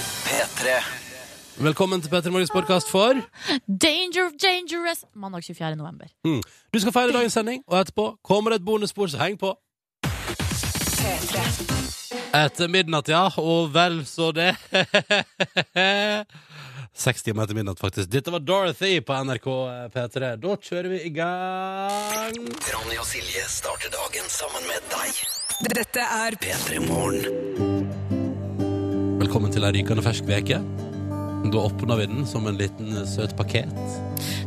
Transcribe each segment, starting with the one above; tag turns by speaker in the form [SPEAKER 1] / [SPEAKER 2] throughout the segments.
[SPEAKER 1] P3.
[SPEAKER 2] Velkommen til Petter Morgens podkast for
[SPEAKER 3] Danger of Dangerous mandag 24. november.
[SPEAKER 2] mm. Du skal feire dagens sending, og etterpå kommer det et bonusspor, så heng på. Etter midnatt, ja. Og vel så det. Seks timer etter midnatt, faktisk. Dette var Dorothy på NRK P3. Da kjører vi i gang.
[SPEAKER 1] Ronny og Silje starter dagen sammen med deg.
[SPEAKER 4] Dette er
[SPEAKER 1] P3 Morgen.
[SPEAKER 2] Velkommen til ei rykende fersk veke. Da åpner vi den som en liten eh, søt pakket.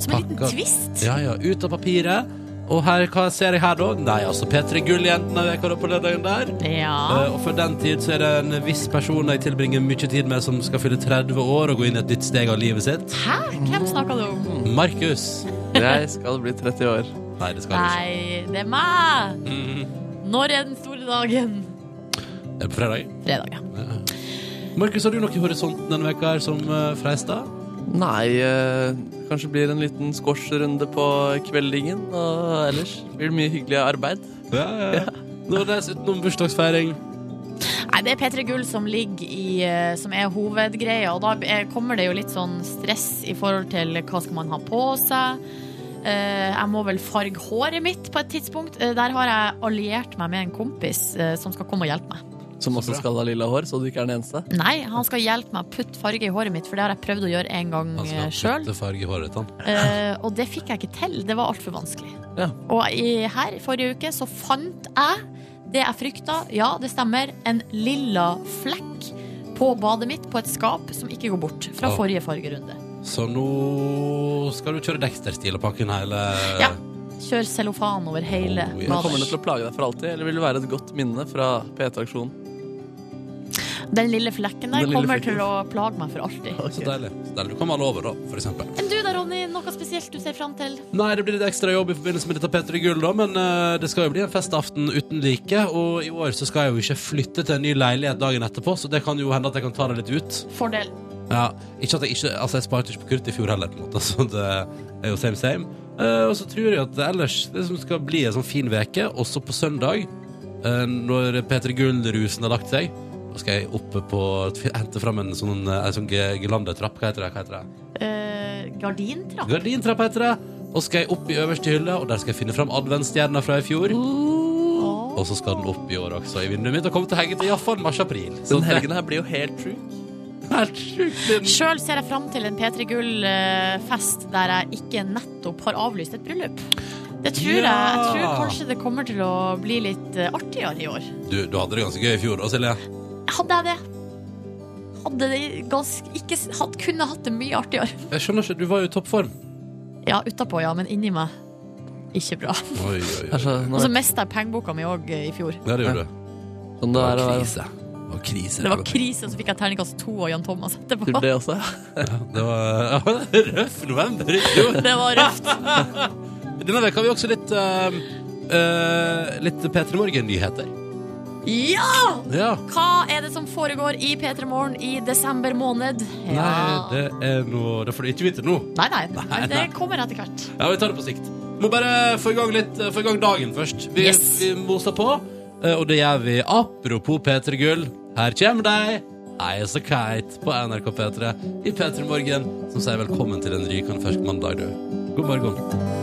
[SPEAKER 3] Som en liten
[SPEAKER 2] Pakka-
[SPEAKER 3] twist.
[SPEAKER 2] Ja, ja, ut av papiret. Og her, hva ser jeg her, da? Nei, altså, P3 Gull-jentene er veka da på lørdagen der.
[SPEAKER 3] Ja.
[SPEAKER 2] Eh, og for den tid så er det en viss person jeg tilbringer mye tid med, som skal fylle 30 år og gå inn i et nytt steg av livet sitt.
[SPEAKER 3] Hæ? Hvem snakka du om?
[SPEAKER 2] Mm. Markus.
[SPEAKER 5] Jeg skal bli 30 år.
[SPEAKER 2] Nei, det skal han ikke.
[SPEAKER 3] Nei, det er meg! Når er den store dagen?
[SPEAKER 2] Er det på fredag?
[SPEAKER 3] Fredag, ja.
[SPEAKER 2] Markus, har du noe i horisonten denne veka her som uh, freista?
[SPEAKER 5] Nei, eh, kanskje blir en liten squash-runde på kveldingen. Og ellers blir det mye hyggelig arbeid.
[SPEAKER 2] Ja, ja. Nå er det utenom bursdagsfeiring.
[SPEAKER 3] Nei, det er P3 Gull som ligger i eh, Som er hovedgreia, og da eh, kommer det jo litt sånn stress i forhold til hva skal man ha på seg. Eh, Jeg må vel farge håret mitt på et tidspunkt. Eh, Der har jeg alliert meg med en kompis eh, som skal komme og hjelpe meg.
[SPEAKER 5] Som også skal ha lilla hår, så du ikke er den eneste.
[SPEAKER 3] Nei, han skal hjelpe meg å putte farge i håret mitt, for det har jeg prøvd å gjøre en gang
[SPEAKER 2] Han skal
[SPEAKER 3] sjøl.
[SPEAKER 2] putte farge i håret, han.
[SPEAKER 3] Eh, og det fikk jeg ikke til. Det var altfor vanskelig.
[SPEAKER 5] Ja.
[SPEAKER 3] Og i, her forrige uke så fant jeg det jeg frykta, ja, det stemmer, en lilla flekk på badet mitt på et skap som ikke går bort fra
[SPEAKER 2] Å.
[SPEAKER 3] forrige fargerunde.
[SPEAKER 2] Så nå skal du kjøre Dexter-stil og pakke inn hele
[SPEAKER 3] Ja. Kjør cellofan over hele
[SPEAKER 2] Oh, ja.
[SPEAKER 5] Men Kommer det
[SPEAKER 3] badet.
[SPEAKER 5] til å plage deg for alltid, eller vil det være et godt minne fra PT-aksjonen?
[SPEAKER 3] Den lille flekken der
[SPEAKER 5] Den lille
[SPEAKER 3] kommer
[SPEAKER 5] flekken.
[SPEAKER 3] til å plage meg for alltid.
[SPEAKER 2] Så deilig. Så deilig. Du kan være over, da, for eksempel.
[SPEAKER 3] Enn du da, Ronny? Noe spesielt du ser fram til?
[SPEAKER 2] Nei, det blir litt ekstra jobb i forbindelse med dette Petter i Gull, da, men eh, det skal jo bli en festaften uten like. Og i år så skal jeg jo ikke flytte til en ny leilighet dagen etterpå, så det kan jo hende at jeg kan ta det litt ut.
[SPEAKER 3] Fordel.
[SPEAKER 2] Ja, ikke at jeg ikke Altså, jeg sparte ikke på krutt i fjor heller, på en måte, så det er jo same, same. Eh, og så tror jeg at ellers det som skal bli en sånn fin veke, også på søndag, eh, når Peter Gull-rusen har lagt seg, da skal jeg oppe på Hente fram en sånn, eh, en sånn ge- gelandetrapp, hva heter det? Hva heter det?
[SPEAKER 3] Eh, gardintrapp?
[SPEAKER 2] Gardintrapp heter det. Og så skal jeg opp i øverste hylle, og der skal jeg finne fram adventsstjerna fra i fjor.
[SPEAKER 3] Å.
[SPEAKER 2] Og så skal den opp i år også, i vinduet mitt, og kommer til å henge til iallfall mars-april. Så
[SPEAKER 5] Den
[SPEAKER 2] det
[SPEAKER 5] helgen her blir jo helt true.
[SPEAKER 2] er sjukt din.
[SPEAKER 3] Sjøl ser jeg fram til en P3 Gull-fest eh, der jeg ikke nettopp har avlyst et bryllup. Det tror jeg. Jeg
[SPEAKER 2] Ja.
[SPEAKER 3] tror kanskje det kommer til å bli litt eh, artigere i år.
[SPEAKER 2] Du, du hadde det ganske gøy i fjor da, Silje.
[SPEAKER 3] Hadde jeg det? Hadde det ganske ikke, s- hadde, Kunne hatt det mye artigere.
[SPEAKER 2] Jeg skjønner ikke, du var jo i toppform.
[SPEAKER 3] Ja, utapå, ja, men inni meg ikke bra.
[SPEAKER 2] Oi, oi, oi.
[SPEAKER 5] Altså, nå
[SPEAKER 3] Og så
[SPEAKER 5] vet
[SPEAKER 3] mista jeg pengeboka mi òg i fjor.
[SPEAKER 2] Ja, det gjorde du.
[SPEAKER 5] jeg sånn det er å være
[SPEAKER 2] Det var krise.
[SPEAKER 3] Det var krise, og så fikk jeg terningkast to av Jan Thomas etterpå.
[SPEAKER 5] Tror du det også?
[SPEAKER 2] Det var ja, røff november i fjor.
[SPEAKER 3] Det var røft.
[SPEAKER 2] Denne veka har vi også litt uh, Litt P3 Morgen-nyheter.
[SPEAKER 3] Ja!
[SPEAKER 2] Ja.
[SPEAKER 3] Hva er det som foregår i P3 Morgen i desember måned? Ja.
[SPEAKER 2] Nei, det er noe Det får du ikke vite nå.
[SPEAKER 3] Nei, nei, men det
[SPEAKER 2] nei.
[SPEAKER 3] kommer etter hvert.
[SPEAKER 2] Ja, vi tar det på sikt. Må bare få i gang, litt, få i gang dagen først. Vi,
[SPEAKER 3] Yes.
[SPEAKER 2] vi moser på, eh, og det gjør vi apropos P3 Gull. Her kommer de! I Is A Kite på NRK P3 i P3 Morgen, som sier velkommen til en rykende fersk mandag, du. God morgen.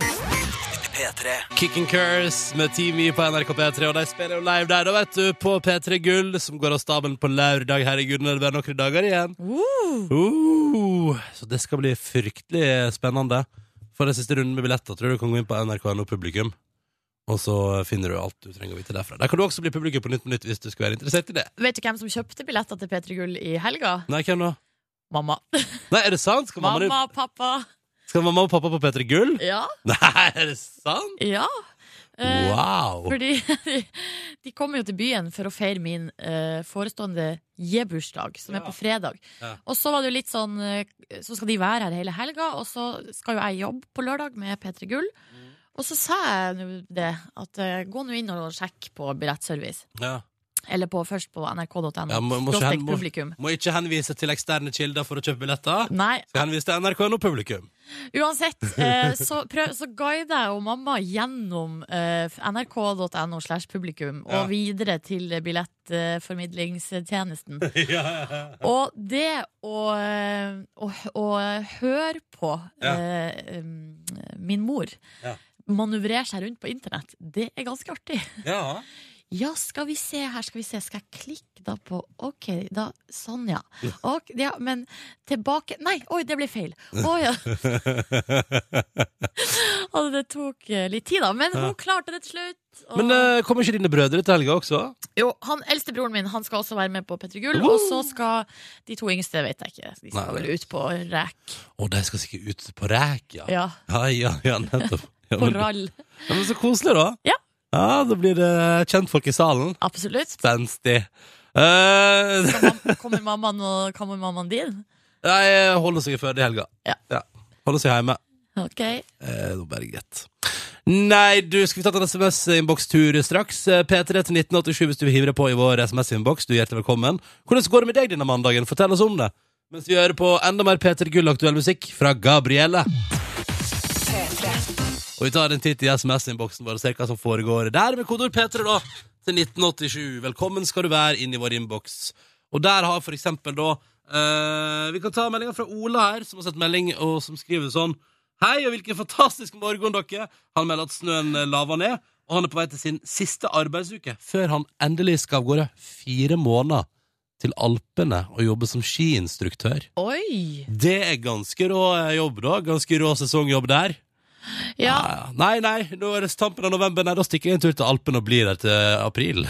[SPEAKER 1] P3.
[SPEAKER 2] Kicking Curse med Team E på NRK P3, og de spiller jo live der, da, vet du, på P3 Gull, som går av staben på lørdag. Herregud, når det blir noen dager igjen. Uh, så det skal bli fryktelig spennende. For den siste runden med billetter tror jeg du kan gå inn på nrk.no publikum. Og så finner du alt du trenger å vite derfra. Der kan du også bli publikum på Nytt på Nytt hvis du skulle være interessert i det.
[SPEAKER 3] Vet du hvem som kjøpte billetter til P3 Gull i helga?
[SPEAKER 2] Nei, hvem da?
[SPEAKER 3] Mamma.
[SPEAKER 2] Nei, er det sant? Skal mamma,
[SPEAKER 3] Mamma, pappa.
[SPEAKER 2] Skal mamma og pappa på P3 Gull?
[SPEAKER 3] Ja.
[SPEAKER 2] Nei, er det sant?
[SPEAKER 3] ja. Eh,
[SPEAKER 2] Wow!
[SPEAKER 3] Fordi de, de kommer jo til byen for å feire min eh, forestående J-bursdag, som
[SPEAKER 2] Ja.
[SPEAKER 3] er på fredag.
[SPEAKER 2] Ja.
[SPEAKER 3] Og så var det jo litt sånn eh, Så skal de være her hele helga, og så skal jo jeg jobbe på lørdag med P3 Gull.
[SPEAKER 2] Mm.
[SPEAKER 3] Og så sa jeg nå det, at eh, gå nå inn og sjekk på billettservice.
[SPEAKER 2] Ja.
[SPEAKER 3] Eller på, først på nrk.no.
[SPEAKER 2] Ja, må, må, ikke
[SPEAKER 3] skråstrek
[SPEAKER 2] hen- må,
[SPEAKER 3] publikum.
[SPEAKER 2] må ikke henvise til eksterne kilder for å kjøpe billetter.
[SPEAKER 3] Nei,
[SPEAKER 2] Skal henvise til NRK og publikum.
[SPEAKER 3] Uansett, eh, så, prøv, så guider jeg jo mamma gjennom eh, nrk.no slash publikum og
[SPEAKER 2] Ja.
[SPEAKER 3] videre til billettformidlingstjenesten.
[SPEAKER 2] ja.
[SPEAKER 3] og det å, eh, å, å høre på
[SPEAKER 2] Ja.
[SPEAKER 3] eh, um, min mor
[SPEAKER 2] Ja.
[SPEAKER 3] manøvrere seg rundt på internett, det er ganske artig.
[SPEAKER 2] ja.
[SPEAKER 3] Ja, skal vi se her, skal vi se. Skal jeg klikke da på OK, da. Sånn, ja. Ok, ja men tilbake Nei, oi, det ble feil. Å ja. Og det tok eh, litt tid, da. Men hun klarte det til slutt. Og,
[SPEAKER 2] Men eh, kommer ikke dine brødre til helga også?
[SPEAKER 3] jo, han eldste broren min han skal også være med på Petter Gull.
[SPEAKER 2] Woo!
[SPEAKER 3] Og så skal de to yngste, vet jeg ikke. De skal
[SPEAKER 2] Nei.
[SPEAKER 3] vel ut på rek.
[SPEAKER 2] Å, de skal sikkert ut på rek, ja.
[SPEAKER 3] Ja,
[SPEAKER 2] Ja, ja, ja nettopp. Ja,
[SPEAKER 3] på
[SPEAKER 2] men, ja,
[SPEAKER 3] rall.
[SPEAKER 2] men så koselig, da.
[SPEAKER 3] Ja.
[SPEAKER 2] Ja, Da blir det kjentfolk i salen.
[SPEAKER 3] Absolutt.
[SPEAKER 2] Spenstig. Eh,
[SPEAKER 3] Skal mam- Kommer mammaen og kommer mammaen din?
[SPEAKER 2] nei, holder seg i Førde i helga.
[SPEAKER 3] Ja.
[SPEAKER 2] Holder seg hjemme.
[SPEAKER 3] OK.
[SPEAKER 2] Eh, nå bare greit. Nei, du, skal vi ta en SMS-innbokstur straks? Eh, P3 til 1987 hvis du vil hive deg på i vår SMS-innboks. Du er hjertelig velkommen. Hvordan går det med deg denne mandagen? Fortell oss om det. Mens vi hører på enda mer Peter Gull-aktuell musikk fra Gabrielle. Og vi tar en titt i SMS-innboksen vår og ser hva som foregår der med kodord P3 da, til 1987. Velkommen skal du være inn i vår innboks. Og der har for eksempel da eh, Vi kan ta meldinga fra Ola her, som har sett melding og som skriver sånn Hei, og hvilken fantastisk morgen dere Han melder at snøen eh, laver ned, og han er på vei til sin siste arbeidsuke før han endelig skal av gårde fire måneder til Alpene og jobbe som skiinstruktør.
[SPEAKER 3] Oi!
[SPEAKER 2] Det er ganske rå eh, jobb, da. Ganske rå sesongjobb der.
[SPEAKER 3] Ja,
[SPEAKER 2] Ja, ja. Nei, nei, nå er det tampen av november. Nei, da stikker jeg en tur til Alpen og blir der til april.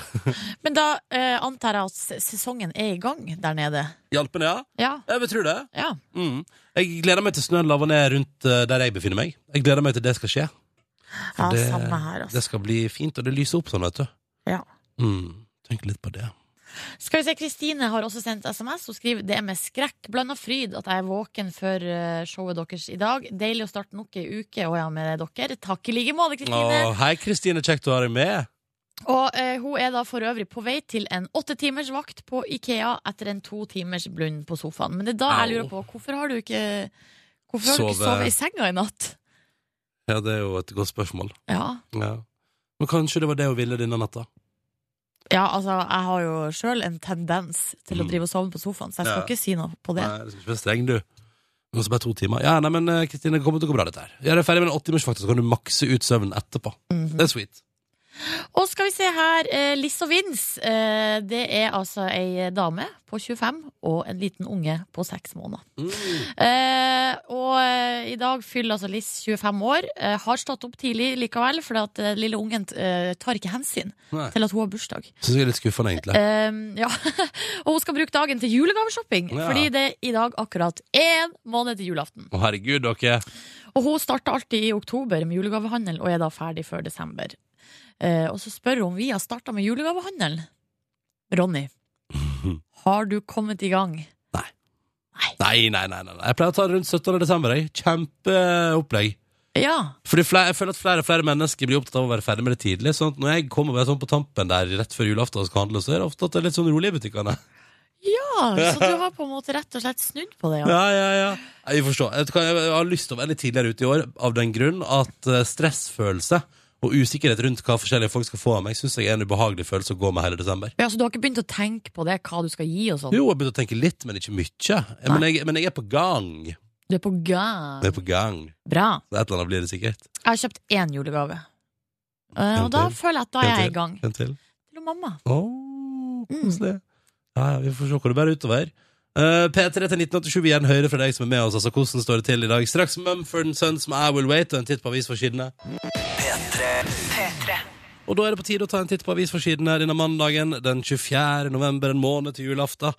[SPEAKER 3] Men da eh, antar jeg at se- sesongen er i gang der nede.
[SPEAKER 2] I Alpene, ja?
[SPEAKER 3] Ja.
[SPEAKER 2] Jeg vil tro det.
[SPEAKER 3] ja.
[SPEAKER 2] Mm. Jeg gleder meg til snøen laver ned rundt eh, der jeg befinner meg. Jeg gleder meg til det skal skje.
[SPEAKER 3] ja
[SPEAKER 2] For det,
[SPEAKER 3] samme her,
[SPEAKER 2] det
[SPEAKER 3] altså.
[SPEAKER 2] skal bli fint, og det lyser opp sånn, vet du.
[SPEAKER 3] Ja.
[SPEAKER 2] Mm. Tenk litt på det.
[SPEAKER 3] Skal vi se, Kristine har også sendt SMS. Hun skriver det er med skrekk blanda fryd at jeg er våken før eh, showet deres i dag. Deilig å starte nok ei uke og ja, med dere. Takk i like måte, Kristine.
[SPEAKER 2] Å, hei, Kristine. Kjekt å ha deg med.
[SPEAKER 3] Og eh, hun er da for øvrig på vei til en åtte timers vakt på Ikea etter en to timers blund på sofaen. Men det er da jeg
[SPEAKER 2] Au.
[SPEAKER 3] lurer på hvorfor har du ikke Hvorfor har du ikke
[SPEAKER 2] Sove.
[SPEAKER 3] sovet i senga i natt?
[SPEAKER 2] Ja, det er jo et godt spørsmål.
[SPEAKER 3] Ja.
[SPEAKER 2] Ja. Men kanskje det var det hun ville denne natta.
[SPEAKER 3] Ja, altså, jeg har jo sjøl en tendens til å
[SPEAKER 2] Mm.
[SPEAKER 3] drive og sovne på sofaen, så jeg skal
[SPEAKER 2] Ja.
[SPEAKER 3] ikke si noe på det.
[SPEAKER 2] Nei, du skal ikke være streng, du. Men også bare to timer. Ja, nei, men eh, Kristine, det kommer til å gå bra, dette her. Gjør deg ferdig med en åttimersfaktor, så kan du makse ut søvnen etterpå. Det er sweet.
[SPEAKER 3] Og skal vi se her, eh, Liss og Vince. Eh, det er altså ei dame på 25 og en liten unge på 6 måneder.
[SPEAKER 2] Mm.
[SPEAKER 3] Eh, og eh, i dag fyller altså Liss 25 år. Eh, har stått opp tidlig likevel, for at eh, lille ungen eh, tar ikke hensyn
[SPEAKER 2] Nei.
[SPEAKER 3] til at hun har bursdag.
[SPEAKER 2] Syns jeg er litt skuffende, egentlig.
[SPEAKER 3] Eh, ja. og hun skal bruke dagen til julegaveshopping,
[SPEAKER 2] Ja.
[SPEAKER 3] fordi det er i dag akkurat én måned til julaften.
[SPEAKER 2] Å, herregud, dere.
[SPEAKER 3] Og hun starter alltid i oktober med julegavehandel og er da ferdig før desember. Eh, og så spør hun om vi har starta med julegavehandel. Ronny, har du kommet i gang?
[SPEAKER 2] Nei, nei, nei. nei. nei. Jeg pleier å ta det rundt 17. desember. jeg. Kjempeopplegg.
[SPEAKER 3] Ja.
[SPEAKER 2] Fordi flere, jeg føler at flere og flere mennesker blir opptatt av å være ferdig med det tidlig. Sånn at når jeg kommer bare sånn på tampen der rett før julaften og skal handle, så er det ofte at det er litt sånn rolig i butikkene.
[SPEAKER 3] ja. Så du har på en måte rett og slett snudd på det? Ja.
[SPEAKER 2] Ja, ja, ja. Nei, Vi får se. Jeg, vet hva, jeg har lyst til å være litt tidligere ute i år av den grunn at eh, stressfølelse og usikkerhet rundt hva forskjellige folk skal få av meg, syns jeg er en ubehagelig følelse å gå med hele desember.
[SPEAKER 3] Ja, så du har ikke begynt å tenke på det, hva du skal gi og sånn?
[SPEAKER 2] Jo, jeg begynte å tenke litt, men ikke mye. Jeg- Men jeg, men jeg er på gang. Jeg
[SPEAKER 3] Du er på gang.
[SPEAKER 2] er på gang.
[SPEAKER 3] Bra.
[SPEAKER 2] Så Et eller annet blir det sikkert.
[SPEAKER 3] Jeg har kjøpt én julegave. Eh, og da
[SPEAKER 2] En til.
[SPEAKER 3] føler jeg at da er
[SPEAKER 2] En
[SPEAKER 3] jeg i gang.
[SPEAKER 2] En til.
[SPEAKER 3] Til mamma.
[SPEAKER 2] Åh, koselig. Ja, ja, vi får se hvor det bærer utover. Eh, P3 til 1987 igjen, høyre fra deg som er med oss. Altså, hvordan står det til i dag? Straks Mumford Sons med I Will Wait og en titt på avisforsidene. Og da er det på tide å ta en titt på avisforsidene denne mandagen den 24. november, en måned til julaften.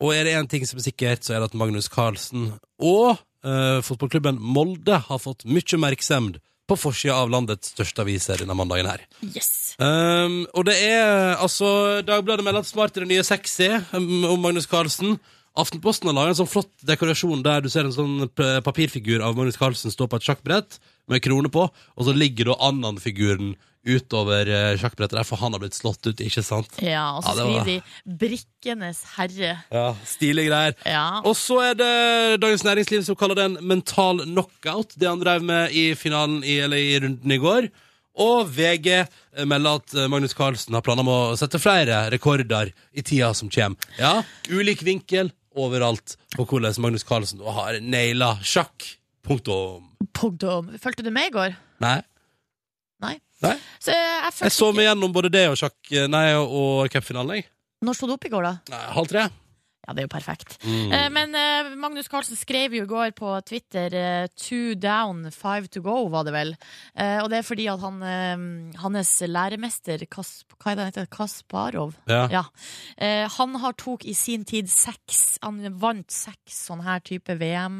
[SPEAKER 2] Og er det én ting som er sikkert, så er det at Magnus Carlsen og eh, fotballklubben Molde har fått mye merksemd på forsida av landets største aviser denne mandagen her.
[SPEAKER 3] Yes.
[SPEAKER 2] Um, og det er altså Dagbladet melder at smart er det nye sexy um, om Magnus Carlsen. Aftenposten har laga en sånn flott dekorasjon der du ser en sånn p- papirfigur av Magnus Carlsen stå på et sjakkbrett med krone på, og så ligger da Annan-figuren utover eh, sjakkbrettet der, for han har blitt slått ut, ikke sant?
[SPEAKER 3] Ja, og
[SPEAKER 2] Ja,
[SPEAKER 3] så
[SPEAKER 2] det var-
[SPEAKER 3] skriver de 'Brikkenes herre'.
[SPEAKER 2] Ja, Stilige greier.
[SPEAKER 3] Ja.
[SPEAKER 2] Og så er det Dagens Næringsliv som kaller det en mental knockout, det han drev med i finalen i, eller i runden i går. Og VG melder at Magnus Carlsen har planer om å sette flere rekorder i tida som kommer. Ja, ulik vinkel overalt på hvordan Magnus Carlsen nå har naila sjakk. Punktum.
[SPEAKER 3] Punktum. Fulgte du med i går?
[SPEAKER 2] Nei.
[SPEAKER 3] Nei.
[SPEAKER 2] Nei.
[SPEAKER 3] Så eh, jeg
[SPEAKER 2] Jeg
[SPEAKER 3] fulgte
[SPEAKER 2] så meg gjennom både det og sjakk, nei, og cupfinalen, jeg.
[SPEAKER 3] Når sto du opp i går, da?
[SPEAKER 2] Nei, Halv tre.
[SPEAKER 3] Ja, det er jo perfekt.
[SPEAKER 2] Mm.
[SPEAKER 3] Eh, Men eh, Magnus Carlsen skrev jo i går på Twitter eh, 'two down, five to go', var det vel. Eh, Og det er fordi at han, eh, hans læremester, Kas, hva er det han heter, Kasparov
[SPEAKER 2] Ja.
[SPEAKER 3] Ja. Eh, han har tok i sin tid seks Han vant seks sånne her type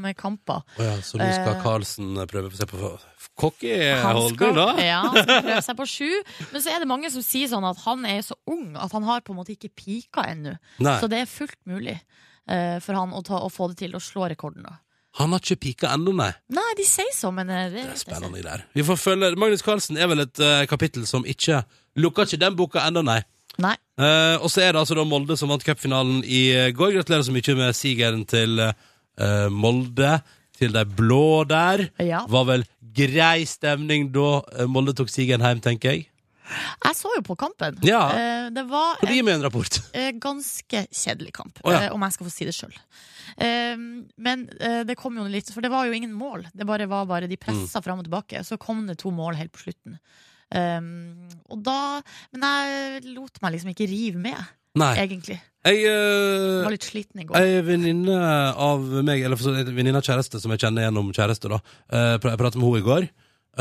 [SPEAKER 3] VM-kamper.
[SPEAKER 2] Å ja, så nå skal
[SPEAKER 3] Eh.
[SPEAKER 2] Carlsen prøve å se på cocky
[SPEAKER 3] Han
[SPEAKER 2] holdning, da?
[SPEAKER 3] ja, han skal prøve seg på sju. Men så er det mange som sier sånn at han er så ung at han har på en måte ikke pika ennå.
[SPEAKER 2] Nei.
[SPEAKER 3] Så det er fullt mulig eh, for han å, ta, å få det til å slå rekorden. da
[SPEAKER 2] Han har ikke pika ennå, nei.
[SPEAKER 3] Nei, de sier så, men eh,
[SPEAKER 2] Det er
[SPEAKER 3] det, vet jeg ikke.
[SPEAKER 2] spennende der. Vi får følge Magnus Carlsen er vel et eh, kapittel som ikke Lukker ikke den boka ennå, nei.
[SPEAKER 3] Nei.
[SPEAKER 2] Eh, og så er det altså da Molde som vant cupfinalen i eh, går. Gratulerer så mye med sigeren til eh, Molde. Til de blå der.
[SPEAKER 3] Ja.
[SPEAKER 2] Var vel grei stemning da eh, Molde tok sigeren hjem, tenker jeg.
[SPEAKER 3] Jeg så jo på kampen.
[SPEAKER 2] Ja.
[SPEAKER 3] Eh, det var
[SPEAKER 2] Kan du gi meg en rapport?
[SPEAKER 3] eh, ganske kjedelig kamp,
[SPEAKER 2] Å, ja.
[SPEAKER 3] eh, om jeg skal få si det sjøl. men eh, det kom jo litt For det var jo ingen mål. Det bare var bare de
[SPEAKER 2] Mm.
[SPEAKER 3] pressa fram og tilbake. Så kom det to mål helt på slutten. Eh, og da Men jeg lot meg liksom ikke rive med,
[SPEAKER 2] Nei.
[SPEAKER 3] egentlig.
[SPEAKER 2] Jeg,
[SPEAKER 3] Jeg
[SPEAKER 2] eh,
[SPEAKER 3] var litt sliten i går.
[SPEAKER 2] Ei venninne av meg, eller for så vidt en venninne av kjæreste, som jeg kjenner gjennom kjæreste, da. eh, pra- Jeg pratet med henne i går,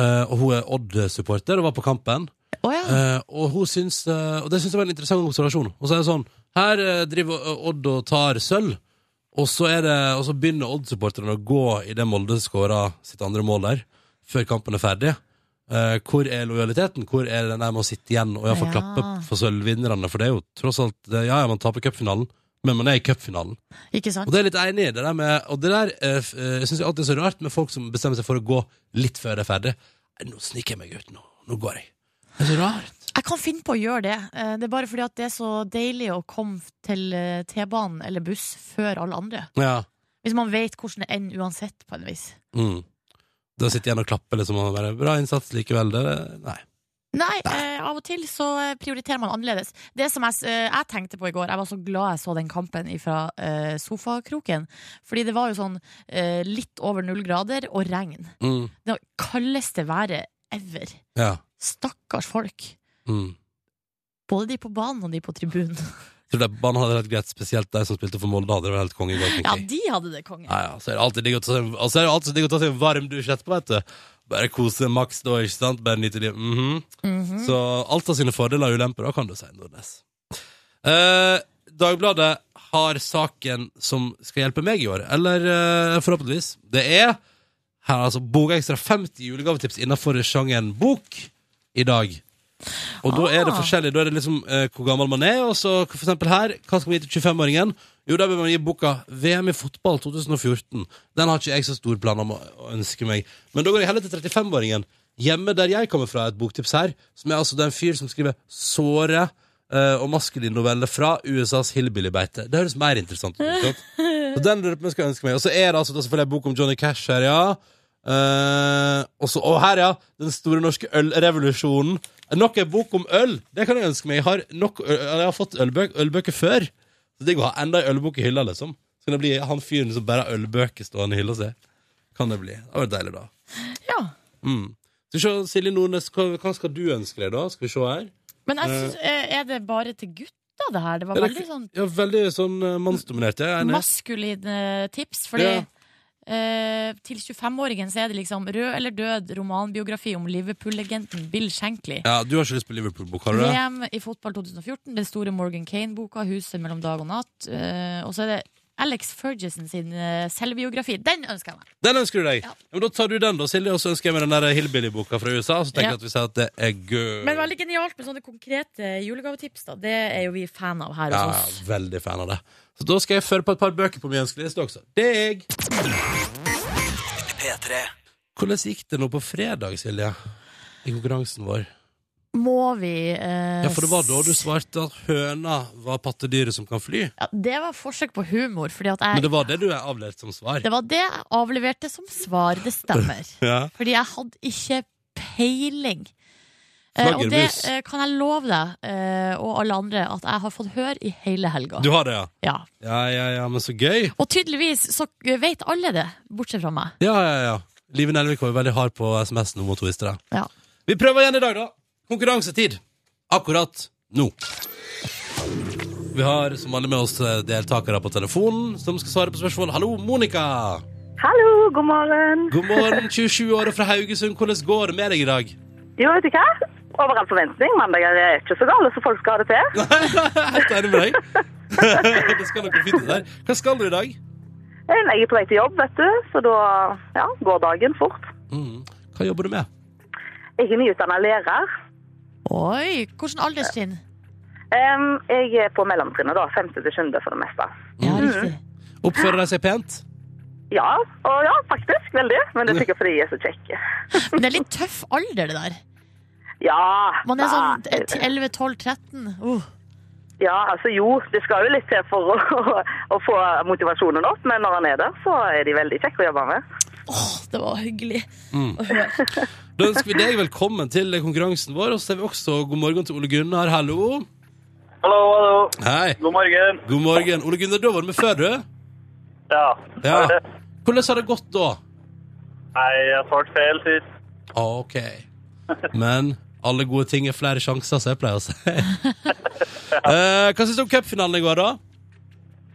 [SPEAKER 2] eh, og hun er Odd-supporter og var på kampen.
[SPEAKER 3] Å ja.
[SPEAKER 2] Eh, Og hun syns, eh, og det syns jeg var en interessant observasjon. Og så er det sånn, her eh, driver eh, Odd og tar sølv, og så, er det, og så begynner Odd-supporterne å gå i det Molde skåra sitt andre mål der, før kampen er ferdig. Eh, hvor er lojaliteten? Hvor er den der med å sitte igjen og iallfall
[SPEAKER 3] Ja.
[SPEAKER 2] klappe for sølvvinnerne? For det er jo tross alt det- Ja, ja, man taper cupfinalen, men man er i cupfinalen.
[SPEAKER 3] Ikke sant?
[SPEAKER 2] Og det er jeg litt enig i. Det der med, og det der eh, f- eh, syns jeg alltid er så rart med folk som bestemmer seg for å gå litt før det er ferdig. Nei, Nå sniker jeg meg ut. Nå Nå går jeg. Det er så rart.
[SPEAKER 3] Jeg kan finne på å gjøre det. Eh, Det er bare fordi at det er så deilig å komme til eh, T-banen eller buss før alle andre.
[SPEAKER 2] Ja.
[SPEAKER 3] Hvis man vet hvordan det ender uansett, på en vis.
[SPEAKER 2] Mm. Da sitter jeg igjen og klapper liksom, og bare 'bra innsats likevel'. Det, nei.
[SPEAKER 3] Nei, eh, av og til så eh, prioriterer man annerledes. Det som jeg, s- eh, jeg tenkte på i går, jeg var så glad jeg så den kampen fra eh, sofakroken. Fordi det var jo sånn eh, litt over null grader og regn.
[SPEAKER 2] Mm.
[SPEAKER 3] Det var kaldeste været ever.
[SPEAKER 2] Ja.
[SPEAKER 3] Stakkars folk.
[SPEAKER 2] Mm.
[SPEAKER 3] Både de på banen og de på tribunen.
[SPEAKER 2] Tror det banen hadde vært greit, spesielt de som spilte for Molde, hadde det vært helt konge i går. tenker
[SPEAKER 3] Ja,
[SPEAKER 2] jeg.
[SPEAKER 3] de hadde det, konge.
[SPEAKER 2] Ja, ja, så er det alltid digg å ta seg, altså er det alltid digg å ta seg en varm dusj etterpå, vet du. Bare kose maks da, ikke sant? Bare nyte livet. Mhm.
[SPEAKER 3] Mhm.
[SPEAKER 2] Så alt har sine fordeler og ulemper, da kan du si, Nordnes. Eh, Dagbladet har saken som skal hjelpe meg i år, eller eh, forhåpentligvis. Det er her, altså, Bokekstra 50 julegavetips innenfor sjangeren bok i dag. Og da er det
[SPEAKER 3] Ah.
[SPEAKER 2] forskjellig. Da er det liksom eh, hvor gammel man er. Og så for eksempel her, hva skal vi gi til 25-åringen? Jo, da bør man gi boka VM i fotball 2014. Den har ikke jeg så stor plan om å å ønske meg. Men da går jeg heller til 35-åringen. Hjemme der jeg kommer fra, er et boktips her, som er altså det er en fyr som skriver såre eh, og maskulin novelle fra USAs hillbillybeite. Det høres mer interessant ut. ikke sant? Så den lurer jeg på om jeg skal ønske meg. Og så er det altså da selvfølgelig en bok om Johnny Cash her, ja. Eh, og så, og her, ja. Den store norske ølrevolusjonen. Nok en bok om øl! Det kan jeg ønske meg. Jeg har, nok, øl- jeg har fått ølbøk, ølbøker før. Så digg å ha enda en ølbok i hylla, liksom. Så kan det bli han fyren som bare har ølbøker stående i hylla si. Kan det bli. Det hadde vært deilig, da.
[SPEAKER 3] Ja.
[SPEAKER 2] Mm. Skal vi se, Silje Nordnes, hva, hva skal du ønske deg, da? Skal vi se her.
[SPEAKER 3] Men jeg synes, eh, er det bare til gutter, det her? Det var
[SPEAKER 2] Er det
[SPEAKER 3] veldig sånn
[SPEAKER 2] Ja, veldig sånn eh, mannsdominert. Jeg er enig.
[SPEAKER 3] maskuline tips. Fordi
[SPEAKER 2] Ja.
[SPEAKER 3] eh, til 25-åringen så er det liksom Rød eller død romanbiografi om Liverpool-legenden Bill Shankly.
[SPEAKER 2] Ja, du har ikke lyst på Liverpool-bok, har du det?
[SPEAKER 3] VM i fotball 2014, den store Morgan Kane-boka, 'Huset mellom dag og natt'. eh, og så er det Alex Ferguson sin eh, selvbiografi. Den ønsker jeg meg!
[SPEAKER 2] Den ønsker du deg?
[SPEAKER 3] Ja.
[SPEAKER 2] Ja. men da tar du den, da, Silje, og så ønsker jeg meg den der hillbilly-boka fra USA. Og så tenker
[SPEAKER 3] Ja.
[SPEAKER 2] jeg at vi sier at det er gøy.
[SPEAKER 3] Men veldig genialt med sånne konkrete eh, julegavetips. da Det er jo vi fan av her
[SPEAKER 2] Ja,
[SPEAKER 3] hos oss.
[SPEAKER 2] veldig fan av det. Så da skal jeg føre på et par bøker på min ønskeliste også. Deg!
[SPEAKER 1] P3.
[SPEAKER 2] Hvordan gikk det nå på fredag, Silje? I konkurransen vår.
[SPEAKER 3] må vi eh,
[SPEAKER 2] Ja, for det var da du svarte at høna var pattedyret som kan fly.
[SPEAKER 3] Ja, det var forsøk på humor, fordi at
[SPEAKER 2] Men
[SPEAKER 3] jeg
[SPEAKER 2] det var det du avlærte som svar.
[SPEAKER 3] Det var det jeg avleverte som svar, det stemmer.
[SPEAKER 2] Ja.
[SPEAKER 3] Fordi jeg hadde ikke peiling. Eh, og det
[SPEAKER 2] Flaggermus.
[SPEAKER 3] eh, kan jeg love deg eh, og alle andre at jeg har fått høre i hele helga.
[SPEAKER 2] Du har det, ja?
[SPEAKER 3] Ja.
[SPEAKER 2] Ja, ja, ja, men så gøy.
[SPEAKER 3] Og tydeligvis så vet alle det, bortsett fra meg.
[SPEAKER 2] Ja, ja, ja. Live Nelvik var jo veldig hard på SMS-en om hun to visste det.
[SPEAKER 3] Ja.
[SPEAKER 2] Vi prøver igjen i dag, da. Konkurransetid. Akkurat nå. Vi har som vanlig med oss eh, deltakere på telefonen som skal svare på spørsmål. Hallo, Monica!
[SPEAKER 4] Hallo, god morgen.
[SPEAKER 2] God morgen, 27 år og fra Haugesund. Hvordan går det med deg i dag?
[SPEAKER 4] Jo, vet du hva? Over all forventning. Mandager er ikke så gale som folk skal ha det til.
[SPEAKER 2] Helt enig med deg. det skal noe fint ut der. Hva skal du i dag?
[SPEAKER 4] Jeg er på vei til jobb, vet du, så da ja, går dagen fort.
[SPEAKER 2] Mm. Hva jobber du med?
[SPEAKER 4] Jeg er nyutdannet lærer.
[SPEAKER 3] Oi, hvordan alderstrinn?
[SPEAKER 4] Em, jeg er på mellomtrinnet, da. Femte til sjuende for det meste.
[SPEAKER 3] Ja,
[SPEAKER 2] Mm.
[SPEAKER 3] riktig.
[SPEAKER 2] Oppfører de seg pent?
[SPEAKER 4] Ja, og ja, faktisk. Veldig. Men det er sikkert fordi jeg er så kjekk.
[SPEAKER 3] Men det er litt tøff alder, det der.
[SPEAKER 4] Ja.
[SPEAKER 3] Man er sånn
[SPEAKER 4] da,
[SPEAKER 3] eh, 11, 12, 13. Uh.
[SPEAKER 4] Ja, altså jo. Det skal jo litt til for å, å, å få motivasjonen opp, men når han er der, så er de veldig kjekke å jobbe med.
[SPEAKER 3] Åh, det var hyggelig
[SPEAKER 2] Mm.
[SPEAKER 3] å høre.
[SPEAKER 2] Da ønsker vi deg velkommen til konkurransen vår. Og så sier vi også god morgen til Ole Gunnar. Hallo.
[SPEAKER 6] Hallo, hallo.
[SPEAKER 2] Hei.
[SPEAKER 6] God morgen.
[SPEAKER 2] God morgen. Ole Gunnar, da var du med før, du?
[SPEAKER 6] Ja.
[SPEAKER 2] Ja. Hvordan har det gått da?
[SPEAKER 6] Nei, jeg svarte feil sist.
[SPEAKER 2] Ah, ok. Men alle gode ting er flere sjanser, så jeg pleier å si. Eh, hva syns du om cupfinalen i går, da?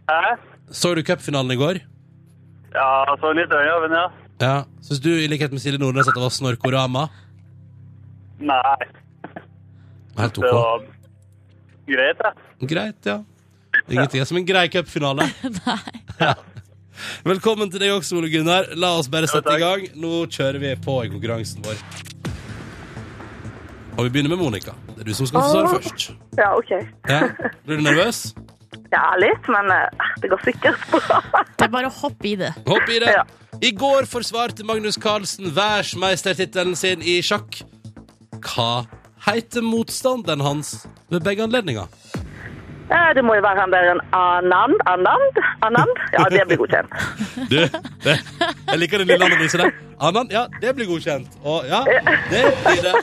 [SPEAKER 6] Hæ?
[SPEAKER 2] Så du cupfinalen i går?
[SPEAKER 6] Ja, så litt øye av den, ja.
[SPEAKER 2] Ja. Syns du, i likhet med Silje Nordnes, at det var snorkorama?
[SPEAKER 6] Nei,
[SPEAKER 2] Helt
[SPEAKER 6] det
[SPEAKER 2] OK.
[SPEAKER 6] var greit, ja.
[SPEAKER 2] Greit, ja. Ingenting er som en grei cupfinale.
[SPEAKER 3] Nei.
[SPEAKER 2] Velkommen til deg også, Ole Gunnar. La oss bare sette
[SPEAKER 6] takk.
[SPEAKER 2] i gang. Nå kjører vi på i konkurransen vår. Og vi begynner med Monica. Det er du som skal få svare først.
[SPEAKER 4] Ja, OK.
[SPEAKER 2] Ja. Blir du nervøs?
[SPEAKER 4] Ja, litt, men eh, det går sikkert bra.
[SPEAKER 3] Det er bare å hoppe i det.
[SPEAKER 2] Hopp i det.
[SPEAKER 4] Ja.
[SPEAKER 2] I går forsvarte Magnus Carlsen verdensmeistertittelen sin i sjakk. Hva heter motstanderen hans ved begge anledninger?
[SPEAKER 4] Eh, Det må jo være han der en Anand. Anand? Anand? Ja, det blir godkjent.
[SPEAKER 2] Du, det, jeg liker den lille analysen der. Anand, ja, det blir godkjent. Og ja, det blir det.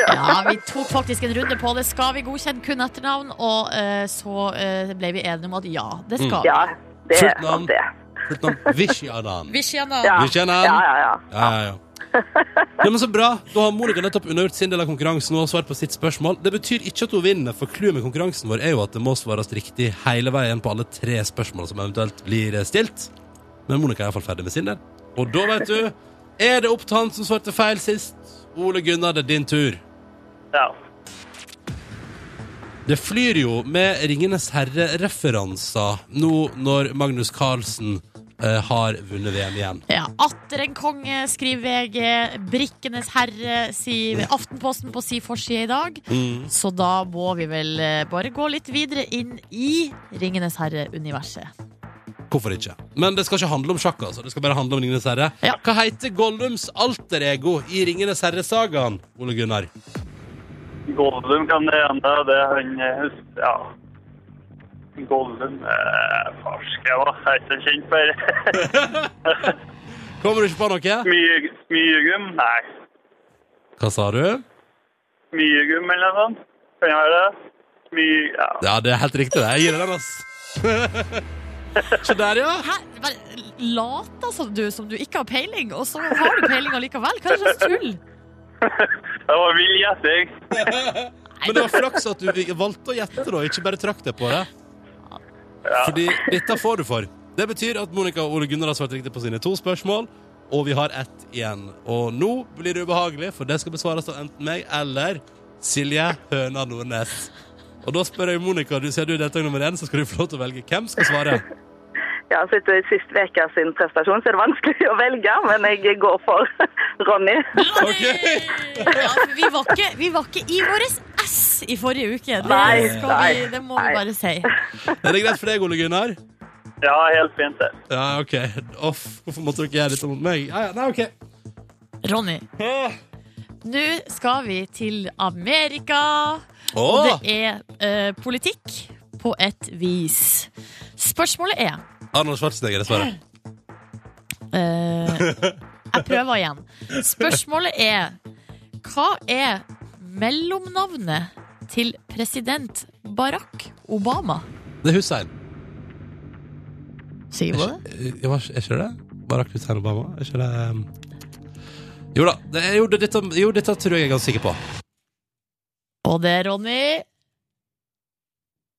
[SPEAKER 3] Ja, Vi tok faktisk en runde på det. Skal vi godkjenne kun etternavn? Og eh, så eh, ble vi enige om at ja, det skal vi.
[SPEAKER 4] Mm. Ja, det er
[SPEAKER 2] Fullt navn.
[SPEAKER 4] det.
[SPEAKER 2] Fullt navn Vishy Anand.
[SPEAKER 3] Vi kjenner
[SPEAKER 4] Ja.
[SPEAKER 2] Vi kjenner han.
[SPEAKER 4] Ja, ja, ja.
[SPEAKER 2] Ja, ja, ja. Nei, men så bra. Da har Monica nettopp unnagjort sin del av konkurransen og svart på sitt spørsmål. Det betyr ikke at hun vinner, for clouet med konkurransen vår er jo at det må svares riktig hele veien på alle tre spørsmål som eventuelt blir stilt. Men Monica er iallfall ferdig med sin del. Og da, vet du, er det opp til han som svarte feil sist. Ole Gunnar, det er din tur.
[SPEAKER 6] Ja.
[SPEAKER 2] Det flyr jo med Ringenes herre-referanser nå når Magnus Carlsen eh, har vunnet VM igjen.
[SPEAKER 3] Ja, Atter en konge, skriver VG. Brikkenes herre, sier Aftenposten på si forside i dag. Så da må vi vel eh, bare gå litt videre inn i Ringenes herre-universet.
[SPEAKER 2] Hvorfor ikke? Men det skal ikke handle om sjakk, altså. Det skal bare handle om Ringenes herre.
[SPEAKER 3] Ja.
[SPEAKER 2] Hva heter Gollums alter ego i Ringenes herre-sagaen, Ole Gunnar?
[SPEAKER 6] Goldum kan det ene, det er han eh, hus- Ja. Goldum eh, Farske, hva? Jeg er ikke så kjent for det.
[SPEAKER 2] Kommer du ikke på noe?
[SPEAKER 6] Smyg- Smygum? Nei.
[SPEAKER 2] Hva sa du?
[SPEAKER 6] Smygum eller noe sånt? Kan jeg være det? Smyg... Ja.
[SPEAKER 2] Ja, det er helt riktig. det. Jeg gir deg den, ass. Se der, ja.
[SPEAKER 3] Hæ? Bare later som du som du ikke har peiling, og så har du peiling allikevel? Hva er det slags tull?
[SPEAKER 6] Det var vill gjetting.
[SPEAKER 2] Men det var flaks at du valgte å gjette, da. Ikke bare trakk deg på det. Fordi dette får du for. Det betyr at Monica og Ole Gunnar har svart riktig på sine to spørsmål. Og vi har ett igjen. Og nå blir det ubehagelig, for det skal besvares av enten meg eller Silje Høna Nordnes. Og da spør jeg Monica, du sier du er deltaker nummer én, så skal du få lov til å velge hvem skal svare.
[SPEAKER 4] Ja, så etter sist uke sin prestasjon, så er det vanskelig å velge, men jeg går for Ronny.
[SPEAKER 2] Ok.
[SPEAKER 3] Ja, for vi, var ikke, vi var ikke i vår ass i forrige uke. Det,
[SPEAKER 4] Nei,
[SPEAKER 3] skal
[SPEAKER 4] nei,
[SPEAKER 3] vi, det må
[SPEAKER 4] nei.
[SPEAKER 3] vi bare si.
[SPEAKER 2] Er det greit for deg, Ole Gunnar?
[SPEAKER 6] Ja, helt fint, det.
[SPEAKER 2] Ja, OK. Off, hvorfor måtte dere gjøre dette mot meg? Ja, ja, nei, OK.
[SPEAKER 3] Ronny, Nå skal vi til Amerika. Og
[SPEAKER 2] Åh,
[SPEAKER 3] det er eh, politikk på et vis. Spørsmålet er
[SPEAKER 2] Arnold Schwarzenegger, dessverre.
[SPEAKER 3] eh, Jeg prøver igjen. Spørsmålet er Hva er mellomnavnet til president Barack Obama?
[SPEAKER 2] Det er Hussein.
[SPEAKER 3] Sier
[SPEAKER 2] Er
[SPEAKER 3] hun det?
[SPEAKER 2] ikke, jeg var, er ikke det det? Barack Hussein Obama? Er ikke det um... Jo da. Det, er- jo, det, dette, jo, dette tror jeg jeg er ganske sikker på.
[SPEAKER 3] Og det, Ronny,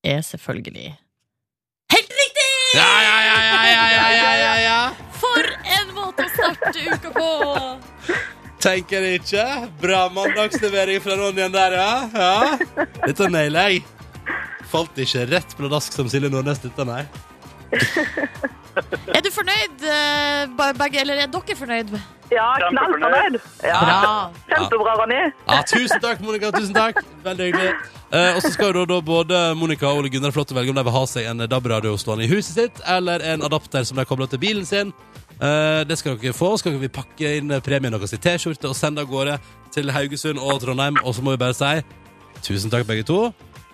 [SPEAKER 3] er selvfølgelig helt riktig!
[SPEAKER 2] Ja, ja, ja, ja, ja, ja, ja, ja, ja.
[SPEAKER 3] For en måte å starte uka på!
[SPEAKER 2] Tenker jeg ikke. Bra mandagslevering fra Ronjen der, ja. ja. Dette nailer jeg. Falt ikke rett bladask som Silje Nordnes, dette, nei.
[SPEAKER 3] Er du fornøyd, eh, be- begge? Eller er dere fornøyd?
[SPEAKER 4] Ja, knallfornøyd. Ja.
[SPEAKER 3] Bra.
[SPEAKER 4] Kjempebra, Ronny.
[SPEAKER 2] Ja, tusen takk, Monica. Tusen takk. Veldig hyggelig. Eh, og så skal jo da, da både Monica og Ole Gunnar Flåtte velge om de vil ha seg en DAB-radio stående i huset sitt, eller en adapter som de kobler til bilen sin. Eh, det skal dere få. Så skal vi pakke inn premien deres i T-skjorte og sende av gårde til Haugesund og Trondheim. Og så må vi bare si tusen takk, begge to,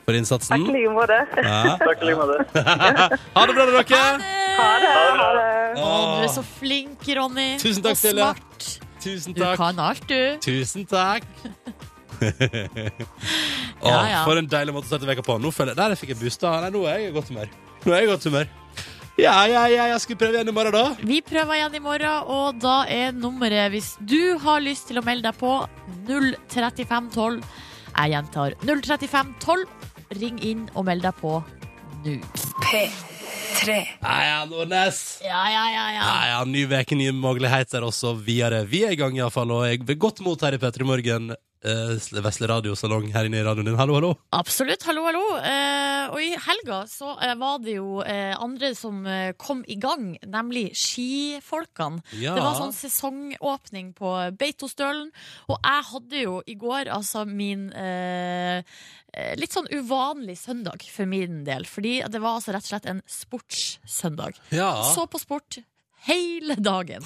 [SPEAKER 2] for
[SPEAKER 4] Takk i
[SPEAKER 2] innsatsen.
[SPEAKER 4] like måte.
[SPEAKER 2] Ja.
[SPEAKER 6] Takk i like måte.
[SPEAKER 2] Ha det bra, dere!
[SPEAKER 4] Ha det. Ha det.
[SPEAKER 3] Å, du er
[SPEAKER 2] Åh,
[SPEAKER 3] så flink, Ronny.
[SPEAKER 2] Tusen takk,
[SPEAKER 3] og
[SPEAKER 2] Silje.
[SPEAKER 3] smart.
[SPEAKER 2] tusen
[SPEAKER 3] Du
[SPEAKER 2] takk.
[SPEAKER 3] kan alt, du.
[SPEAKER 2] Tusen takk. Åh,
[SPEAKER 3] Ja, ja.
[SPEAKER 2] For en deilig måte å starte veka på. Nå føler jeg, Der fikk jeg boosta. Nei, nå er jeg i godt humør. Nå er jeg i godt humør. Ja, ja, ja, jeg skulle prøve igjen i morgen, da.
[SPEAKER 3] Vi prøver igjen i morgen, og da er nummeret, hvis du har lyst til å melde deg på, 03512. Jeg gjentar 03512. Ring inn og meld deg på nå.
[SPEAKER 2] Ja, ja, Nordnes.
[SPEAKER 3] Ja, ja, ja, ja.
[SPEAKER 2] Ja, ja, ny veke, nye muligheter også videre. Vi er i gang, iallfall, og jeg blir godt mot her i P3 Morgen. Eh, Vesle radiosalong her inne i radioen din. Hallo, hallo.
[SPEAKER 3] Absolutt. Hallo, hallo. Eh, og i helga så eh, var det jo eh, andre som eh, kom i gang, nemlig skifolkene.
[SPEAKER 2] Ja.
[SPEAKER 3] Det var sånn sesongåpning på Beitostølen, og jeg hadde jo i går altså min eh, eh, litt sånn uvanlig søndag for min del. Fordi det var altså rett og slett en sportssøndag.
[SPEAKER 2] Ja.
[SPEAKER 3] Så på sport hele dagen.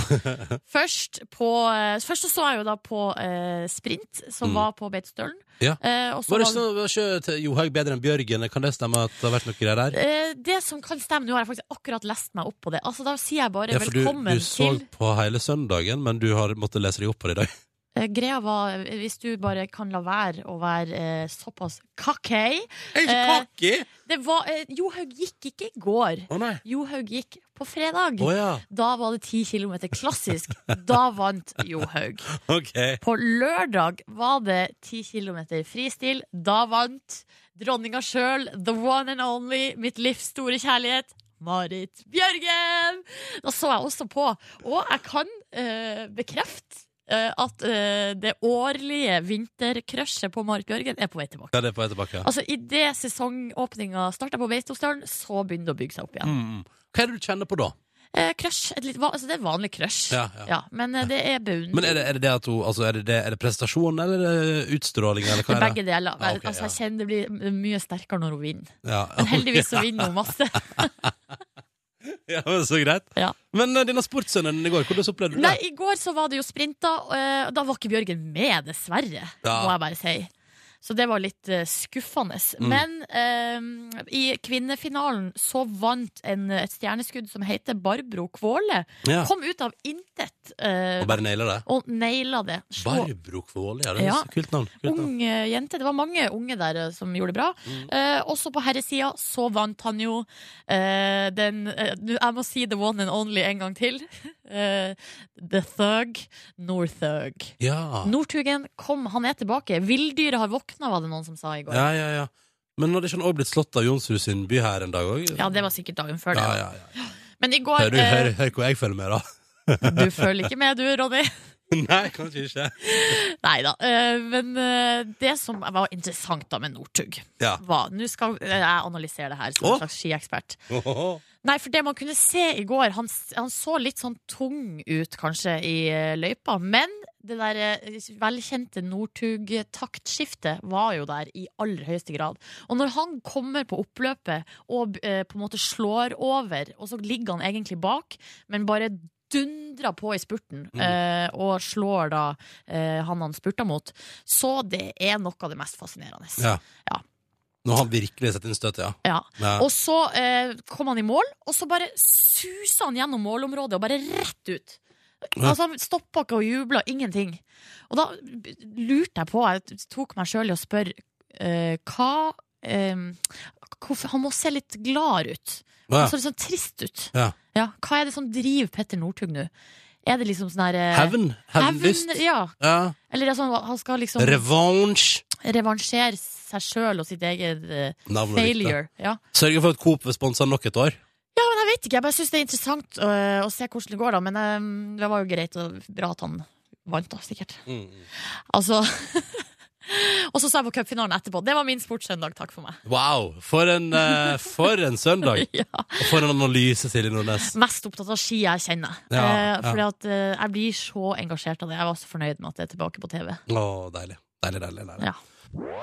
[SPEAKER 3] Først, på, eh, først så, så jeg jo da på eh, sprint, som
[SPEAKER 2] Mm.
[SPEAKER 3] var på Beitostølen.
[SPEAKER 2] Ja.
[SPEAKER 3] Eh, og så
[SPEAKER 2] Var det
[SPEAKER 3] var-
[SPEAKER 2] sånn, var ikke Johaug bedre enn Bjørgen? Kan det stemme at det har vært noe greier der?
[SPEAKER 3] Eh, det som kan stemme, nå har jeg faktisk akkurat lest meg opp på det. Altså, da sier jeg bare
[SPEAKER 2] Ja, for du,
[SPEAKER 3] velkommen
[SPEAKER 2] du så
[SPEAKER 3] til
[SPEAKER 2] på hele søndagen, men du har måttet lese deg opp på det i dag.
[SPEAKER 3] Eh, Greia var, eh, hvis du bare kan la være å være eh, såpass cocky
[SPEAKER 2] Jeg
[SPEAKER 3] ikke Eh,
[SPEAKER 2] cocky!
[SPEAKER 3] Det var eh, Johaug gikk ikke i går.
[SPEAKER 2] Å nei.
[SPEAKER 3] Johaug gikk på fredag.
[SPEAKER 2] Å ja.
[SPEAKER 3] Da var det ti kilometer klassisk. Da vant Johaug.
[SPEAKER 2] OK.
[SPEAKER 3] På lørdag var det ti kilometer fristil. Da vant dronninga sjøl, the one and only, mitt livs store kjærlighet, Marit Bjørgen! Da så jeg også på. Og jeg kan eh, bekrefte eh, at eh, det årlige vintercrushet på Marit Bjørgen er på vei tilbake.
[SPEAKER 2] Ja, det er på vei tilbake. ja.
[SPEAKER 3] Altså, Idet sesongåpninga starta på Beitostølen, så begynner det å bygge seg opp igjen.
[SPEAKER 2] Mm. mm. Hva er det du kjenner på da?
[SPEAKER 3] Eh, crush, et litt, va- altså, Det er vanlig crush,
[SPEAKER 2] Ja, ja.
[SPEAKER 3] men eh, det er beundring.
[SPEAKER 2] Men er det, er det det at hun altså, er, det det, er det prestasjon eller er det utstråling, eller hva
[SPEAKER 3] Det er
[SPEAKER 2] er det?
[SPEAKER 3] begge deler.
[SPEAKER 2] Ja, ok,
[SPEAKER 3] altså, jeg kjenner det blir mye sterkere når hun vinner.
[SPEAKER 2] Ja.
[SPEAKER 3] Men heldigvis så vinner hun masse.
[SPEAKER 2] ja, men Så greit.
[SPEAKER 3] Ja.
[SPEAKER 2] Men uh, denne sportssøndagen i går, hvordan opplevde du
[SPEAKER 3] Nei,
[SPEAKER 2] det?
[SPEAKER 3] I går så var det jo sprinter, eh, og da var ikke Bjørgen med, dessverre.
[SPEAKER 2] Ja.
[SPEAKER 3] Må jeg bare si. Så det var litt eh, skuffende.
[SPEAKER 2] Mm.
[SPEAKER 3] Men eh, i kvinnefinalen så vant en, et stjerneskudd som heter Barbro Kvåle.
[SPEAKER 2] Ja.
[SPEAKER 3] Kom ut av intet eh,
[SPEAKER 2] Og bare naila det?
[SPEAKER 3] og naila det. Slå-
[SPEAKER 2] Barbro Kvåle, ja. Det er
[SPEAKER 3] Ja.
[SPEAKER 2] et kult navn. Kult navn.
[SPEAKER 3] Ung eh, jente. Det var mange unge der eh, som gjorde det bra.
[SPEAKER 2] Mm.
[SPEAKER 3] Eh, også på herresida så vant han jo eh, den eh, nu- Jeg må si the one and only en gang til. Eh, the Thug. Northug.
[SPEAKER 2] Ja.
[SPEAKER 3] Northugen kom, han er tilbake. Villdyret har våkna, var det noen som sa i går. Ja,
[SPEAKER 2] ja, ja, ja. Men hadde ikke han òg blitt slått av Jonsrud sin by her en dag òg?
[SPEAKER 3] det var sikkert dagen før det.
[SPEAKER 2] ja,
[SPEAKER 3] da.
[SPEAKER 2] ja, ja.
[SPEAKER 3] Men i går
[SPEAKER 2] Hør, hør,
[SPEAKER 3] eh,
[SPEAKER 2] hør hvor jeg følger med, da.
[SPEAKER 3] Du følger ikke med, du, Ronny.
[SPEAKER 2] Nei, kanskje ikke.
[SPEAKER 3] Nei da. eh, Men eh, det som var interessant da med Northug,
[SPEAKER 2] Ja.
[SPEAKER 3] var Nå skal eh, jeg analysere det her som
[SPEAKER 2] Å.
[SPEAKER 3] en slags skiekspert. Nei, for det man kunne se i går Han, han så litt sånn tung ut kanskje i eh, løypa Men det der eh, velkjente Nordtug-taktskiftet var jo der i aller høyeste grad Og når han kommer på oppløpet og eh, på en måte slår over Og så ligger han egentlig bak Men bare dundrer på i spurten eh, og slår da eh, han han spurta mot. Så det er noe av det mest fascinerende.
[SPEAKER 2] Ja.
[SPEAKER 3] Ja.
[SPEAKER 2] Nå har han virkelig sett inn støtet, ja.
[SPEAKER 3] Ja.
[SPEAKER 2] ja.
[SPEAKER 3] Og så eh, kom han i mål, og så bare susa han gjennom målområdet og bare rett ut.
[SPEAKER 2] Ja.
[SPEAKER 3] Altså Han stoppa ikke og jubla, ingenting. Og da b- lurte jeg på, jeg tok meg sjøl i å spørre eh, hva eh, hvorfor, Han må se litt glad ut.
[SPEAKER 2] Ja.
[SPEAKER 3] Han ser litt sånn trist ut.
[SPEAKER 2] Ja.
[SPEAKER 3] Hva er det som driver Petter Northug nå? Er det liksom sånn der eh,
[SPEAKER 2] Hevn. Hevnlyst.
[SPEAKER 3] hevn, Ja.
[SPEAKER 2] Ja.
[SPEAKER 3] Eller altså, han skal liksom
[SPEAKER 2] Revansj.
[SPEAKER 3] revansjere seg sjøl og sitt eget eh,
[SPEAKER 2] Navnet ditt, da.
[SPEAKER 3] failure. Ja.
[SPEAKER 2] Sørge for at Coop vil sponse han nok et år.
[SPEAKER 3] Ja, men jeg vet ikke. Jeg bare syns det er interessant øh, å se hvordan det går, da. Men øhm, det var jo greit og bra at han vant, da, sikkert. Altså Og så så jeg på cupfinalen etterpå. Det var min sportssøndag, takk for meg.
[SPEAKER 2] Wow! For en, eh, for en søndag!
[SPEAKER 3] Ja.
[SPEAKER 2] Og for en analyse, Silje Nordnes.
[SPEAKER 3] Mest opptatt av ski jeg kjenner.
[SPEAKER 2] Ja,
[SPEAKER 3] Eh,
[SPEAKER 2] ja.
[SPEAKER 3] Fordi at eh, jeg blir så engasjert av det. Jeg var så fornøyd med at det er tilbake på TV.
[SPEAKER 2] Å, deilig. Deilig, deilig. deilig.
[SPEAKER 3] Ja.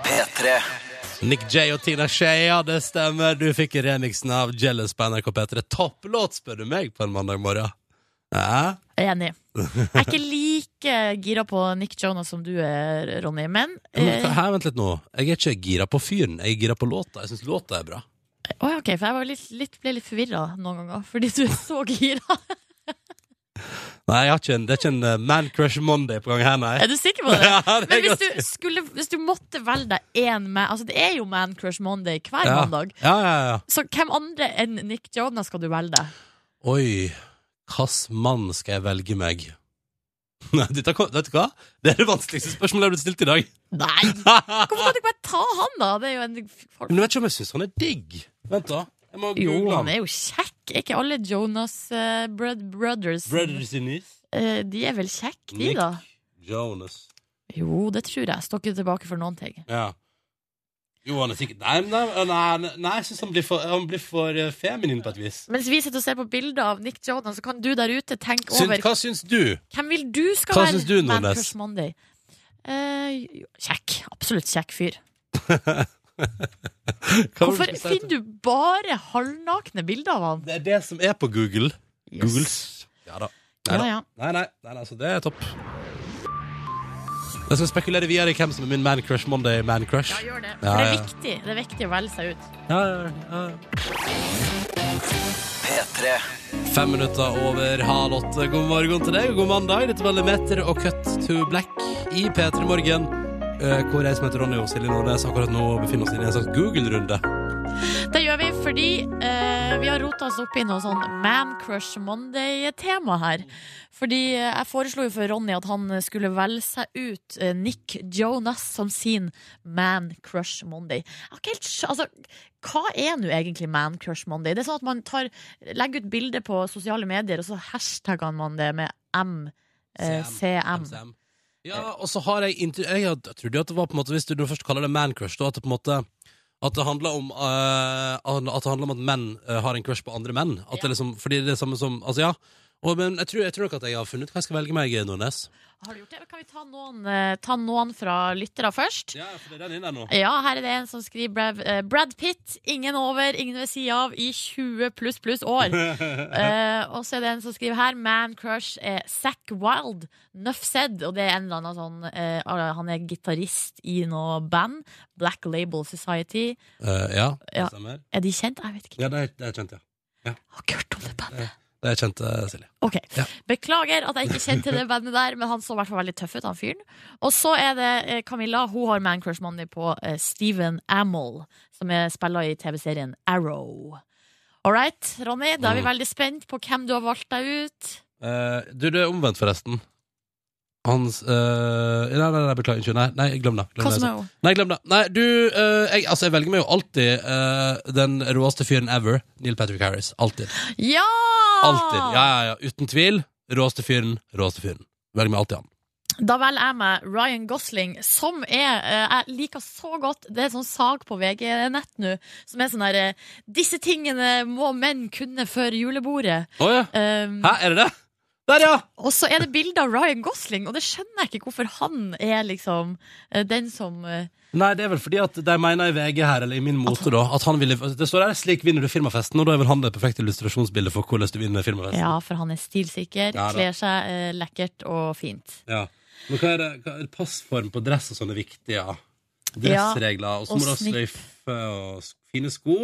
[SPEAKER 1] P3.
[SPEAKER 2] Nick J og Tina Shay, ja, det stemmer. Du fikk remixen av Jealous på NRK P3. Topplåt, spør du meg, på en mandag morgen. Ja.
[SPEAKER 3] Jeg er Enig. Jeg er ikke like gira på Nick Jonas som du er, Ronny, men
[SPEAKER 2] Men,
[SPEAKER 3] eh,
[SPEAKER 2] her, vent litt nå. Jeg er ikke gira på fyren, jeg er gira på låta. Jeg syns låta er bra.
[SPEAKER 3] Å ja, ok, for jeg var litt, litt, ble litt forvirra noen ganger fordi du er så gira.
[SPEAKER 2] Nei, jeg har ikke en, det er ikke en eh, Man Crush Monday på gang her, nei.
[SPEAKER 3] Er du sikker på det?
[SPEAKER 2] Ja, det
[SPEAKER 3] Men
[SPEAKER 2] er
[SPEAKER 3] hvis
[SPEAKER 2] godt.
[SPEAKER 3] du, skulle, hvis du måtte velge deg én med Altså Det er jo Man Crush Monday hver
[SPEAKER 2] ja.
[SPEAKER 3] mandag.
[SPEAKER 2] Ja, ja, ja.
[SPEAKER 3] Så hvem andre enn Nick Jonas skal du velge deg?
[SPEAKER 2] Oi, hvilken mann skal jeg velge meg? Nei, dette, kom- vet du hva? Det er det vanskeligste spørsmålet jeg har blitt stilt i dag.
[SPEAKER 3] Nei! Hvorfor kan du ikke bare ta han, da? Det er jo en folk...
[SPEAKER 2] Men jeg vet ikke om jeg syns han er digg. Vent, da. Jeg må
[SPEAKER 3] Jo,
[SPEAKER 2] google
[SPEAKER 3] han
[SPEAKER 2] han.
[SPEAKER 3] er jo kjekk. Er ikke alle Jonas eh, brod Brothers
[SPEAKER 2] Brothers in Nice.
[SPEAKER 3] eh, De er vel kjekke, de,
[SPEAKER 2] Nick
[SPEAKER 3] da?
[SPEAKER 2] Jonas.
[SPEAKER 3] Jo, det tror jeg. Står ikke tilbake for noen ting.
[SPEAKER 2] Ja. Jo, han er sikkert Nei, nei, nei, nei jeg syns han blir for, han blir for eh, feminin på et vis.
[SPEAKER 3] Mens vi sitter og ser på bilder av Nick Jonas, så kan du der ute tenke
[SPEAKER 2] Syns,
[SPEAKER 3] over
[SPEAKER 2] hva syns du?
[SPEAKER 3] hvem vil du skal
[SPEAKER 2] Hva
[SPEAKER 3] være
[SPEAKER 2] syns du,
[SPEAKER 3] Man
[SPEAKER 2] Nordnes?
[SPEAKER 3] Crush Monday. Eh, jo, kjekk. Absolutt kjekk fyr.
[SPEAKER 2] Hva var det
[SPEAKER 3] Hvorfor
[SPEAKER 2] du skulle si?
[SPEAKER 3] finner du bare halvnakne bilder av han?
[SPEAKER 2] Det er det som er på Google.
[SPEAKER 3] Yes.
[SPEAKER 2] Googles. Ja da. Nei,
[SPEAKER 3] Ja,
[SPEAKER 2] da.
[SPEAKER 3] ja.
[SPEAKER 2] Nei, nei, nei, nei, altså, det er topp. Jeg skal spekulere videre i hvem som er min Man Crush Monday. Man Crush.
[SPEAKER 3] Ja, gjør det.
[SPEAKER 2] Ja,
[SPEAKER 3] For det er
[SPEAKER 2] ja.
[SPEAKER 3] viktig. Det er viktig å velge seg ut.
[SPEAKER 2] Ja, ja, ja.
[SPEAKER 1] P3.
[SPEAKER 2] Fem minutter over halv åtte. God morgen til deg, og god mandag. Dette var Lemeter og Cut to Black i P3 Morgen. eh, Hvor jeg som heter Ronny og Silje Nordnes akkurat nå befinner oss i en slags Google-runde.
[SPEAKER 3] Det gjør vi fordi eh, vi har rota oss opp i noe sånn Man Crush Monday-tema her. Fordi eh, jeg foreslo jo for Ronny at han skulle velge seg ut eh, Nick Jonas som sin Man Crush Monday. Jeg har ikke helt skj- altså, hva er nå egentlig Man Crush Monday? Det er sånn at man tar, legger ut bilder på sosiale medier, og så hashtagger man det med M. eh, CM.
[SPEAKER 2] MCM. Ja, og så har jeg inntil... Jeg had- jeg trodde jo at det var på en måte, hvis du nå først kaller det man-crush, da, at det på en måte... At det handler om, eh, at, det handler om at menn eh, har en crush på andre menn. At det liksom, fordi det er det samme som... Altså, ja. Og, men jeg tror, jeg tror nok at jeg har funnet ut hva jeg skal velge meg, eh, Nordnes.
[SPEAKER 3] Har du gjort det? Kan vi ta noen, eh, ta noen fra lyttere først?
[SPEAKER 2] Ja, for det er den inne nå.
[SPEAKER 3] Ja, her er det en som skriver Brad, eh, Brad Pitt, ingen over, ingen ved sida av, i 20 pluss pluss år. Eh, og så er det en som skriver her, Man Crush er Zack Wild, Nuff Said. Og det er en eller annen sånn eh, Han er gitarist i noe band. Black Label Society.
[SPEAKER 2] ja, det
[SPEAKER 3] Ja.
[SPEAKER 2] stemmer.
[SPEAKER 3] Er de kjent? Jeg vet ikke.
[SPEAKER 2] Ja, det er, det er kjent, ja.
[SPEAKER 3] Har ikke hørt om det bandet.
[SPEAKER 2] Det er kjent, eh, Silje.
[SPEAKER 3] Ok,
[SPEAKER 2] Ja.
[SPEAKER 3] Beklager at jeg ikke kjente det bandet der, men han så i hvert fall veldig tøff ut, han fyren. Og så er det eh, Camilla. Hun har Man Crush Money på eh, Steven Amell, som er spiller i TV-serien Arrow. All right, Ronny, da er vi veldig spent på hvem du har valgt deg ut.
[SPEAKER 2] Eh, du, det er omvendt forresten. Hans... eh, nei, nei, nei, beklager, unnskyld. Nei, nei, glem det. Glem
[SPEAKER 3] Hva
[SPEAKER 2] det jeg
[SPEAKER 3] som
[SPEAKER 2] sa.
[SPEAKER 3] er hun?
[SPEAKER 2] Nei, glem det. Nei, du, eh, jeg, altså, jeg velger meg jo alltid eh, den råeste fyren ever. Neil Patrick Harris. Alltid.
[SPEAKER 3] Ja! Ah.
[SPEAKER 2] Alltid. Ja, ja, ja. Uten tvil. Råeste fyren. Råeste fyren. Velger meg alltid han.
[SPEAKER 3] Da velger jeg meg Ryan Gosling, som er eh, Jeg liker så godt Det er en sånn sak på VG-nett nå som er sånn her eh, Disse tingene må menn kunne før julebordet.
[SPEAKER 2] Å ja.
[SPEAKER 3] Um,
[SPEAKER 2] Hæ, er det det? Der, ja!
[SPEAKER 3] Og så er det bilde av Ryan Gosling, og det skjønner jeg ikke hvorfor han er liksom eh, den som eh,
[SPEAKER 2] Nei, det er vel fordi at de mener i VG her, eller i min mote, da, at han ville Det står der 'slik vinner du firmafesten', og da er vel han det perfekte illustrasjonsbildet for hvordan du vinner firmafesten.
[SPEAKER 3] Ja, for han er stilsikker,
[SPEAKER 2] Ja da.
[SPEAKER 3] kler seg eh, lekkert og fint.
[SPEAKER 2] Ja. Men hva er det, hva er det passform på dress og sånn er viktig, ja.
[SPEAKER 3] Ja,
[SPEAKER 2] Dressregler. Og så
[SPEAKER 3] og
[SPEAKER 2] må du ha
[SPEAKER 3] snipp.
[SPEAKER 2] sløyfe og s- fine sko.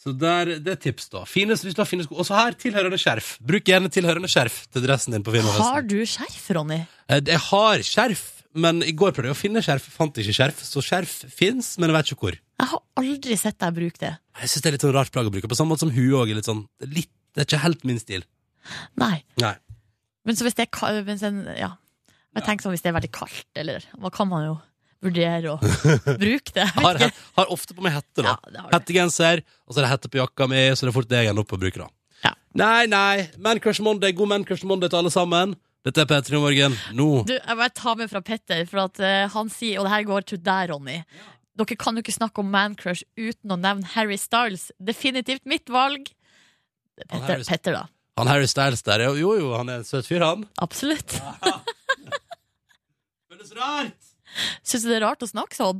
[SPEAKER 2] Så der, det er tips, da. Fine, hvis du har fine sko. Og så her tilhørende skjerf. Bruk gjerne tilhørende skjerf til dressen din på
[SPEAKER 3] Har
[SPEAKER 2] firmafesten.
[SPEAKER 3] du skjerf, Ronny?
[SPEAKER 2] Eh, Jeg har skjerf, men i går prøvde jeg å finne skjerf. Fant ikke skjerf. Så skjerf fins, men jeg vet ikke hvor.
[SPEAKER 3] Jeg har aldri sett deg bruke det.
[SPEAKER 2] Jeg synes det er litt sånn rart plagg å bruke. På samme måte som hue òg er litt sånn det er litt, Det er ikke helt min stil.
[SPEAKER 3] Nei.
[SPEAKER 2] Nei.
[SPEAKER 3] Men så hvis det er ka- mens en, ja. Jeg tenker sånn hvis det er veldig kaldt, eller Hva kan man jo vurdere å bruke det? Jeg
[SPEAKER 2] Jeg har,
[SPEAKER 3] vet ikke.
[SPEAKER 2] het- har ofte på meg hette, da.
[SPEAKER 3] Ja, det har du.
[SPEAKER 2] Hettegenser, og så er det hette på jakka mi, så det er fort det jeg ender opp på å bruke, da.
[SPEAKER 3] Ja.
[SPEAKER 2] Nei, nei. Man Crush Monday, god Man Crush Monday til alle sammen. Dette er P3 Morgen nå.
[SPEAKER 3] Du, jeg bare tar med fra Petter, for at eh, han sier, og det her går til deg, Ronny. Dere kan jo ikke snakke om Mancrush uten å nevne Harry Styles. Definitivt mitt valg. Det er
[SPEAKER 2] Han
[SPEAKER 3] Petter,
[SPEAKER 2] Harry-
[SPEAKER 3] Petter da.
[SPEAKER 2] Han Harry Styles der, jo, jo, jo han er en søt fyr, han.
[SPEAKER 3] Absolutt.
[SPEAKER 2] Føles rart.
[SPEAKER 3] Syns du det er rart å snakke sånn?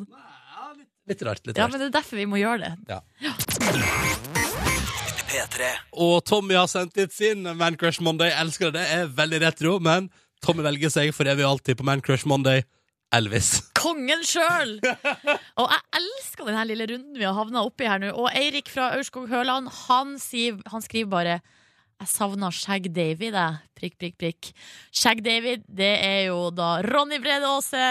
[SPEAKER 2] Litt rart, litt
[SPEAKER 3] Ja,
[SPEAKER 2] rart.
[SPEAKER 3] men det er derfor vi må gjøre det.
[SPEAKER 1] P3.
[SPEAKER 2] Og Tommy har sendt litt sin Man Crush Monday. Jeg elsker det. Det er veldig retro, men Tommy velger seg for evig og alltid på Man Crush Monday. Elvis.
[SPEAKER 3] Kongen sjøl! Og jeg elsker denne lille runden vi har havna oppi her nå. Og Eirik fra Aurskog Høland, han, sier, han skriver bare jeg savner Skjegg-Davy, det. Prikk, prikk, prikk. Skjegg-Davy, det er jo da Ronny Brede Aase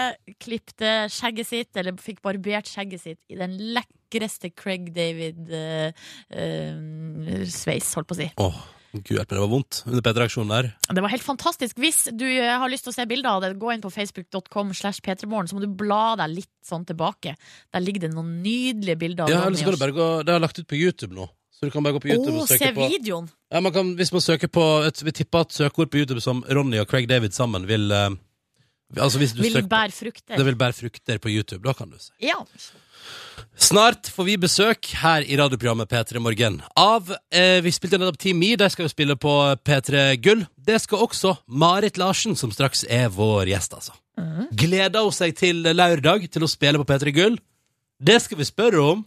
[SPEAKER 3] klipte skjegget sitt, eller fikk barbert skjegget sitt, i den lekreste Craig David-sveis, holdt på å si.
[SPEAKER 2] Åh, gud hjelpe meg, det var vondt under P3-aksjonen der.
[SPEAKER 3] Det var helt fantastisk. Hvis du eh, har lyst til å se bilder av det, gå inn på facebook.com slash p3morgen, så må du bla deg litt sånn tilbake. Der ligger det noen nydelige bilder. av
[SPEAKER 2] Ja,
[SPEAKER 3] Ronny
[SPEAKER 2] eller så kan du
[SPEAKER 3] og-
[SPEAKER 2] bare gå, det har jeg lagt ut på YouTube nå. Så du kan bare gå på YouTube
[SPEAKER 3] Å,
[SPEAKER 2] og
[SPEAKER 3] se
[SPEAKER 2] søke på
[SPEAKER 3] videoen!
[SPEAKER 2] ja, man kan, Hvis man søker på et, Vi tipper at søkeord på YouTube som Ronny og Craig David sammen vil eh, Altså hvis du
[SPEAKER 3] Vil
[SPEAKER 2] søker på,
[SPEAKER 3] bære frukter.
[SPEAKER 2] Det vil bære frukter på YouTube, da kan du se.
[SPEAKER 3] Ja.
[SPEAKER 2] Snart får vi besøk her i radioprogrammet P3 Morgen av eh, Vi spilte nettopp Team Me, de skal jo spille på P3 Gull. Det skal også Marit Larsen, som straks er vår gjest, altså.
[SPEAKER 3] Mhm.
[SPEAKER 2] Gleder hun seg til lørdag til å spille på P3 Gull? Det skal vi spørre om.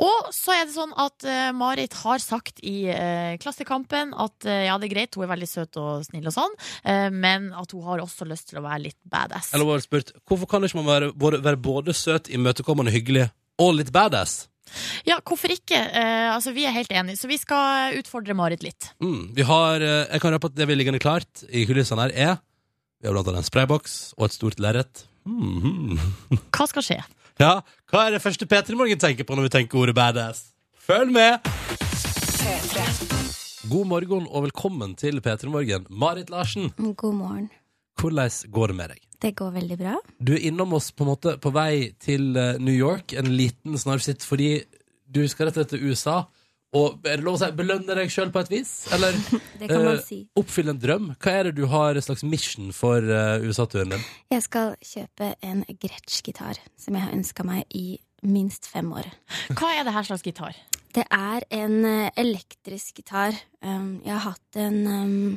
[SPEAKER 3] Og så er det sånn at eh, Marit har sagt i eh, Klassekampen at eh, ja, det er greit, hun er veldig søt og snill og sånn, eh, men at hun har også lyst til å være litt badass.
[SPEAKER 2] Eller bare spurt Hvorfor kan ikke man være, både- være både søt, imøtekommende, hyggelig og litt badass?
[SPEAKER 3] Ja, hvorfor ikke? Eh, altså, vi er helt enige, så vi skal utfordre Marit litt.
[SPEAKER 2] Mm, vi har, eh, jeg kan røpe at det vi ligger klart i kulissene her, er Vi har blant annet en sprayboks og et stort lerret. Mhm.
[SPEAKER 3] Hva skal skje?
[SPEAKER 2] Ja, hva er det første P3 Morgen tenker på når vi tenker ordet badass? Følg med! God morgen og velkommen til P3 Morgen. Marit Larsen,
[SPEAKER 7] God morgen.
[SPEAKER 2] hvordan går det med deg?
[SPEAKER 7] Det går veldig bra.
[SPEAKER 2] Du er innom oss på en måte på vei til eh, New York, en liten snarsitt, fordi du skal rett og slett til USA. Og er det lov å si belønne deg sjøl på et vis? Eller
[SPEAKER 7] Det kan man
[SPEAKER 2] eh,
[SPEAKER 7] si.
[SPEAKER 2] oppfylle en drøm? Hva er det du har en slags mission for eh, USA-turen din?
[SPEAKER 7] Jeg skal kjøpe en Gretsch-gitar, som jeg har ønska meg i minst fem år.
[SPEAKER 3] Hva er det her slags gitar?
[SPEAKER 7] Det er en eh, elektrisk gitar. Um, jeg har hatt en um,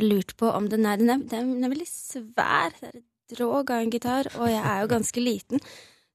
[SPEAKER 7] Jeg lurte på om den er Den er, den er veldig svær. Det er et drog av en gitar, og jeg er jo ganske liten.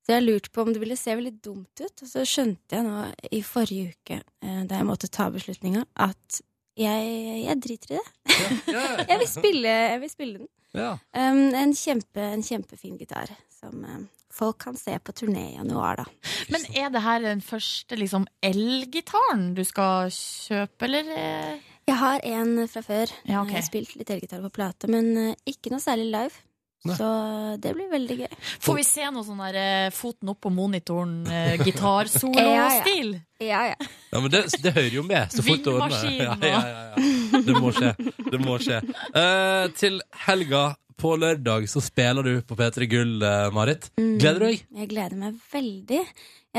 [SPEAKER 7] Så jeg lurte på om det ville se veldig dumt ut. Og så skjønte jeg nå i forrige uke, eh, da jeg måtte ta beslutninga, at jeg, jeg driter i det. Jeg vil spille, jeg vil spille den.
[SPEAKER 2] Ja.
[SPEAKER 7] Um, en, kjempe, en kjempefin gitar som um, folk kan se på turné i januar, da.
[SPEAKER 3] Men er det her den første liksom, elgitaren du skal kjøpe, eller? eh?
[SPEAKER 7] Jeg har en fra før.
[SPEAKER 3] Ja, ok.
[SPEAKER 7] Jeg har spilt litt elgitar på plate, men uh, ikke noe særlig live.
[SPEAKER 2] Nei.
[SPEAKER 7] Så eh, det blir veldig gøy.
[SPEAKER 3] Får vi se noe sånn der eh, foten opp på monitoren, eh, gitarsolo-stil?
[SPEAKER 7] Ja, ja.
[SPEAKER 2] Ja, men det, det hører jo med. Så fort det ordner seg. Ja,
[SPEAKER 3] Vindmaskinen,
[SPEAKER 2] ja, ja, ja. Det må skje. Det må skje. Eh, til helga på lørdag så spiller du på P3 Gull, eh, Marit. Gleder du deg?
[SPEAKER 7] Mm. Jeg gleder meg veldig.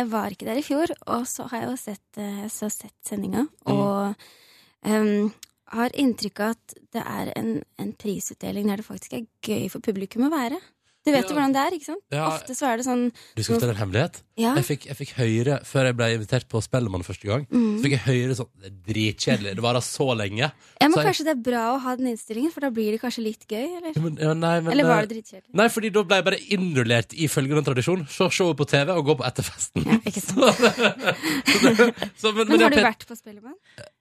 [SPEAKER 7] Jeg var ikke der i fjor, og så har jeg jo sett, eh, så sett sendinga. Og em, har inntrykk av at det er en, en prisutdeling der det faktisk er gøy for publikum å være. Du vet
[SPEAKER 5] Ja.
[SPEAKER 7] jo hvordan det er, ikke sant?
[SPEAKER 5] Ja.
[SPEAKER 7] Ofte så er det sånn
[SPEAKER 5] Du skal fortelle en hemmelighet?
[SPEAKER 7] Ja.
[SPEAKER 5] Jeg fikk, jeg fikk høre, før jeg ble invitert på Spellemann første gang,
[SPEAKER 7] Mm.
[SPEAKER 5] så fikk jeg høre sånn Det er dritkjedelig. Det varer så lenge.
[SPEAKER 7] Ja, men
[SPEAKER 5] Så jeg-
[SPEAKER 7] kanskje det er bra å ha den innstillingen, for da blir det kanskje litt gøy, eller?
[SPEAKER 5] Ja, men, ja, nei, men,
[SPEAKER 7] Eller var
[SPEAKER 5] eh,
[SPEAKER 7] det dritkjedelig?
[SPEAKER 5] Nei, fordi da ble jeg bare innrullert i følgende tradisjon. Se showet på TV og gå på etterfesten.
[SPEAKER 7] Ja, ikke sant.
[SPEAKER 5] Så, men,
[SPEAKER 7] Men
[SPEAKER 5] men,
[SPEAKER 7] har du
[SPEAKER 5] jeg-
[SPEAKER 7] vært på Spellemann?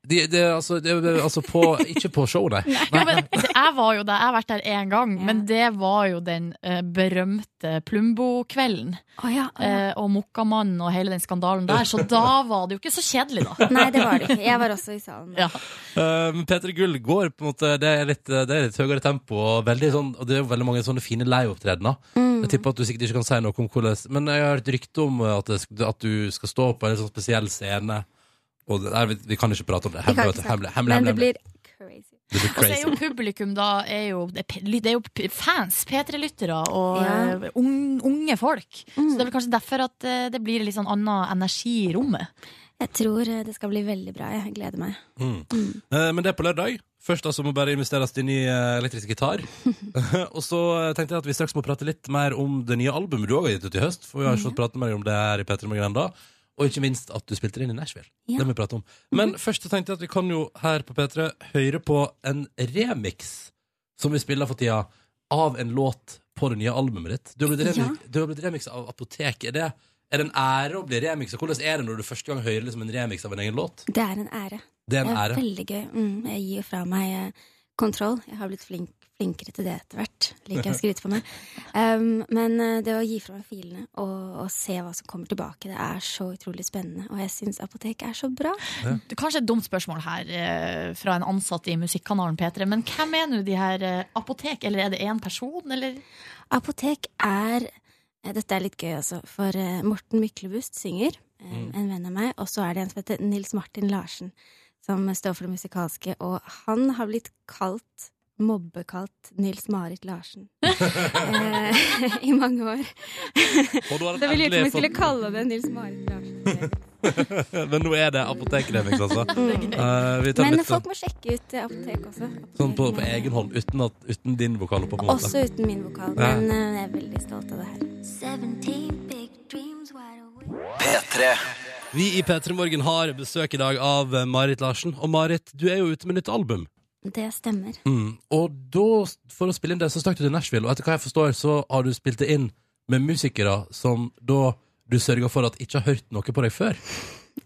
[SPEAKER 5] de, de, altså, de, altså på, Ikke på show, nei.
[SPEAKER 3] Jo, men, jeg var jo der, jeg har vært der én gang, men det var jo den eh, berømte Plumbo-kvelden.
[SPEAKER 7] Å ja. å ja.
[SPEAKER 3] eh, og Mokkamannen og hele den skandalen der. Så da var det jo ikke så kjedelig, da.
[SPEAKER 7] Nei, det var det ikke. Jeg var også i salen.
[SPEAKER 3] Ja.
[SPEAKER 5] Eh, Men Peter Gull går på en måte Det er litt, det er litt høyere tempo og, veldig sånn, og det er jo veldig mange sånne fine liveopptredener.
[SPEAKER 7] Mm.
[SPEAKER 5] Jeg tipper at du sikkert ikke kan si noe om hvordan Men jeg har hørt rykte om at, det, sk- at du skal stå på en sånn spesiell scene. Og det, nei, vi, vi kan ikke prate om det.
[SPEAKER 7] Vi kan
[SPEAKER 5] Hemmelig, vet du.
[SPEAKER 7] ikke snakke.
[SPEAKER 5] hemmelig, hemmelig, hemmelig,
[SPEAKER 7] Men det blir Altså, crazy.
[SPEAKER 5] Det blir
[SPEAKER 3] Og så er
[SPEAKER 5] crazy.
[SPEAKER 3] jo publikum da er jo, det, er p- det er jo p- fans, P3-lyttere og
[SPEAKER 7] Ja.
[SPEAKER 3] eh, ung- unge folk. Så det er vel kanskje derfor at eh, det blir litt sånn annen energi i rommet.
[SPEAKER 7] Jeg tror eh, det skal bli veldig bra. Jeg gleder meg.
[SPEAKER 5] Eh, Men det er på lørdag. Først altså må bare investeres i ny eh, elektrisk gitar. og så eh, tenkte jeg at vi straks må prate litt mer om det nye albumet du òg har gitt ut i høst. For vi har ikke fått prate mer om det her i Petter Morgan ennå. Og ikke minst at du spilte det inn i Nashville.
[SPEAKER 7] Ja. Mhm.
[SPEAKER 5] Det må vi prate om. Men først så tenkte jeg at vi kan jo her på P3 høre på en remix som vi spiller for tida, av en låt på det nye albumet ditt. Du har blitt remix, du har blitt remix av Apotek. Er det, er det en ære å bli remix? Og hvordan er det når du første gang hører liksom en remix av en egen låt?
[SPEAKER 7] Det er en ære.
[SPEAKER 5] Det er en
[SPEAKER 7] Det er
[SPEAKER 5] ære.
[SPEAKER 7] veldig gøy. Mm, jeg gir jo fra meg eh, kontroll. Jeg har blitt flink, flinkere til det etter hvert. Liker jeg å skryte på meg. Um, men eh, det å gi fra meg filene og, og se hva som kommer tilbake, det er så utrolig spennende. Og jeg syns apotek er så bra.
[SPEAKER 3] Det er kanskje et dumt spørsmål her eh, fra en ansatt i musikkanalen P3, men hvem er nå de her eh, apotek, eller er det én person, eller?
[SPEAKER 7] Apotek er eh, Dette er litt gøy, altså. For eh, Morten Myklebust synger, eh,
[SPEAKER 5] Mm.
[SPEAKER 7] en venn av meg. Og så er det en som heter Nils Martin Larsen, som står for det musikalske. Og han har blitt kalt mobbekalt Nils-Marit Larsen eh, i mange år.
[SPEAKER 5] Og da har
[SPEAKER 7] Det
[SPEAKER 5] den
[SPEAKER 7] ville gjort om
[SPEAKER 5] endelig
[SPEAKER 7] jeg skulle
[SPEAKER 5] fått-
[SPEAKER 7] kalle det Nils-Marit Larsen.
[SPEAKER 5] Men nå er det apotekremix, altså. Eh, vi tar
[SPEAKER 7] Men
[SPEAKER 5] litt sånn-
[SPEAKER 7] folk må sjekke ut eh, apotek også.
[SPEAKER 5] sånn på, på egen hånd, uten, at, uten din vokal oppå. på en måte.
[SPEAKER 7] Også uten min vokal,
[SPEAKER 5] Ja.
[SPEAKER 7] men eh, jeg er veldig stolt av det her.
[SPEAKER 8] P3.
[SPEAKER 5] Vi i P3 Morgen har besøk i dag av eh, Marit Larsen. Og Marit, du er jo ute med nytt album.
[SPEAKER 7] Det stemmer.
[SPEAKER 5] Mm. Og da, for å spille inn det, så stakk du til Nashville, og etter hva jeg forstår, så har du spilt det inn med musikere som da du sørga for at ikke har hørt noe på deg før.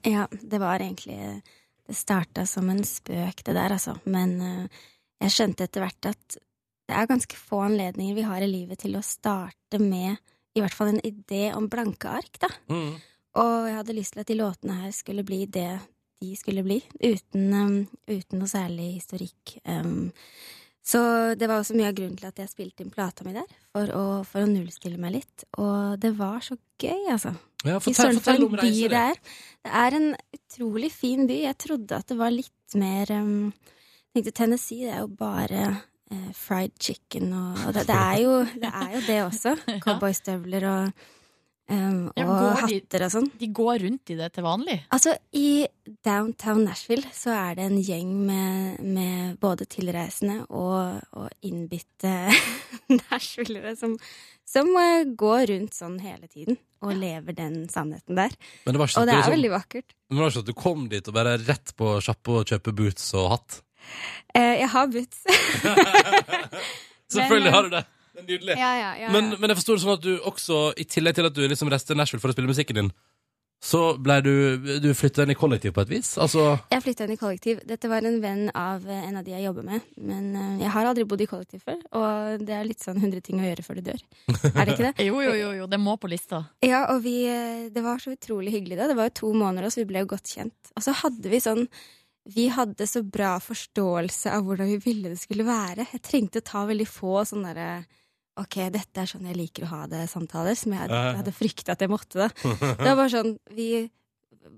[SPEAKER 7] Ja, det var egentlig Det starta som en spøk, det der, altså. Men eh, jeg skjønte etter hvert at det er ganske få anledninger vi har i livet til å starte med i hvert fall en idé om blanke ark, da. Og jeg hadde lyst til at de låtene her skulle bli det de skulle bli, uten, eh, uten noe særlig historikk. Eh, så det var også mye av grunnen til at jeg spilte inn plata mi der, for å, for å nullstille meg litt. Og det var så gøy, altså.
[SPEAKER 5] Ja,
[SPEAKER 7] I
[SPEAKER 5] fortell,
[SPEAKER 7] Sølvfjell
[SPEAKER 5] fortell om
[SPEAKER 7] by
[SPEAKER 5] reisen
[SPEAKER 7] det
[SPEAKER 5] din.
[SPEAKER 7] er. Det er en utrolig fin by. Jeg trodde at det var litt mer um, Jeg tenkte Tennessee, det er jo bare eh, fried chicken og, og det, det, er jo, det er jo det også. Cowboystøvler og, um,
[SPEAKER 3] Ja,
[SPEAKER 7] og
[SPEAKER 3] går de-
[SPEAKER 7] hatter og sånn.
[SPEAKER 3] De går rundt i det til vanlig.
[SPEAKER 7] Altså, i downtown Nashville så er det en gjeng med, med både tilreisende og, og innbitte nashvillere som, som eh, går rundt sånn hele tiden og lever den sannheten der.
[SPEAKER 5] Men det var ikke
[SPEAKER 7] Og
[SPEAKER 5] sånn, at du
[SPEAKER 7] det er
[SPEAKER 5] liksom-
[SPEAKER 7] veldig vakkert.
[SPEAKER 5] men det var ikke sånn at du kom dit og bare rett på sjappa og kjøpe boots og hatt.
[SPEAKER 7] Eh, jeg har boots.
[SPEAKER 5] Selvfølgelig
[SPEAKER 7] eh,
[SPEAKER 5] har du det! Det er nydelig.
[SPEAKER 7] ja, ja, ja,
[SPEAKER 5] Men,
[SPEAKER 7] ja.
[SPEAKER 5] men jeg forstår det sånn at du også, i tillegg til at du liksom reiste til Nashville for å spille musikken din, så ble du, du flyttet inn i kollektiv på et vis? Altså,
[SPEAKER 7] Jeg flytta inn i kollektiv. Dette var en venn av eh, en av de jeg jobber med. Men eh, jeg har aldri bodd i kollektiv før, og det er litt sånn 100 ting å gjøre før du dør. Er det ikke det?
[SPEAKER 3] Jo, jo, jo, jo det må på lista.
[SPEAKER 7] Ja, og vi, eh, det var så utrolig hyggelig da. Det var jo to måneder, og så vi ble jo godt kjent. Og så hadde vi sånn vi hadde så bra forståelse av hvordan vi ville det skulle være. Jeg trengte å ta veldig få sånne derre Ok, dette er sånn jeg liker å ha det-samtaler, som jeg hadde, hadde frykta at jeg måtte, da. Det var bare sånn Vi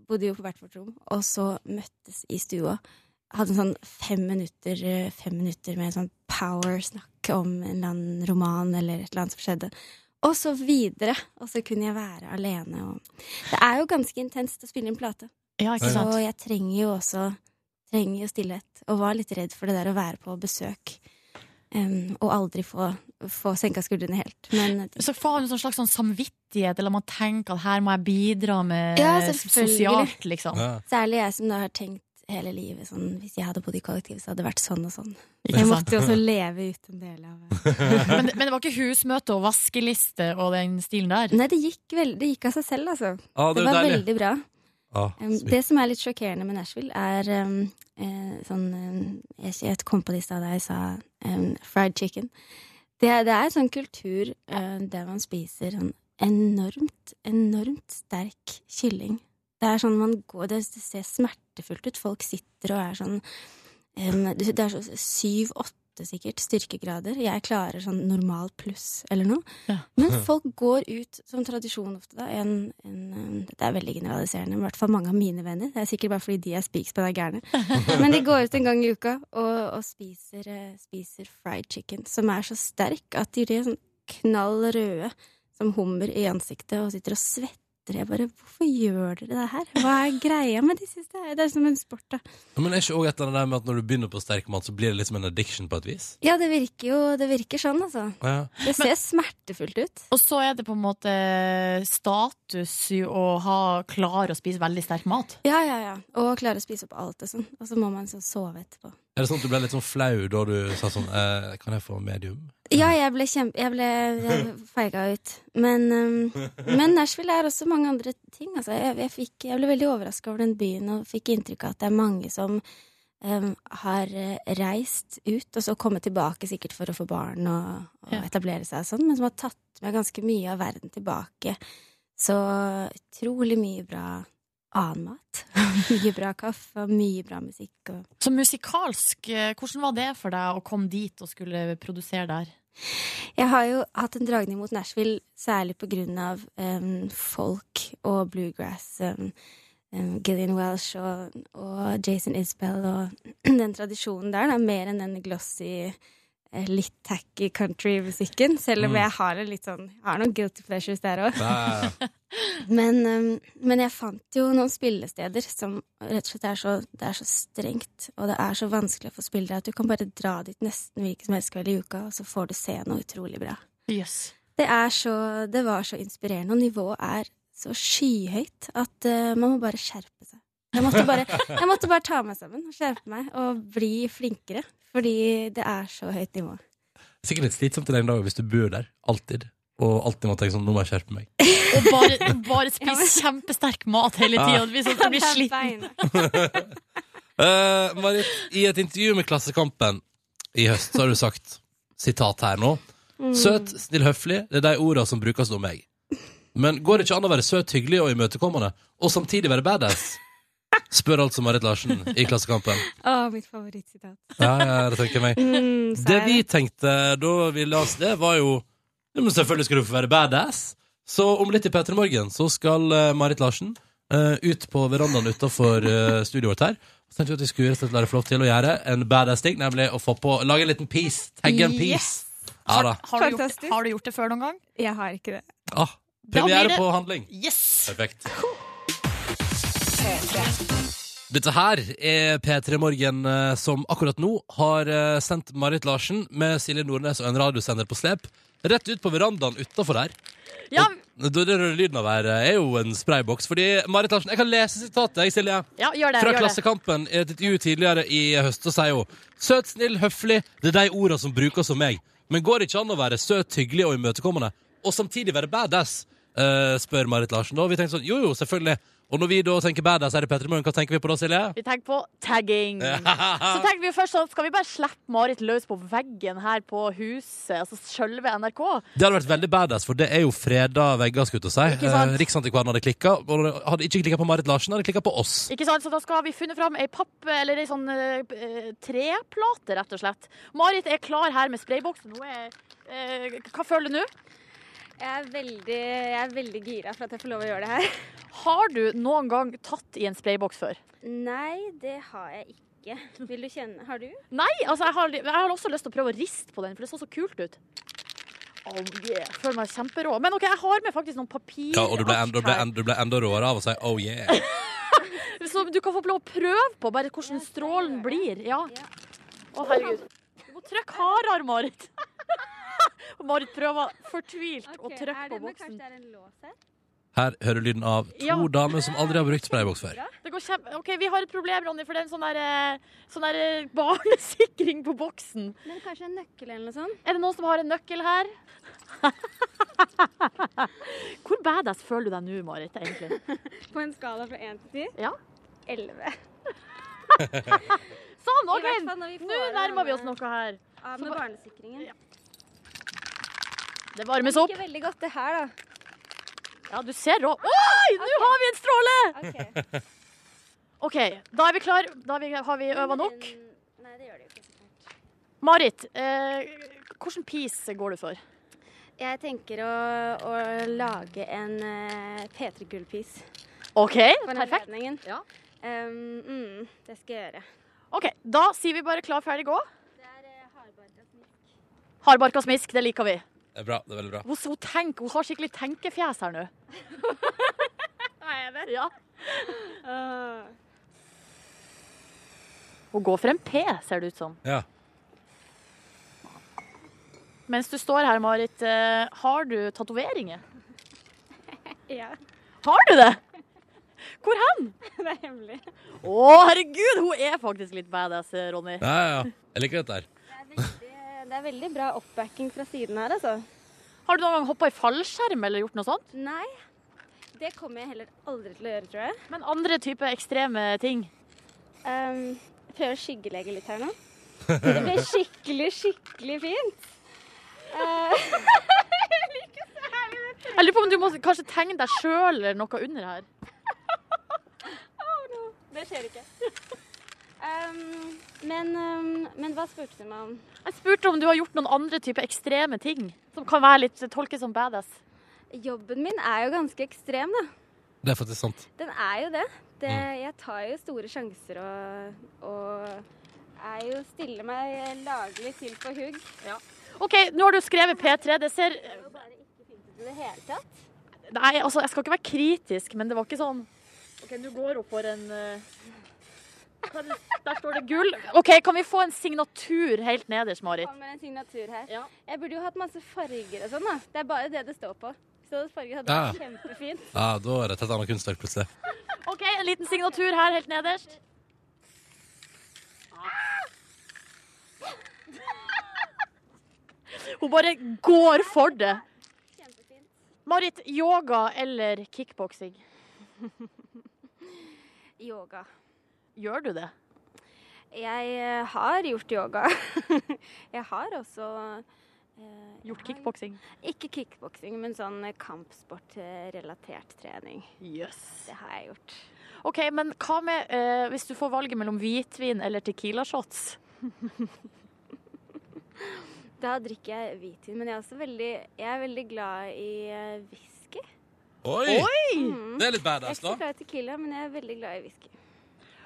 [SPEAKER 7] bodde jo på hvert vårt rom, og så møttes i stua. Hadde en sånn fem minutter, eh, fem minutter med sånn power-snakk om en eller annen roman eller et eller annet som skjedde. Og så videre. Og så kunne jeg være alene. Og det er jo ganske intenst å spille inn plate.
[SPEAKER 3] Ja, ikke sant?
[SPEAKER 7] Så jeg trenger jo også trenger jo stillhet, og var litt redd for det der å være på besøk. em, og aldri få, få senka skuldrene helt. Men
[SPEAKER 3] Så får man en sånn slags sånn samvittighet, eller man tenker at her må jeg bidra med
[SPEAKER 7] Ja, selvfølgelig.
[SPEAKER 3] sosialt, liksom.
[SPEAKER 2] Ja.
[SPEAKER 7] særlig jeg som da har tenkt hele livet sånn Hvis jeg hadde bodd i kollektiv, så hadde det vært sånn og sånn.
[SPEAKER 3] Ikke
[SPEAKER 7] Jeg
[SPEAKER 3] sant?
[SPEAKER 7] måtte jo også leve ut en del av
[SPEAKER 3] Men, men det var ikke husmøte og vaskeliste og den stilen der.
[SPEAKER 7] Nei, det gikk, vel, det gikk av seg selv, altså.
[SPEAKER 2] Ah, er
[SPEAKER 7] Det
[SPEAKER 2] jo
[SPEAKER 7] var
[SPEAKER 2] deilig.
[SPEAKER 7] veldig bra.
[SPEAKER 2] Ah,
[SPEAKER 7] Um,
[SPEAKER 2] smitt.
[SPEAKER 7] Det som er litt sjokkerende med Nashville, er um, eh, sånn um, jeg, jeg kom på det i stad da jeg sa um, fried chicken. Det, er- det er sånn kultur eh, der man spiser sånn enormt, enormt sterk kylling. Det er sånn man går Det det ser smertefullt ut. Folk sitter og er sånn um, Det det er så syv-åtte sikkert styrkegrader. Jeg klarer sånn normal pluss eller noe.
[SPEAKER 3] Ja.
[SPEAKER 7] Men folk går ut som tradisjon ofte, da. En, en, um, dette er veldig generaliserende, men i hvert fall mange av mine venner. Det er sikkert bare fordi de er spikspenna gærne. Men de går ut en gang i uka og, og spiser, eh, spiser fried chicken, som er så sterk at de blir sånn knall røde som hummer i ansiktet og sitter og svetter. Jeg bare, Hvorfor gjør dere det her? Hva er greia med de siste? Det er som en sport, da.
[SPEAKER 2] Men er ikke også et eller annet der med at når du begynner på sterk mat, så blir det liksom en addiction på et vis?
[SPEAKER 7] Ja, det virker jo det virker sånn, altså.
[SPEAKER 2] Ja.
[SPEAKER 7] Det ser smertefullt ut.
[SPEAKER 3] Og så er det på en måte status i å ha klar å spise veldig sterk mat.
[SPEAKER 7] Ja, ja, ja. Og klare å spise opp alt og sånn. Og så må man så sove etterpå.
[SPEAKER 2] Er det sånn at du ble litt sånn flau da du sa sånn eh, Kan jeg få medium?
[SPEAKER 7] Ja, jeg ble kjempe... Jeg ble jeg feiga ut. Men, um, men Nashville er også mange andre ting. Altså, jeg, jeg, fikk, jeg ble veldig overraska over den byen og fikk inntrykk av at det er mange som um, har eh, reist ut og så kommet tilbake sikkert for å få barn og, og
[SPEAKER 3] Ja.
[SPEAKER 7] etablere seg og sånn, men som har tatt med ganske mye av verden tilbake. Så utrolig mye bra annen mat. mye bra kaffe og mye bra musikk. og
[SPEAKER 3] Så musikalsk, eh, hvordan var det for deg å komme dit og skulle produsere der?
[SPEAKER 7] Jeg har jo hatt en dragning mot Nashville, særlig på grunn av em, folk og bluegrass. em, em, Gillian Welsh og, og Jason Isbell og den tradisjonen der, da, mer enn den glossy, eh, litt tacky country-musikken. Selv om jeg har, en litt sånn, jeg har noen guilty pleasures der òg.
[SPEAKER 2] Ja, ja.
[SPEAKER 7] Men, em, men jeg fant jo noen spillesteder som rett og slett er så, det er så strengt, og det er så vanskelig å få spillere at du kan bare dra dit nesten hvilken som helst kveld i uka, og så får du se noe utrolig bra.
[SPEAKER 3] Yes.
[SPEAKER 7] Det, er så, det var så inspirerende, og nivået er så skyhøyt at eh, man må bare skjerpe seg. Jeg måtte bare, jeg måtte bare ta meg sammen og skjerpe meg og bli flinkere, fordi det er så høyt nivå.
[SPEAKER 2] Sikkert litt slitsomt i den dagen hvis du bor der. Alltid. Og alltid må tenke sånn Nå må jeg skjerpe meg.
[SPEAKER 3] Og bare, bare spise kjempesterk mat hele tida. Det blir sånn at jeg blir sliten.
[SPEAKER 2] Eh, Marit, i et intervju med Klassekampen i høst så har du sagt sitat her nå. Søt, snill, høflig. Det er de orda som brukes om meg. Men går det ikke an å være søt, hyggelig og imøtekommende, og samtidig være badass? Spør altså Marit Larsen i Klassekampen.
[SPEAKER 7] Å, mitt favorittsitat.
[SPEAKER 2] Ja, ja, det tenker jeg meg.
[SPEAKER 7] Mm, så
[SPEAKER 2] Det
[SPEAKER 7] er
[SPEAKER 2] vi tenkte da vi la oss det, var jo ja, men Selvfølgelig skal du få være badass. Så om litt i P3 Morgen så skal eh, Marit Larsen eh, ut på verandaen utafor studioet vårt her. Så tenkte vi at vi skulle rett og slett la deg få lov til å gjøre en badass ting, nemlig å få på Lage en liten piece. Tagge en piece. Ja
[SPEAKER 3] Har,
[SPEAKER 2] da.
[SPEAKER 3] har, du gjort,
[SPEAKER 7] Fantastisk.
[SPEAKER 3] har du gjort det før noen gang?
[SPEAKER 7] Jeg har ikke det.
[SPEAKER 2] Ah,
[SPEAKER 3] Da blir
[SPEAKER 2] premiere
[SPEAKER 3] det-
[SPEAKER 2] på handling.
[SPEAKER 3] Yes!
[SPEAKER 2] Perfekt. Dette her er P3 Morgen, eh, som akkurat nå har eh, sendt Marit Larsen med Silje Nordnes og en radiosender på slep rett ut på verandaen utafor her.
[SPEAKER 3] Ja,
[SPEAKER 2] Det det røde lyden av her eh, er jo en sprayboks, fordi Marit Larsen Jeg kan lese sitatet, jeg, Silje.
[SPEAKER 3] ja gjør det.
[SPEAKER 2] Fra
[SPEAKER 3] Gjør det.
[SPEAKER 2] Klassekampen i et intervju tidligere i høst, så sier hun Søt, snill, høflig, det er de orda som brukes om meg. Men går det ikke an å være søt, hyggelig og imøtekommende, og samtidig være badass? eh, spør Marit Larsen. Og vi tenker sånn, jo jo, selvfølgelig. Og når vi da tenker badass her i Petter Morgen, hva tenker vi på da, Silje?
[SPEAKER 9] Vi tenker på tagging. Så tenkte vi jo først sånn, skal vi bare slippe Marit løs på veggen her på huset, altså sjølve NRK?
[SPEAKER 2] Det hadde vært veldig badass, for det er jo freda vegger, skulle jeg til å si.
[SPEAKER 9] Ikke sant?
[SPEAKER 2] Eh, Riksantikvaren hadde klikka, og den hadde ikke klikka på Marit Larsen, hadde klikka på oss.
[SPEAKER 9] Ikke sant? Så da skal vi funnet fram ei papp, eller ei sånn eh, eh, treplate, rett og slett. Marit er klar her med sprayboks. Nå er eh, Hva føler du nå?
[SPEAKER 7] Jeg er veldig, jeg er veldig gira for at jeg får lov å gjøre det her.
[SPEAKER 9] Har du noen gang tatt i en sprayboks før?
[SPEAKER 7] Nei, det har jeg ikke. Vil du kjenne? Har du?
[SPEAKER 9] Nei, altså jeg har, jeg har også lyst til å prøve å riste på den, for det så så kult ut. Oh yeah, Føler meg kjemperå. Men OK, jeg har med faktisk noen papir.
[SPEAKER 2] Ja, og du ble enda, du ble enda, du ble enda råere av å si oh yeah.
[SPEAKER 9] Så du kan få lov å prøve på bare hvordan strålen blir. Ja. Å, herregud. Du må
[SPEAKER 3] trykk hardere, Marit. Og Marit prøver fortvilt å trykke på boksen.
[SPEAKER 7] det er en lås her?
[SPEAKER 2] Her hører du lyden av to
[SPEAKER 3] Ja.
[SPEAKER 2] damer som aldri har brukt sprayboks før.
[SPEAKER 3] Det går kjempe... OK, vi har et problem, Ronny, for det er en sånn der, eh, sånn der eh, barnesikring på boksen.
[SPEAKER 7] Men kanskje en nøkkel eller noe sånt?
[SPEAKER 3] Er det noen som har en nøkkel her? Hvor badass føler du deg nå, Marit, egentlig?
[SPEAKER 7] På en skala fra 1 til 10?
[SPEAKER 3] Ja.
[SPEAKER 7] 11.
[SPEAKER 3] Sånn,
[SPEAKER 7] I
[SPEAKER 3] OK!
[SPEAKER 7] hvert fall når vi får eh,
[SPEAKER 3] Nå nærmer vi oss noe her.
[SPEAKER 7] Av med barnesikringen.
[SPEAKER 3] Det varmes opp.
[SPEAKER 7] Ikke veldig godt det her, da.
[SPEAKER 3] Ja, du ser rå... Oi, nå har vi en stråle!
[SPEAKER 7] Ok.
[SPEAKER 3] OK, da er vi klar. Da er vi, har vi øva nok.
[SPEAKER 7] Nei, det gjør det jo ikke. så fort.
[SPEAKER 3] Marit, eh, hvilken pis går du for?
[SPEAKER 7] Jeg tenker å, å lage en eh, P3 Gull-pis
[SPEAKER 3] OK,
[SPEAKER 7] for den
[SPEAKER 3] perfekt.
[SPEAKER 7] anledningen.
[SPEAKER 3] Ja.
[SPEAKER 7] Um, mm, det skal jeg gjøre.
[SPEAKER 3] Ok, Da sier vi bare klar, ferdig, gå.
[SPEAKER 7] Det er eh, hardbarka smisk.
[SPEAKER 3] Hardbarka smisk, det liker vi.
[SPEAKER 2] Det er bra, det er veldig bra.
[SPEAKER 3] Hun, hun, tenker, hun har skikkelig tenkefjes her nå. Ja. Hun går for en P, ser det ut som.
[SPEAKER 2] Ja.
[SPEAKER 3] Mens du står her, Marit, eh, har du tatoveringer?
[SPEAKER 7] Ja,
[SPEAKER 3] Har du det? Hvor hen?
[SPEAKER 7] det er hemmelig.
[SPEAKER 3] Å, herregud, hun er faktisk litt badass, Ronny.
[SPEAKER 2] Ja, ja, ja. Jeg liker dette her.
[SPEAKER 7] Det er veldig, det er veldig bra oppbacking fra siden her, altså.
[SPEAKER 3] Har du noen gang hoppa i fallskjerm eller gjort noe sånt?
[SPEAKER 7] Nei, det kommer jeg heller aldri til å gjøre, tror jeg.
[SPEAKER 3] Men andre typer ekstreme ting.
[SPEAKER 7] Um, jeg prøver å skyggelegge litt her nå. Det ble skikkelig, skikkelig fint. Eh,
[SPEAKER 3] Jeg lurer på om du må kanskje tegne deg sjøl eller noe under her.
[SPEAKER 7] det skjer ikke. Um, men, um, men hva spurte du meg om?
[SPEAKER 3] Jeg spurte om du har gjort noen andre typer ekstreme ting som kan være litt tolket som badass.
[SPEAKER 7] Jobben min er jo ganske ekstrem, da.
[SPEAKER 2] Det er faktisk sant.
[SPEAKER 7] Den er jo det. det jeg tar jo store sjanser og, og er jo stiller meg laglig til på hugg.
[SPEAKER 3] OK, nå har du skrevet P3. Det ser
[SPEAKER 7] I det hele tatt.
[SPEAKER 3] Nei, altså, jeg skal ikke være kritisk, men det var ikke sånn OK, nå går hun for en eh, kan- Der står det gull. OK, kan vi få en signatur helt nederst, Marit?
[SPEAKER 7] Kommer en signatur her.
[SPEAKER 3] Ja.
[SPEAKER 7] Jeg burde jo hatt masse farger og sånn, da. Det er bare det det står på. Så farger hadde
[SPEAKER 2] Ja.
[SPEAKER 7] vært kjempefint.
[SPEAKER 2] Ja, Da er det et helt annet kunstverk plutselig.
[SPEAKER 3] OK, en liten signatur her helt nederst. Ah! Hun bare går for det.
[SPEAKER 7] Kjempefint.
[SPEAKER 3] Marit, yoga eller kickboksing?
[SPEAKER 7] Yoga.
[SPEAKER 3] Gjør du det?
[SPEAKER 7] Jeg eh, har gjort yoga. jeg har også eh,
[SPEAKER 3] Gjort
[SPEAKER 7] jeg har
[SPEAKER 3] kickboksing?
[SPEAKER 7] Ikke kickboksing, men sånn eh, kampsportrelatert trening.
[SPEAKER 3] Yes.
[SPEAKER 7] Det har jeg gjort.
[SPEAKER 3] OK, men hva med eh, hvis du får valget mellom hvitvin eller tequila shots?
[SPEAKER 7] Da drikker jeg hvitvin, men jeg er også veldig, jeg er veldig glad i eh, whisky.
[SPEAKER 2] Oi!
[SPEAKER 7] Mm.
[SPEAKER 2] Det er litt
[SPEAKER 7] Jeg er
[SPEAKER 2] badass,
[SPEAKER 7] ikke så
[SPEAKER 2] da.
[SPEAKER 7] glad i tequila, men jeg er veldig glad i whisky.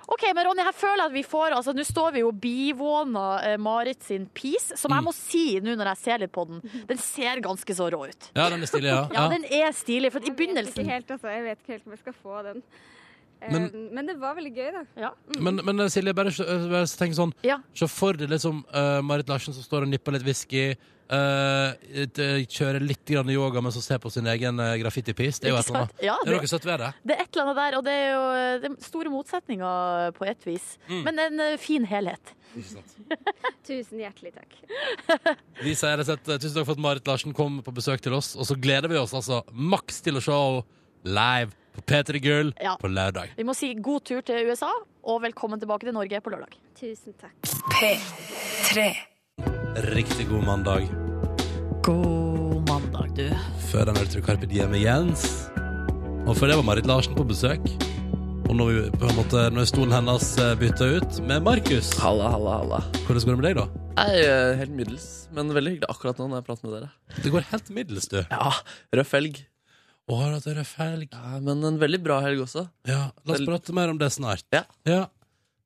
[SPEAKER 3] OK, men Ronny, her føler jeg at vi får Altså, nå står vi jo bivåna eh, Marit sin pis, som jeg må si nå når jeg ser litt på den. Den ser ganske så rå ut.
[SPEAKER 2] Ja, den er stilig, ja.
[SPEAKER 3] Ja,
[SPEAKER 2] ja.
[SPEAKER 3] den er stilig, for i
[SPEAKER 7] Jeg vet
[SPEAKER 3] begynnelsen
[SPEAKER 7] ikke helt, altså. Jeg vet ikke helt om jeg skal få den. Eh,
[SPEAKER 2] Men-
[SPEAKER 7] men det var veldig gøy, da.
[SPEAKER 3] ja.
[SPEAKER 2] Men, men eh, Silje, bare, eh, bare tenk sånn.
[SPEAKER 3] Ja.
[SPEAKER 2] Se for deg liksom eh, Marit Larsen som står og nipper litt whisky. eh, et, eh, kjører litt grann yoga mens hun ser på sin egen uh, graffitipis. Det er jo
[SPEAKER 3] Ikke
[SPEAKER 2] et eller
[SPEAKER 3] sant?
[SPEAKER 2] annet.
[SPEAKER 3] Ja,
[SPEAKER 2] Det er noe søtt ved det.
[SPEAKER 3] Det er et eller annet der, og det er jo eh, det er store motsetninger på et vis. Men en eh, fin helhet.
[SPEAKER 7] Tusen hjertelig takk.
[SPEAKER 2] Vi sier rett og slett eh, tusen takk for at Marit Larsen kom på besøk til oss. Og så gleder vi oss altså maks til å se henne live på P3 Gull
[SPEAKER 3] Ja.
[SPEAKER 2] på lørdag.
[SPEAKER 3] Vi må si god tur til USA, og velkommen tilbake til Norge på lørdag.
[SPEAKER 7] Tusen takk.
[SPEAKER 2] Riktig god mandag.
[SPEAKER 10] God mandag, du.
[SPEAKER 2] Før den hørte du Carpe Diem med Jens. Og før det var Marit Larsen på besøk. Og nå er vi på en måte, nå er stolen hennes eh, bytta ut med Markus.
[SPEAKER 5] Halla, halla, halla.
[SPEAKER 2] Hvordan går det med deg, da?
[SPEAKER 5] Jeg er eh, helt middels, men veldig hyggelig akkurat nå når jeg prater med dere.
[SPEAKER 2] Det går helt middels, du.
[SPEAKER 5] Ja, Røff helg.
[SPEAKER 2] Å, har du hatt en røff helg?
[SPEAKER 5] Ja, men en veldig bra helg også.
[SPEAKER 2] Ja, la oss prate mer om det snart.
[SPEAKER 5] Ja.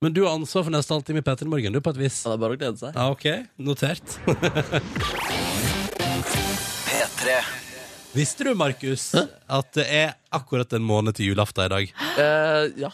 [SPEAKER 2] Men du har ansvar for neste halvtime i P3 Morgen, du, på et vis.
[SPEAKER 5] Ja, det er bare å glede seg.
[SPEAKER 2] Ja, OK. Notert.
[SPEAKER 1] P3.
[SPEAKER 2] Visste du, Markus, at det er akkurat en måned til julaften i dag?
[SPEAKER 5] Eh, ja.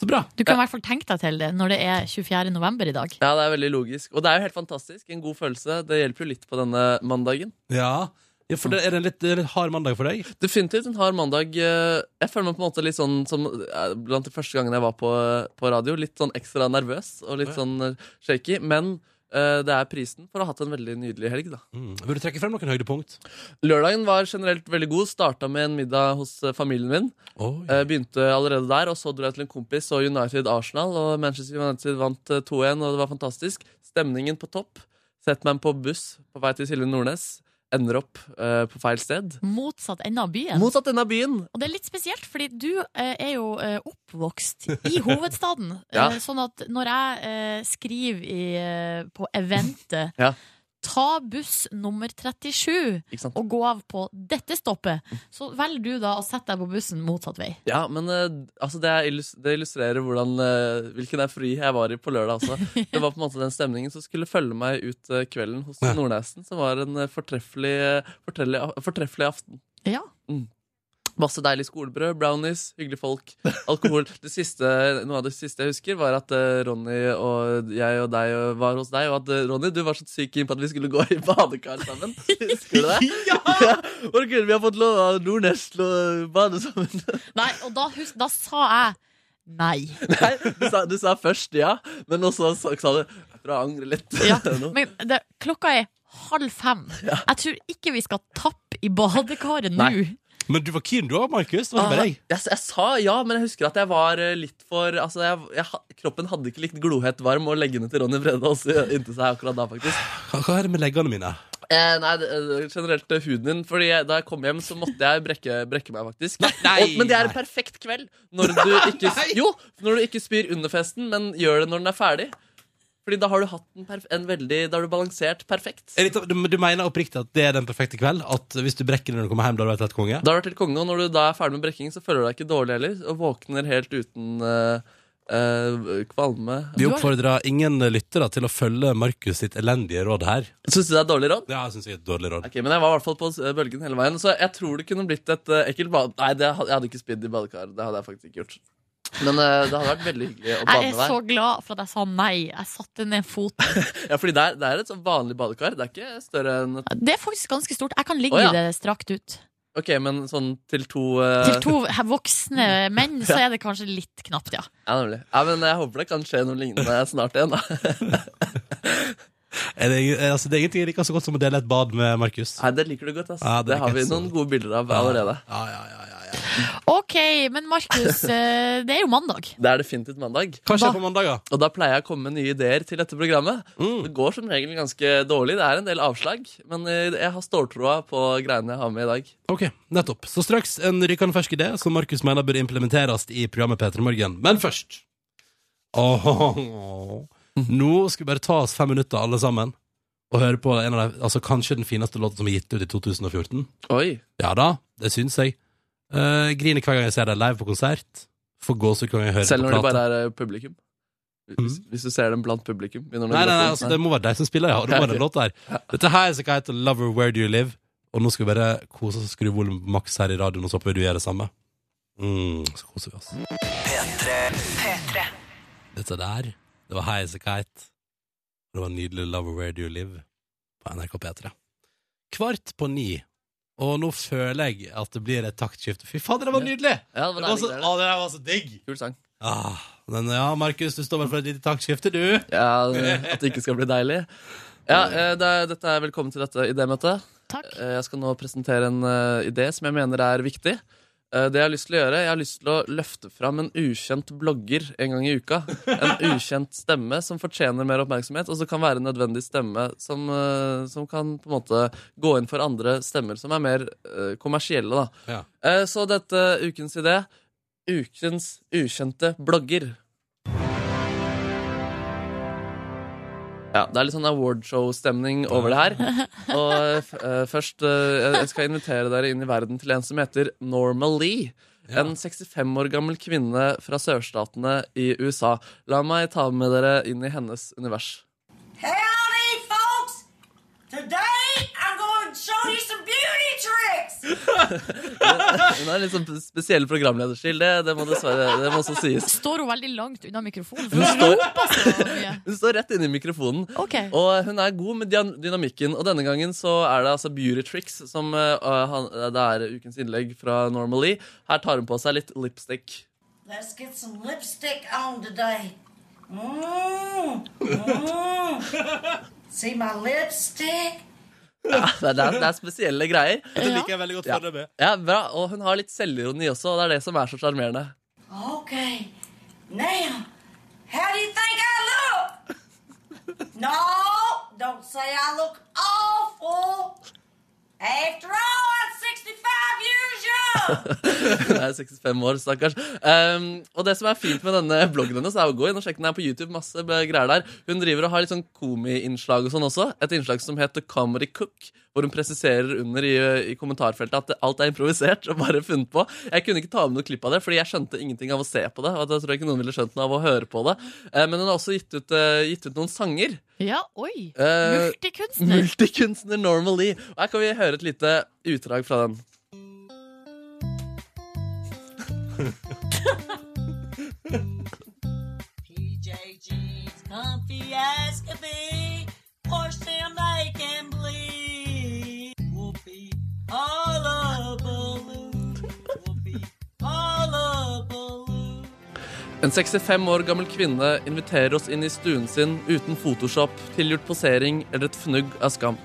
[SPEAKER 2] Så bra.
[SPEAKER 3] Du kan i hvert fall tenke deg til det når det er 24. november i dag.
[SPEAKER 5] Ja, det er veldig logisk. Og det er jo helt fantastisk. En god følelse. Det hjelper jo litt på denne mandagen.
[SPEAKER 2] Ja, ja for det er en litt, det er en litt hard mandag for deg.
[SPEAKER 5] Definitivt en hard mandag. eh, Jeg føler meg på en måte litt sånn som eh, blant de første gangene jeg var på, på radio. Litt sånn ekstra nervøs og litt
[SPEAKER 2] Ja.
[SPEAKER 5] sånn eh, shaky. Men eh, det er prisen for å ha hatt en veldig nydelig helg, da.
[SPEAKER 2] Mm. Vil du trekke frem noen høydepunkt?
[SPEAKER 5] Lørdagen var generelt veldig god. Starta med en middag hos eh, familien min.
[SPEAKER 2] Oi.
[SPEAKER 5] Eh, Begynte allerede der, og så dro jeg til en kompis og United Arsenal. Og Manchester United vant eh, 2-1, og det var fantastisk. Stemningen på topp. Sett meg på buss på vei til Silje Nordnes. Ender opp eh, på feil sted.
[SPEAKER 3] Motsatt ende av byen.
[SPEAKER 5] Motsatt ende av byen.
[SPEAKER 3] Og det er litt spesielt, fordi du eh, er jo eh, oppvokst i hovedstaden.
[SPEAKER 5] Ja.
[SPEAKER 3] Eh, sånn at når jeg eh, skriver i, eh, på eventet
[SPEAKER 5] Ja.
[SPEAKER 3] Ta buss nummer 37
[SPEAKER 5] Ikke sant?
[SPEAKER 3] og gå av på dette stoppet. Så velger du da å sette deg på bussen motsatt vei.
[SPEAKER 5] Ja, men eh, altså det, er illus det illustrerer hvordan, eh, hvilken eufori jeg var i på lørdag. Altså. Det var på en måte den stemningen som skulle følge meg ut eh, kvelden hos
[SPEAKER 2] Ja.
[SPEAKER 5] Nordnesen, som var en eh, fortreffelig, eh, fortrelle- fortreffelig aften. Mm.
[SPEAKER 3] Ja.
[SPEAKER 5] Masse deilig skolebrød, brownies, hyggelige folk, alkohol. Det siste, noe av det siste jeg husker, var at eh, Ronny og jeg og deg og- var hos deg. Og at eh, Ronny, du var så syk inn på at vi skulle gå i badekar sammen. Husker du det? ja! Og gud, vi har fått lov av Nordnes til å bade sammen.
[SPEAKER 3] Nei, og da, husk, da sa jeg nei.
[SPEAKER 5] Nei, du sa, du sa først ja, men også sa, sa du Jeg tror jeg angrer litt.
[SPEAKER 3] Ja,
[SPEAKER 5] nå.
[SPEAKER 3] Men det, klokka er halv fem. Jeg tror ikke vi skal tappe i badekaret nå.
[SPEAKER 5] Nei.
[SPEAKER 2] Men du var keen du òg, Markus. Det var ikke
[SPEAKER 5] Ah,
[SPEAKER 2] bare
[SPEAKER 5] jeg,
[SPEAKER 2] jeg.
[SPEAKER 5] jeg sa ja, men jeg husker at jeg var eh, litt for altså jeg, jeg, ha- Kroppen hadde ikke likt glohett varm og leggene til Ronny Brede også inntil seg akkurat da, faktisk.
[SPEAKER 2] Hva, hva er det med leggene mine?
[SPEAKER 5] Eh, nei, det- eh, generelt eh, huden din. Fordi jeg, da jeg kom hjem, så måtte jeg brekke, brekke meg, faktisk.
[SPEAKER 2] nei,
[SPEAKER 5] og, men det er en
[SPEAKER 2] nei.
[SPEAKER 5] perfekt kveld. Når du, ikke, jo, når du ikke spyr under festen, men gjør det når den er ferdig. Fordi da har du hatt en, perf en veldig Da har du balansert perfekt.
[SPEAKER 2] Er det, du, du mener oppriktig at det er den perfekte kveld? At hvis du brekker når du kommer hjem, da har du vært helt konge?
[SPEAKER 5] Da har du vært helt konge, og når du da er ferdig med brekking, så føler du deg ikke dårlig heller. Og våkner helt uten eh, eh, kvalme.
[SPEAKER 2] Vi
[SPEAKER 3] Du har-
[SPEAKER 2] oppfordrer ingen lyttere til å følge Markus sitt elendige råd her.
[SPEAKER 5] Syns du det er dårlig råd?
[SPEAKER 2] Ja, jeg synes jeg er et dårlig råd.
[SPEAKER 5] Ok, Men jeg var i hvert fall på eh, bølgen hele veien, så jeg tror det kunne blitt et eh, ekkelt bad... Nei, det, had- jeg hadde ikke spydd i badekar. Det hadde jeg faktisk ikke gjort. Men eh, det hadde vært veldig hyggelig å bade
[SPEAKER 3] Jeg
[SPEAKER 5] med
[SPEAKER 3] er
[SPEAKER 5] deg.
[SPEAKER 3] så glad for at jeg sa nei. Jeg satte ned foten.
[SPEAKER 5] Ja, fordi det er, det er et sånn vanlig badekar. Det er ikke større enn et
[SPEAKER 3] Det er faktisk ganske stort. Jeg kan ligge
[SPEAKER 5] Å, ja.
[SPEAKER 3] i det strakt ut.
[SPEAKER 5] Ok, men sånn til to eh,
[SPEAKER 3] Til to he- voksne menn så er det kanskje litt knapt, ja.
[SPEAKER 5] Ja, nemlig. Ja, men jeg håper det kan skje noe lignende snart igjen, da.
[SPEAKER 2] Er det, er, altså, det er ingenting jeg liker så godt som å dele et bad med Markus.
[SPEAKER 5] Nei, det liker du godt, ass.
[SPEAKER 2] Ja, det
[SPEAKER 5] det, har
[SPEAKER 2] liker
[SPEAKER 5] vi
[SPEAKER 2] jeg så
[SPEAKER 5] noen gode bilder av allerede.
[SPEAKER 2] Ja, ja, ja, ja, ja.
[SPEAKER 3] Ok, men Markus, eh, det er jo mandag.
[SPEAKER 5] Det er definitivt mandag.
[SPEAKER 2] Hva skjer
[SPEAKER 3] Hva?
[SPEAKER 2] på mandager?
[SPEAKER 5] Og da pleier jeg å komme med nye ideer til dette programmet.
[SPEAKER 2] Mm.
[SPEAKER 5] Det går som regel ganske dårlig. Det er en del avslag, men eh, jeg har ståltroa på greiene jeg har med i dag.
[SPEAKER 2] Ok, nettopp. Så straks en rykende fersk idé som Markus mener bør implementeres i programmet P3 Morgen. Men først Åhåhå. Nå skal vi bare ta oss fem minutter, alle sammen, og høre på en av de, altså, kanskje den fineste låten som er gitt ut i 2014.
[SPEAKER 5] Oi.
[SPEAKER 2] Ja da, det syns jeg. Eh, griner hver gang jeg ser deg live på konsert. Får gåsehud hver gang jeg hører på
[SPEAKER 5] Selv når det
[SPEAKER 2] plata.
[SPEAKER 5] bare er eh, publikum. Hvis, hvis du ser dem blant publikum. begynner den
[SPEAKER 2] Nei,
[SPEAKER 5] å
[SPEAKER 2] nei, nei,
[SPEAKER 5] gå på-
[SPEAKER 2] altså, det må være deg som spiller, ja. og Det må være den låten her. Dette her er så hva heter Lover Where Do You Live, og nå skal vi bare kose oss og skru volumet på maks her i radioen, og så håper vi du gjør det samme. Mm, så koser vi oss. Dette der, det var High As A Kite. Det var nydelig Love Where Do You Live på NRK P3. Kvart på ni, og nå føler jeg at det blir et taktskifte. Fy fader, det var nydelig!
[SPEAKER 5] Ja, det
[SPEAKER 2] Det altså var så,
[SPEAKER 5] var deilig, det er
[SPEAKER 2] å, det der var så digg!
[SPEAKER 5] det. Kul sang.
[SPEAKER 2] Ah, men ja, Markus, du står vel for et lite taktskifte, du?
[SPEAKER 5] Ja, At det ikke skal bli deilig. Ja, eh, det er, dette er Velkommen til dette idémøtet.
[SPEAKER 3] Takk.
[SPEAKER 5] Eh, Jeg skal nå presentere en eh, idé som jeg mener er viktig. Eh, Det Jeg har lyst til å gjøre, jeg har lyst til å løfte fram en ukjent blogger en gang i uka. En ukjent stemme som fortjener mer oppmerksomhet, og som kan være en nødvendig stemme som, eh, som kan på en måte gå inn for andre stemmer som er mer eh, kommersielle. Da.
[SPEAKER 2] Ja.
[SPEAKER 5] Eh, Så dette ukens idé ukens ukjente blogger. Ja, Det er litt sånn awardshow-stemning over det her. Og eh, først eh, Jeg skal invitere dere inn i verden til en som heter Norma Lee. En 65 år gammel kvinne fra sørstatene i USA. La meg ta med dere inn i hennes univers.
[SPEAKER 11] Howdy, folks! Today I'm going to show you some beauty tricks.
[SPEAKER 5] Hun har en litt sånn spesiell programlederstil. Det, det må dessverre det må også sies.
[SPEAKER 3] Står hun veldig langt unna mikrofonen? For
[SPEAKER 5] Hun
[SPEAKER 3] hun
[SPEAKER 5] står,
[SPEAKER 3] roper så mye.
[SPEAKER 5] hun står rett inne i mikrofonen.
[SPEAKER 3] Ok.
[SPEAKER 5] Og hun er god med dyna- dynamikken, og denne gangen så er det altså Beauty Tricks som eh, han, Det er ukens innlegg fra Normally. Her tar hun på seg litt lipstick.
[SPEAKER 11] Let's get some lipstick on today. Mm, mm. See my lipstick?
[SPEAKER 5] Det er, det er, det er spesielle greier.
[SPEAKER 2] Det liker jeg veldig godt
[SPEAKER 5] Ja.
[SPEAKER 2] foreløpig.
[SPEAKER 5] Ja, bra, Og hun har litt selvironi også, og det er det som er så sjarmerende.
[SPEAKER 11] Okay. Now, how do you think I look? No, don't say I look awful. After all, I'm 65 years young.
[SPEAKER 5] Hun er 65 år, stakkars. Ehm, og det som er fint med denne bloggen hennes, er å gå inn og sjekke den her på YouTube. masse b- greier der. Hun driver og har litt sånn komi-innslag og sånn også. Et innslag som heter Comedy Cook, hvor hun presiserer under i, i kommentarfeltet at det- alt er improvisert og bare funnet på. Jeg kunne ikke ta med noe klipp av det, fordi jeg skjønte ingenting av å se på det. og jeg tror ikke noen ville skjønt noe av å høre på det. Eh, men hun har også gitt ut, eh, gitt ut noen sanger.
[SPEAKER 3] Ja, oi.
[SPEAKER 5] Eh,
[SPEAKER 3] Multikunstner.
[SPEAKER 5] Multikunstner Normal Lee. Og her kan vi høre et lite utdrag fra den.
[SPEAKER 11] PJ jeans, comfy as can be. Wash them, they can bleed. Whoopee, all a balloon. Whoopee, all a balloon.
[SPEAKER 5] En 65 år gammel kvinne inviterer oss inn i stuen sin uten Photoshop, tilgjort posering eller et fnugg av skam.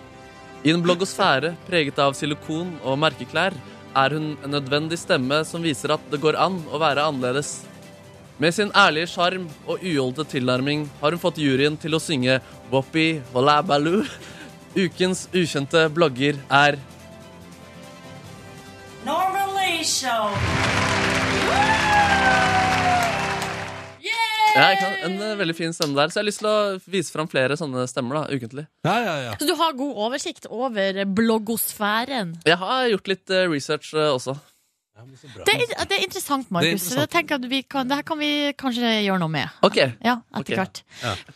[SPEAKER 5] I en bloggosfære preget av silikon og merkeklær er hun en nødvendig stemme som viser at det går an å være annerledes. Med sin ærlige sjarm og uholdte tilnærming har hun fått juryen til å synge Woppi Wallabaloo. Ukens ukjente blogger er
[SPEAKER 11] Norman Lee Show.
[SPEAKER 5] ja, ikke sant? en eh, veldig fin stemme der. Så jeg har lyst til å vise fram flere sånne stemmer da, ukentlig.
[SPEAKER 2] Ja, ja, ja.
[SPEAKER 3] Så du har god oversikt over bloggosfæren.
[SPEAKER 5] Jeg har gjort litt eh, research eh, også.
[SPEAKER 3] Det er, det er interessant,
[SPEAKER 2] Det er
[SPEAKER 3] Markus.
[SPEAKER 2] interessant.
[SPEAKER 3] Det tenker jeg at vi kan, det her kan vi kanskje gjøre noe med.
[SPEAKER 5] Ok,
[SPEAKER 3] Ja, etter
[SPEAKER 5] Ok.
[SPEAKER 3] hvert.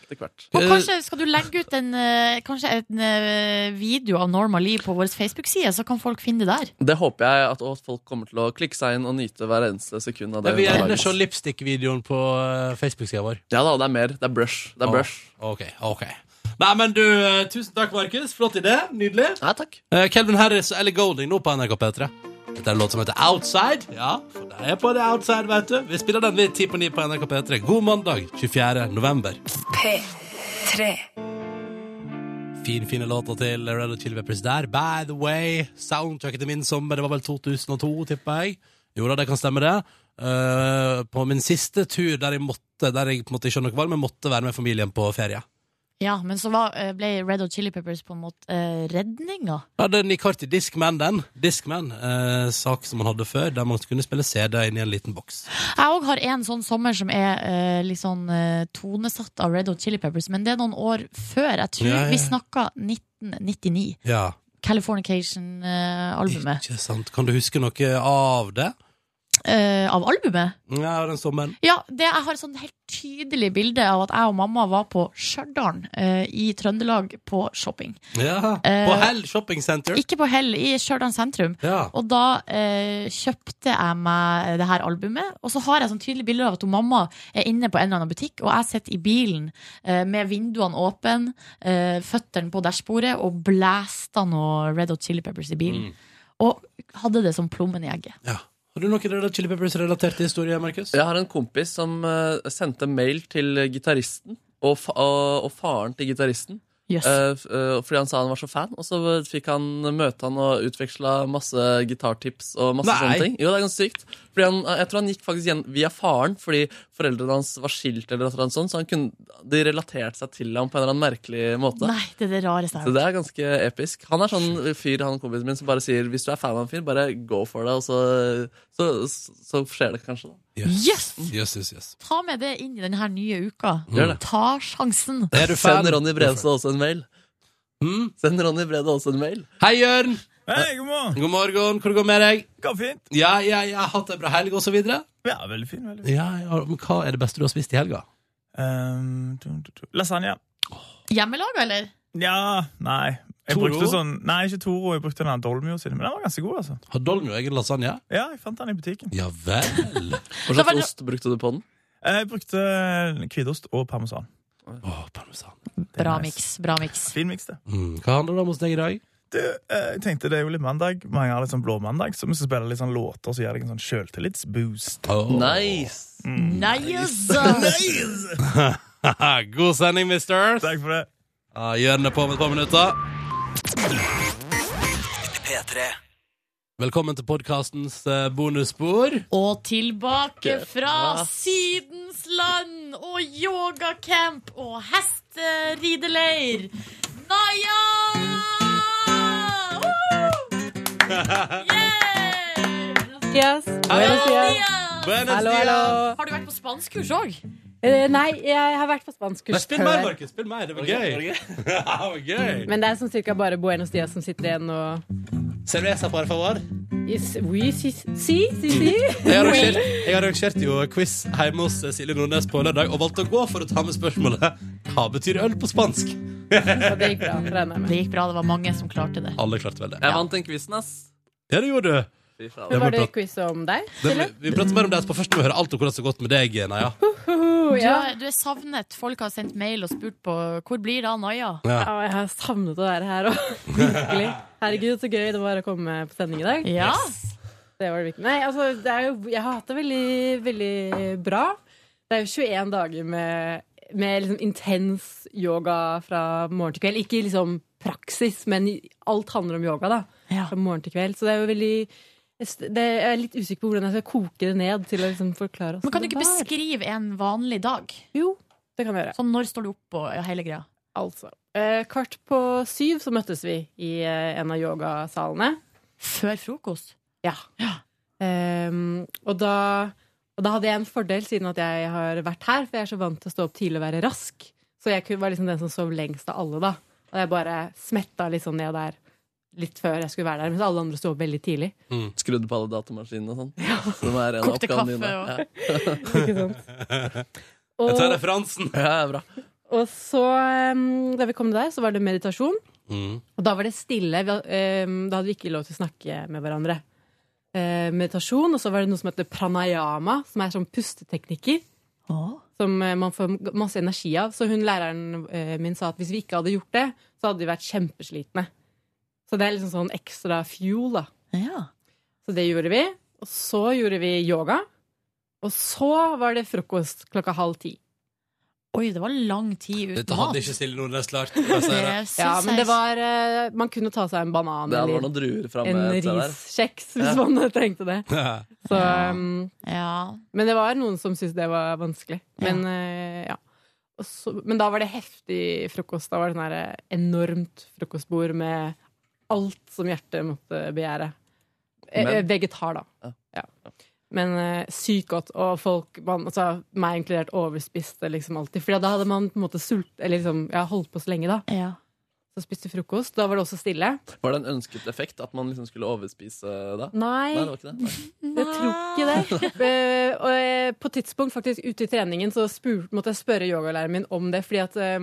[SPEAKER 5] etter hvert.
[SPEAKER 3] Og kanskje skal du legge ut en, eh, kanskje en eh, video av Norma Lee på vår Facebook-side, så kan folk finne det der.
[SPEAKER 5] Det håper jeg at også folk kommer til å klikke seg inn og nyte hver eneste sekund av det.
[SPEAKER 2] Jeg vil
[SPEAKER 5] hun har
[SPEAKER 2] gjerne
[SPEAKER 5] laget.
[SPEAKER 2] se lipstick-videoen på eh, Facebook-sida vår.
[SPEAKER 5] Ja da, det er mer. Det er brush. Det er brush.
[SPEAKER 2] Ok, ok. Nei, men du, eh, tusen takk, Markus. Flott idé. Nydelig.
[SPEAKER 5] Nei, takk.
[SPEAKER 2] Eh, Calvin Harris og Ellie Golding nå på NRK P3. Dette er en låt som heter Outside. Ja, for det er på det outside, vet du. Vi spiller den ved ti på ni på NRK P3. God mandag 24. november. Fin, fine låter til Red Hot Chili Peppers der. By the way, soundtracket til min sommer, det var vel 2002, tipper jeg. Jo da, det kan stemme det. Eh, på min siste tur der jeg måtte, der jeg på en måte ikke skjønner noe valg, men måtte være med familien på ferie.
[SPEAKER 3] Ja, men så var, eh, ble Red Hot Chili Peppers på en måte eh, redninga.
[SPEAKER 2] Ja, det er Nick Carty Discman, den. Discman, eh, sak som man hadde før, der man kunne spille CD inn i en liten boks.
[SPEAKER 3] Jeg òg har en sånn sommer som er eh, litt sånn eh, tonesatt av Red Hot Chili Peppers, men det er noen år før. Jeg tror
[SPEAKER 2] Ja, ja, ja.
[SPEAKER 3] vi snakka 1999.
[SPEAKER 2] Ja,
[SPEAKER 3] eh, Californication-albumet.
[SPEAKER 2] ikke sant. Kan du huske noe av det?
[SPEAKER 3] Eh, av albumet?
[SPEAKER 2] Ja, den sommeren.
[SPEAKER 3] Ja, det, jeg har et sånn helt tydelig bilde av at jeg og mamma var på Stjørdal eh, i Trøndelag på shopping.
[SPEAKER 2] Ja, på
[SPEAKER 3] Eh,
[SPEAKER 2] Hell Shopping Center.
[SPEAKER 3] Ikke på Hell, i Stjørdal sentrum.
[SPEAKER 2] Ja.
[SPEAKER 3] Og da eh, kjøpte jeg meg det her albumet, og så har jeg sånn tydelig bilde av at hun mamma er inne på en eller annen butikk, og jeg sitter i bilen eh, med vinduene åpne, eh, føttene på dashbordet og blæsta noe Red Hot Chili Peppers i bilen. Og hadde det som plommen i egget.
[SPEAKER 2] ja. Har du noe Red Hot Chili Peppers-relaterte historie, Markus?
[SPEAKER 5] Jeg har en kompis som eh, sendte mail til gitaristen og, fa og, og faren til gitaristen.
[SPEAKER 3] Jøss.
[SPEAKER 5] eh, f- eh, fordi han sa han var så fan, og så fikk han møte han og utveksla masse gitartips og masse
[SPEAKER 2] Nei.
[SPEAKER 5] sånne ting. Jo, det er ganske sykt. Fordi han, eh, jeg tror han gikk faktisk igjen via faren, fordi foreldrene hans var skilt, eller et eller annet sånt, så han kunne, de relaterte seg til ham på en eller annen merkelig måte.
[SPEAKER 3] Nei, det er det rareste jeg har
[SPEAKER 5] Så det er ganske episk. Han er sånn fyr, han kompisen min, som bare sier hvis du er fan av en fyr, bare go for det, og så, så, så, skjer det kanskje. da.
[SPEAKER 3] Yes!
[SPEAKER 2] Yes, yes, yes. Mm.
[SPEAKER 3] Ta med det inn i denne her nye uka.
[SPEAKER 5] Gjør det.
[SPEAKER 3] Ta sjansen.
[SPEAKER 2] Er du fan?
[SPEAKER 5] Send Ronny Bredstad også en mail.
[SPEAKER 2] Mm.
[SPEAKER 5] Send Ronny Bredstad også en mail.
[SPEAKER 2] Hei, Jørn!
[SPEAKER 12] Hei, god morgen.
[SPEAKER 2] God morgen, hvordan går det med deg?
[SPEAKER 12] Går fint?
[SPEAKER 2] Ja, ja, jeg har hatt en bra helg, og så videre.
[SPEAKER 12] Ja, veldig fin. veldig fin.
[SPEAKER 2] Ja, ja, men hva er det beste du har spist i helga?
[SPEAKER 12] Ehm, du, du, du. Lasagne.
[SPEAKER 3] Hjemmelaga, eller?
[SPEAKER 12] Ja, nei. Jeg
[SPEAKER 2] Toro?
[SPEAKER 12] brukte sånn, nei, ikke Toro, jeg brukte den her Dolmio sine, men den var ganske god, altså.
[SPEAKER 2] Har Dolmio egen lasagne?
[SPEAKER 12] Ja, jeg fant den i butikken.
[SPEAKER 2] Ja vel.
[SPEAKER 3] Da
[SPEAKER 5] Hva
[SPEAKER 3] var
[SPEAKER 5] slags
[SPEAKER 3] det-
[SPEAKER 5] ost brukte du på den?
[SPEAKER 12] Eh, Jeg brukte eh, hvitost og parmesan.
[SPEAKER 2] Åh, parmesan.
[SPEAKER 12] Det er
[SPEAKER 3] Bra
[SPEAKER 12] nice.
[SPEAKER 3] miks, bra miks.
[SPEAKER 12] Fin miks, det.
[SPEAKER 2] Mm, hva handler det om hos deg i dag?
[SPEAKER 12] Du, eh, jeg tenkte det er jo litt mandag, mange har litt sånn blå mandag, så vi skal spille litt sånn låter som gir deg en sånn sjøltillitsboost.
[SPEAKER 2] Åh.
[SPEAKER 5] Nice!
[SPEAKER 3] Nice!
[SPEAKER 2] Haha, God sending, misters.
[SPEAKER 12] Takk for det.
[SPEAKER 2] Ja, Gjør det på om et par minutter.
[SPEAKER 1] P3.
[SPEAKER 2] Velkommen til eh, podkastens bonusspor.
[SPEAKER 3] Og tilbake fra Sydens land og yogacamp og hesteriderleir. Naja! Woo! Yeah!
[SPEAKER 8] Yes. Buenos dias.
[SPEAKER 3] Naja!
[SPEAKER 2] Buenos
[SPEAKER 8] Hallo, hallo.
[SPEAKER 3] Har du vært på spanskkurs òg?
[SPEAKER 8] Eh, Nei, jeg har vært på spanskkurs
[SPEAKER 2] Spill mer, Markus. Spill mer. Det var gøy. Det var gøy.
[SPEAKER 8] Men det er sånn cirka bare Buenos dias som sitter igjen og
[SPEAKER 2] Cerveza, por favor.
[SPEAKER 8] Is, oui, si, si, si, si.
[SPEAKER 2] Jeg arrangerte, jeg arrangerte jo quiz hjemme hos eh, Silje Nordnes på lørdag og valgte å gå for å ta med spørsmålet Hva betyr øl på spansk?
[SPEAKER 8] Og det gikk bra, regner jeg med.
[SPEAKER 3] Det gikk bra. Det var mange som klarte det.
[SPEAKER 2] Alle klarte vel det.
[SPEAKER 5] Jeg vant den quizen, ass.
[SPEAKER 2] Ja, det gjorde du.
[SPEAKER 5] Fy faen.
[SPEAKER 2] Det
[SPEAKER 8] Men
[SPEAKER 2] var
[SPEAKER 8] var det
[SPEAKER 2] bra.
[SPEAKER 8] quiz om deg?
[SPEAKER 2] Det, vi prater mer om det etterpå. Først må vi høre alt om hvordan det har gått med deg, Naja.
[SPEAKER 8] Oh,
[SPEAKER 3] Du
[SPEAKER 8] ja.
[SPEAKER 3] er, du er savnet. Folk har sendt mail og spurt på hvor blir det av Naja.
[SPEAKER 8] ja, jeg har savnet å være her òg. Virkelig. Herregud, så gøy det var å komme på sending i dag.
[SPEAKER 3] Ja.
[SPEAKER 8] Det var det virkelig. Nei, altså, det er jo, jeg har hatt det veldig, veldig bra. Det er jo 21 dager med, med liksom intens yoga fra morgen til kveld. Ikke liksom praksis, men i- alt handler om yoga, da.
[SPEAKER 3] Ja.
[SPEAKER 8] Fra morgen til kveld. Så det er jo veldig det, Jeg er litt usikker på hvordan jeg skal koke det ned til å liksom forklare oss.
[SPEAKER 3] Men kan du ikke beskrive en vanlig dag?
[SPEAKER 8] Jo, det kan jeg gjøre.
[SPEAKER 3] Sånn når står du opp og ja, hele greia?
[SPEAKER 8] Altså. Eh, kvart på syv så møttes vi i eh, en av yogasalene.
[SPEAKER 3] Før frokost?
[SPEAKER 8] Ja. Ehm, og, da, og da hadde jeg en fordel siden at jeg har vært her, for jeg er så vant til å stå opp tidlig og være rask. Så jeg kunne- var liksom den som sov lengst av alle, da. Og jeg bare smetta litt sånn ned der litt før jeg skulle være der, mens alle andre sto opp veldig tidlig.
[SPEAKER 5] Skrudde på alle datamaskinene og sånn. Som er en av
[SPEAKER 3] Kokte
[SPEAKER 5] oppgavene
[SPEAKER 3] kaffe
[SPEAKER 5] dine.
[SPEAKER 3] og-
[SPEAKER 5] Ja.
[SPEAKER 8] Ikke sant?
[SPEAKER 2] Jeg tar
[SPEAKER 8] Og,
[SPEAKER 2] referansen.
[SPEAKER 5] ja, bra.
[SPEAKER 8] og så, ehm, da vi kom der, så var det meditasjon.
[SPEAKER 2] Mm.
[SPEAKER 8] Og da var det stille. Vi, eh, da hadde vi ikke lov til å snakke med hverandre. Eh, meditasjon, og så var det noe som heter pranayama, som er sånn pusteteknikker. Som eh, man får masse energi av. Så hun læreren eh, min sa at hvis vi ikke hadde gjort det, så hadde vi vært kjempeslitne. Så det er liksom sånn ekstra fuel, da.
[SPEAKER 3] Ja.
[SPEAKER 8] Så det gjorde vi. Og så gjorde vi yoga. Og så var det frokost klokka halv ti.
[SPEAKER 3] Oi, det var lang tid uten
[SPEAKER 2] Dette
[SPEAKER 3] mat.
[SPEAKER 2] hadde ikke Silje Nordnes klart. Jeg sier det.
[SPEAKER 3] syns
[SPEAKER 8] Ja,
[SPEAKER 3] jeg-
[SPEAKER 8] men det var eh, Man kunne ta seg en banan
[SPEAKER 5] Det var
[SPEAKER 8] eller
[SPEAKER 5] noen druer framme.
[SPEAKER 8] en riskjeks hvis man trengte det. Så
[SPEAKER 3] Ja.
[SPEAKER 8] um,
[SPEAKER 3] Ja.
[SPEAKER 8] Men det var noen som syntes det var vanskelig.
[SPEAKER 3] Ja.
[SPEAKER 8] Men, eh, ja. Og så, men da var det heftig frokost. Da var det sånn her eh, enormt frokostbord med alt som hjertet måtte begjære. Eh,
[SPEAKER 5] Men-
[SPEAKER 8] eh, Vegetar,
[SPEAKER 5] Ja.
[SPEAKER 8] da. Ja. Men eh, sykt godt, og folk, man, altså, meg inkludert, overspiste liksom alltid. For da hadde man på en måte sult, eller liksom, ja, holdt på så lenge, da.
[SPEAKER 3] ja.
[SPEAKER 8] Så spiste vi frokost. Da var det også stille.
[SPEAKER 5] Var det en ønsket effekt at man liksom skulle overspise da? Nei, det var ikke det. Nei.
[SPEAKER 8] Jeg tror ikke det. Eh, og eh, på tidspunkt faktisk ute i treningen så spur, måtte jeg spørre yogalæreren min om det, fordi at eh,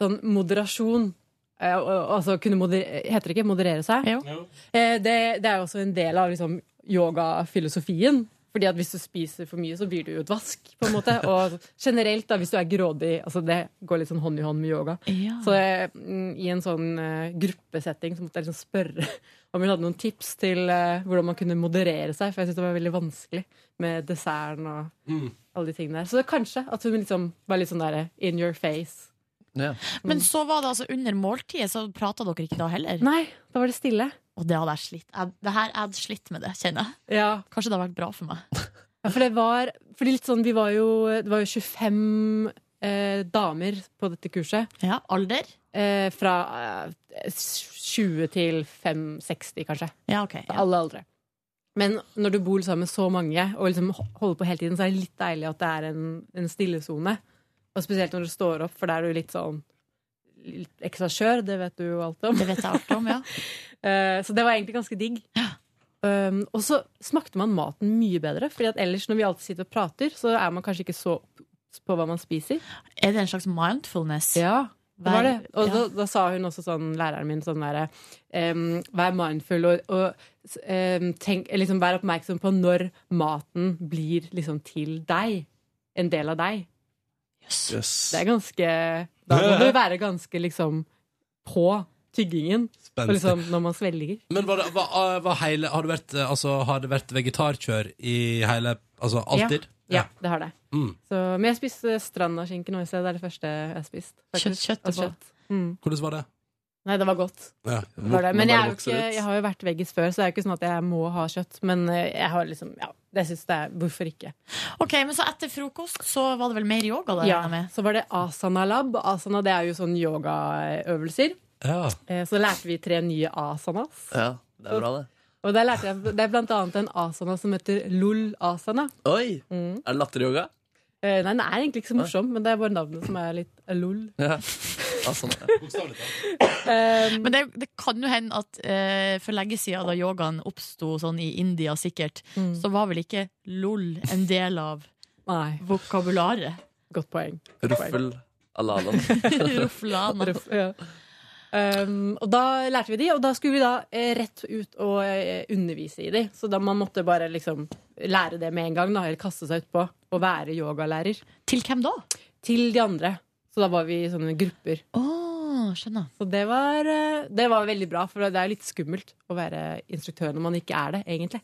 [SPEAKER 8] sånn moderasjon eh, og- og- Altså kunne moder Heter det ikke moderere seg?
[SPEAKER 3] Jo.
[SPEAKER 8] Eh, det, det er jo også en del av liksom, yogafilosofien. Fordi at hvis du spiser for mye, så blir du jo et vask, på en måte. Og generelt, da, hvis du er grådig altså Det går litt sånn hånd i hånd med yoga.
[SPEAKER 3] Ja.
[SPEAKER 8] Så eh, mm, i en sånn eh, gruppesetting så måtte jeg liksom spørre om hun hadde noen tips til eh, hvordan man kunne moderere seg, for jeg syntes det var veldig vanskelig med desserten og alle de tingene der. Så kanskje at hun liksom var litt sånn der eh, in your face.
[SPEAKER 5] Ja.
[SPEAKER 3] Men så var det altså under måltidet, så prata dere ikke da heller?
[SPEAKER 8] Nei, da var det stille.
[SPEAKER 3] Og det hadde jeg slitt. Jeg, det her, jeg hadde slitt med det, kjenner jeg.
[SPEAKER 8] Ja,
[SPEAKER 3] Kanskje det hadde vært bra for meg.
[SPEAKER 8] ja for det var Fordi litt sånn, vi var jo Det var jo 25 eh, damer på dette kurset.
[SPEAKER 3] Ja, Alder?
[SPEAKER 8] Eh, fra eh, 20 til 5-60, kanskje.
[SPEAKER 3] Ja, OK.
[SPEAKER 8] For
[SPEAKER 3] Ja.
[SPEAKER 8] alle aldre. Men når du bor sammen med så mange og liksom ho- holder på hele tiden, så er det litt deilig at det er en, en stillesone. Og spesielt når du står opp, for da er du litt sånn litt ekstra skjør. Det vet du jo alt om.
[SPEAKER 3] Det vet jeg alt om, ja.
[SPEAKER 8] Eh, Så det var egentlig ganske digg. Um, og så smakte man maten mye bedre, Fordi at ellers når vi alltid sitter og prater, så er man kanskje ikke så obs på hva man spiser.
[SPEAKER 3] Er det en slags mindfulness?
[SPEAKER 8] Ja, Det var det.
[SPEAKER 3] Vær-
[SPEAKER 8] Og
[SPEAKER 3] ja.
[SPEAKER 8] da, da sa hun også sånn, læreren min, sånn derre ehm, Vær mindful og, og ehm, tenk, liksom, vær oppmerksom på når maten blir liksom til deg. En del av deg.
[SPEAKER 2] Yes.
[SPEAKER 8] Det er ganske Da må du være ganske liksom på tyggingen. Og
[SPEAKER 2] Spenstig.
[SPEAKER 8] liksom når man svelger.
[SPEAKER 2] Men var det, var, var hele, har, det vært, eh, altså, har det vært vegetarkjør i hele Altså alltid?
[SPEAKER 8] Ja, ja det har det.
[SPEAKER 2] Mm.
[SPEAKER 8] Så, men jeg spiste strandaskinke nå i sted. Det er det første jeg har spist.
[SPEAKER 3] Kjøtt- kjøtt og
[SPEAKER 8] Og kjøtt. Mm.
[SPEAKER 2] Hvordan var det?
[SPEAKER 8] Nei, det var godt.
[SPEAKER 2] Ja.
[SPEAKER 8] Det var det. Men jeg, er jo ikke, jeg har jo vært veggis før, så det er jo ikke sånn at jeg må ha kjøtt. Men eh, jeg har liksom, ja, det synes jeg Hvorfor ikke?
[SPEAKER 3] Ok, men så etter frokost så var det vel mer yoga der?
[SPEAKER 8] Ja,
[SPEAKER 3] regner jeg med.
[SPEAKER 8] så var det asana lab. Asana det er jo sånn yogaøvelser.
[SPEAKER 2] Ja.
[SPEAKER 8] Eh, Så lærte vi tre nye asanas.
[SPEAKER 5] Ja, det er bra, det.
[SPEAKER 8] Og der lærte jeg, det er blant annet en asana som heter lol asana.
[SPEAKER 5] Oi!
[SPEAKER 8] Mm.
[SPEAKER 5] Er det latteryoga?
[SPEAKER 8] Eh, Nei, den er egentlig ikke så morsom, men det er bare navnet som er litt lol.
[SPEAKER 5] Ja. ja, sånn, ja.
[SPEAKER 3] Men det, det kan jo hende at eh, for lenge siden, da yogaen oppsto sånn i India sikkert, så var vel ikke LOL en del av
[SPEAKER 8] Nei.
[SPEAKER 3] vokabularet?
[SPEAKER 8] Godt poeng.
[SPEAKER 5] Ruffel alalan.
[SPEAKER 3] Rufflana.
[SPEAKER 8] Ruff, ja. Um, og da lærte vi de, og da skulle vi da eh, rett ut og eh, undervise i de. Så da man måtte bare liksom lære det med en gang, da, eller kaste seg utpå og være yogalærer.
[SPEAKER 3] Til hvem da?
[SPEAKER 8] Til de andre. Så da var vi i sånne grupper.
[SPEAKER 3] Åh, skjønner.
[SPEAKER 8] Så det var, eh, det var veldig bra, for det er litt skummelt å være instruktør når man ikke er det, egentlig.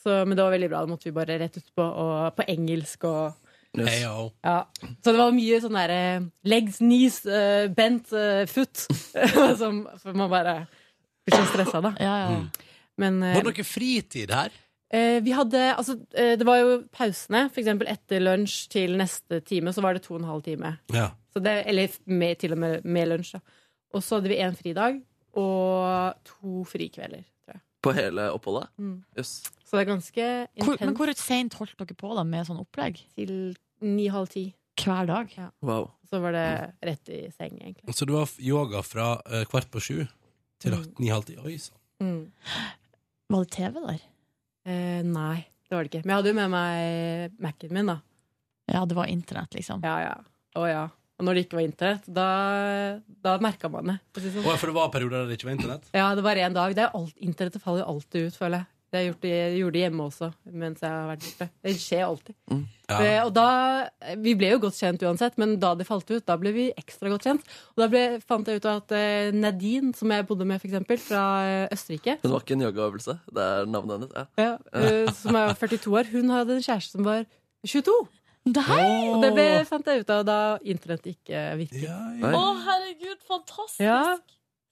[SPEAKER 8] Så, men det var veldig bra. Da måtte vi bare rett utpå og på engelsk og
[SPEAKER 2] Hey, oh. yo.
[SPEAKER 8] ja. Så det var mye sånn der eh, legs, knees, eh, bent, eh, foot. som, for man bare blir så stressa, da.
[SPEAKER 3] Ja, ja.
[SPEAKER 8] Men eh,
[SPEAKER 2] Var det noe fritid her?
[SPEAKER 8] eh, vi hadde Altså, eh, det var jo pausene. For eksempel etter lunsj til neste time, så var det to og en halv time.
[SPEAKER 2] Ja.
[SPEAKER 8] Så det, eller med, til og med med lunsj, da. Og så hadde vi én fridag og to frikvelder, tror jeg.
[SPEAKER 5] På hele oppholdet?
[SPEAKER 8] Mm.
[SPEAKER 5] Jøss.
[SPEAKER 8] Så det er ganske
[SPEAKER 3] Hvor, men
[SPEAKER 8] intenst
[SPEAKER 3] hvor sent holdt dere på da med sånn opplegg?
[SPEAKER 8] til ni-halv ti.
[SPEAKER 3] Hver dag?
[SPEAKER 5] Wow.
[SPEAKER 8] Så var det rett i seng, egentlig.
[SPEAKER 2] Så det var yoga fra eh, kvart på sju til ni-halv ti? Oi sånn. sann.
[SPEAKER 8] Mm.
[SPEAKER 3] Var det TV der?
[SPEAKER 8] Eh, nei, det var det ikke. Men jeg hadde jo med meg Mac-en min, da.
[SPEAKER 3] Ja, det var internett, liksom.
[SPEAKER 8] Ja, ja. Å, ja. Og når det ikke var internett, da, da merka man det. for å si
[SPEAKER 2] Å,
[SPEAKER 8] det sånn.
[SPEAKER 2] ja, for det var perioder der det ikke var internett?
[SPEAKER 8] Ja, det var én dag. Det er alt, internettet faller jo alltid ut, føler jeg. Det har jeg gjort, jeg gjorde det hjemme også mens jeg har vært borte. Det skjer alltid. Eh,
[SPEAKER 2] Ja.
[SPEAKER 8] og da, Vi ble jo godt kjent uansett, men da det falt ut, da ble vi ekstra godt kjent. Og da ble, fant jeg ut at eh, Nadine, som jeg bodde med, for eksempel, fra eh, Østerrike,
[SPEAKER 5] Hun var ikke en yogaøvelse. Det er navnet hennes. Ja.
[SPEAKER 8] ja, eh, som er 42 år, hun hadde en kjæreste som var 22.
[SPEAKER 3] Nei!
[SPEAKER 8] Og det ble, fant jeg ut av da internett ikke virket.
[SPEAKER 2] Ja,
[SPEAKER 5] Nei.
[SPEAKER 2] ja.
[SPEAKER 9] herregud, fantastisk!
[SPEAKER 8] Ja.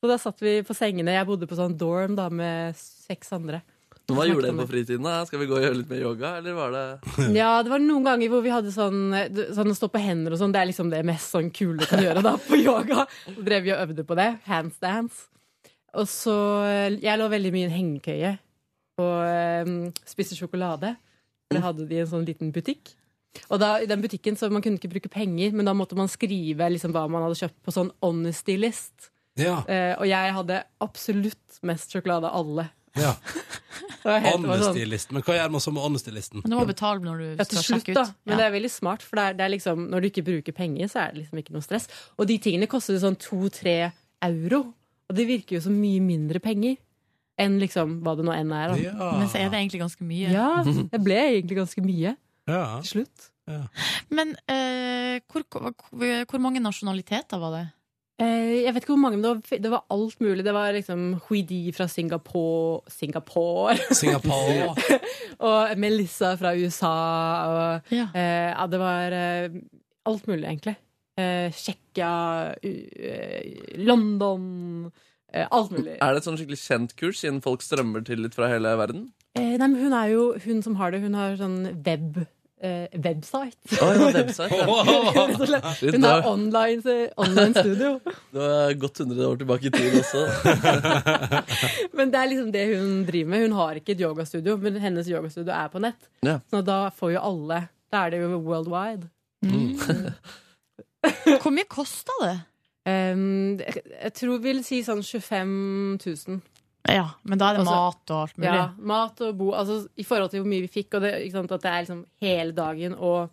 [SPEAKER 8] Så da satt vi på sengene. Jeg bodde på sånn dorm da med seks andre.
[SPEAKER 5] Men Hva
[SPEAKER 8] Snakket
[SPEAKER 5] gjorde
[SPEAKER 8] om
[SPEAKER 5] dere på fritiden? da? Skal vi gå og gjøre litt mer yoga, eller var det
[SPEAKER 8] Ja, det var noen ganger hvor vi hadde sånn, sånn å stå på hender og sånn. Det er liksom det mest sånn kule du kan gjøre da på yoga. Så drev vi og øvde på det. Handstands. Og så eh, Jeg lå veldig mye i en hengekøye og um, spiste sjokolade. Der hadde de en sånn liten butikk. Og da, i den butikken så Man kunne ikke bruke penger, men da måtte man skrive liksom, hva man hadde kjøpt på sånn honesty list.
[SPEAKER 2] ja,
[SPEAKER 8] Eh, og jeg hadde absolutt mest sjokolade av alle.
[SPEAKER 2] ja.
[SPEAKER 8] Det var helt- det var sånn-
[SPEAKER 2] Honesty-listen. Men hva gjør man så med honesty-listen?
[SPEAKER 3] Men du må betale når du
[SPEAKER 8] Ja, til
[SPEAKER 3] skal
[SPEAKER 8] slutt,
[SPEAKER 3] sjekke
[SPEAKER 8] da.
[SPEAKER 3] ut. Ja.
[SPEAKER 8] Men det er veldig smart, for det er, det er liksom, når du ikke bruker penger, så er det liksom ikke noe stress. Og de tingene koster sånn to-tre euro. Og det virker jo som mye mindre penger enn liksom hva det nå enn er. Da.
[SPEAKER 2] Ja.
[SPEAKER 3] Men så er det egentlig ganske mye.
[SPEAKER 8] Ja, det ble egentlig ganske mye
[SPEAKER 2] ja.
[SPEAKER 8] til slutt.
[SPEAKER 3] Men eh, hvor, hvor, hvor mange nasjonaliteter var det?
[SPEAKER 8] Eh, jeg vet ikke hvor mange, men det var, det var alt mulig. Det var liksom Huidi fra Singapore Singapore!
[SPEAKER 2] Singapore.
[SPEAKER 8] og Melissa fra USA. Og
[SPEAKER 3] Ja.
[SPEAKER 8] Eh, ja, det var eh, alt mulig, egentlig. Eh, Tsjekkia, u- eh, London eh, Alt mulig.
[SPEAKER 5] Er det et sånn skikkelig kjent kurs, siden folk strømmer til litt fra hele verden?
[SPEAKER 8] Eh, nei, men hun er jo hun som har det. Hun har sånn web, eh, website.
[SPEAKER 5] Å, hun har website, ja.
[SPEAKER 8] Rett og slett. hun har online, eh, online studio.
[SPEAKER 5] Du er gått 100 år tilbake i tid også.
[SPEAKER 8] Men det er liksom det hun driver med. Hun har ikke et yogastudio, men hennes yogastudio er på nett.
[SPEAKER 5] Ja.
[SPEAKER 8] Så da får jo alle Da er det jo worldwide. Mm.
[SPEAKER 3] Mm. Hvor mye kosta det?
[SPEAKER 8] Um, jeg, jeg tror vi vil si sånn 25 000.
[SPEAKER 3] Ja, men da er det
[SPEAKER 8] Altså-
[SPEAKER 3] mat og alt mulig.
[SPEAKER 8] Ja, mat og bo. Altså, I forhold til hvor mye vi fikk, og det, ikke sant, at det er liksom hele dagen og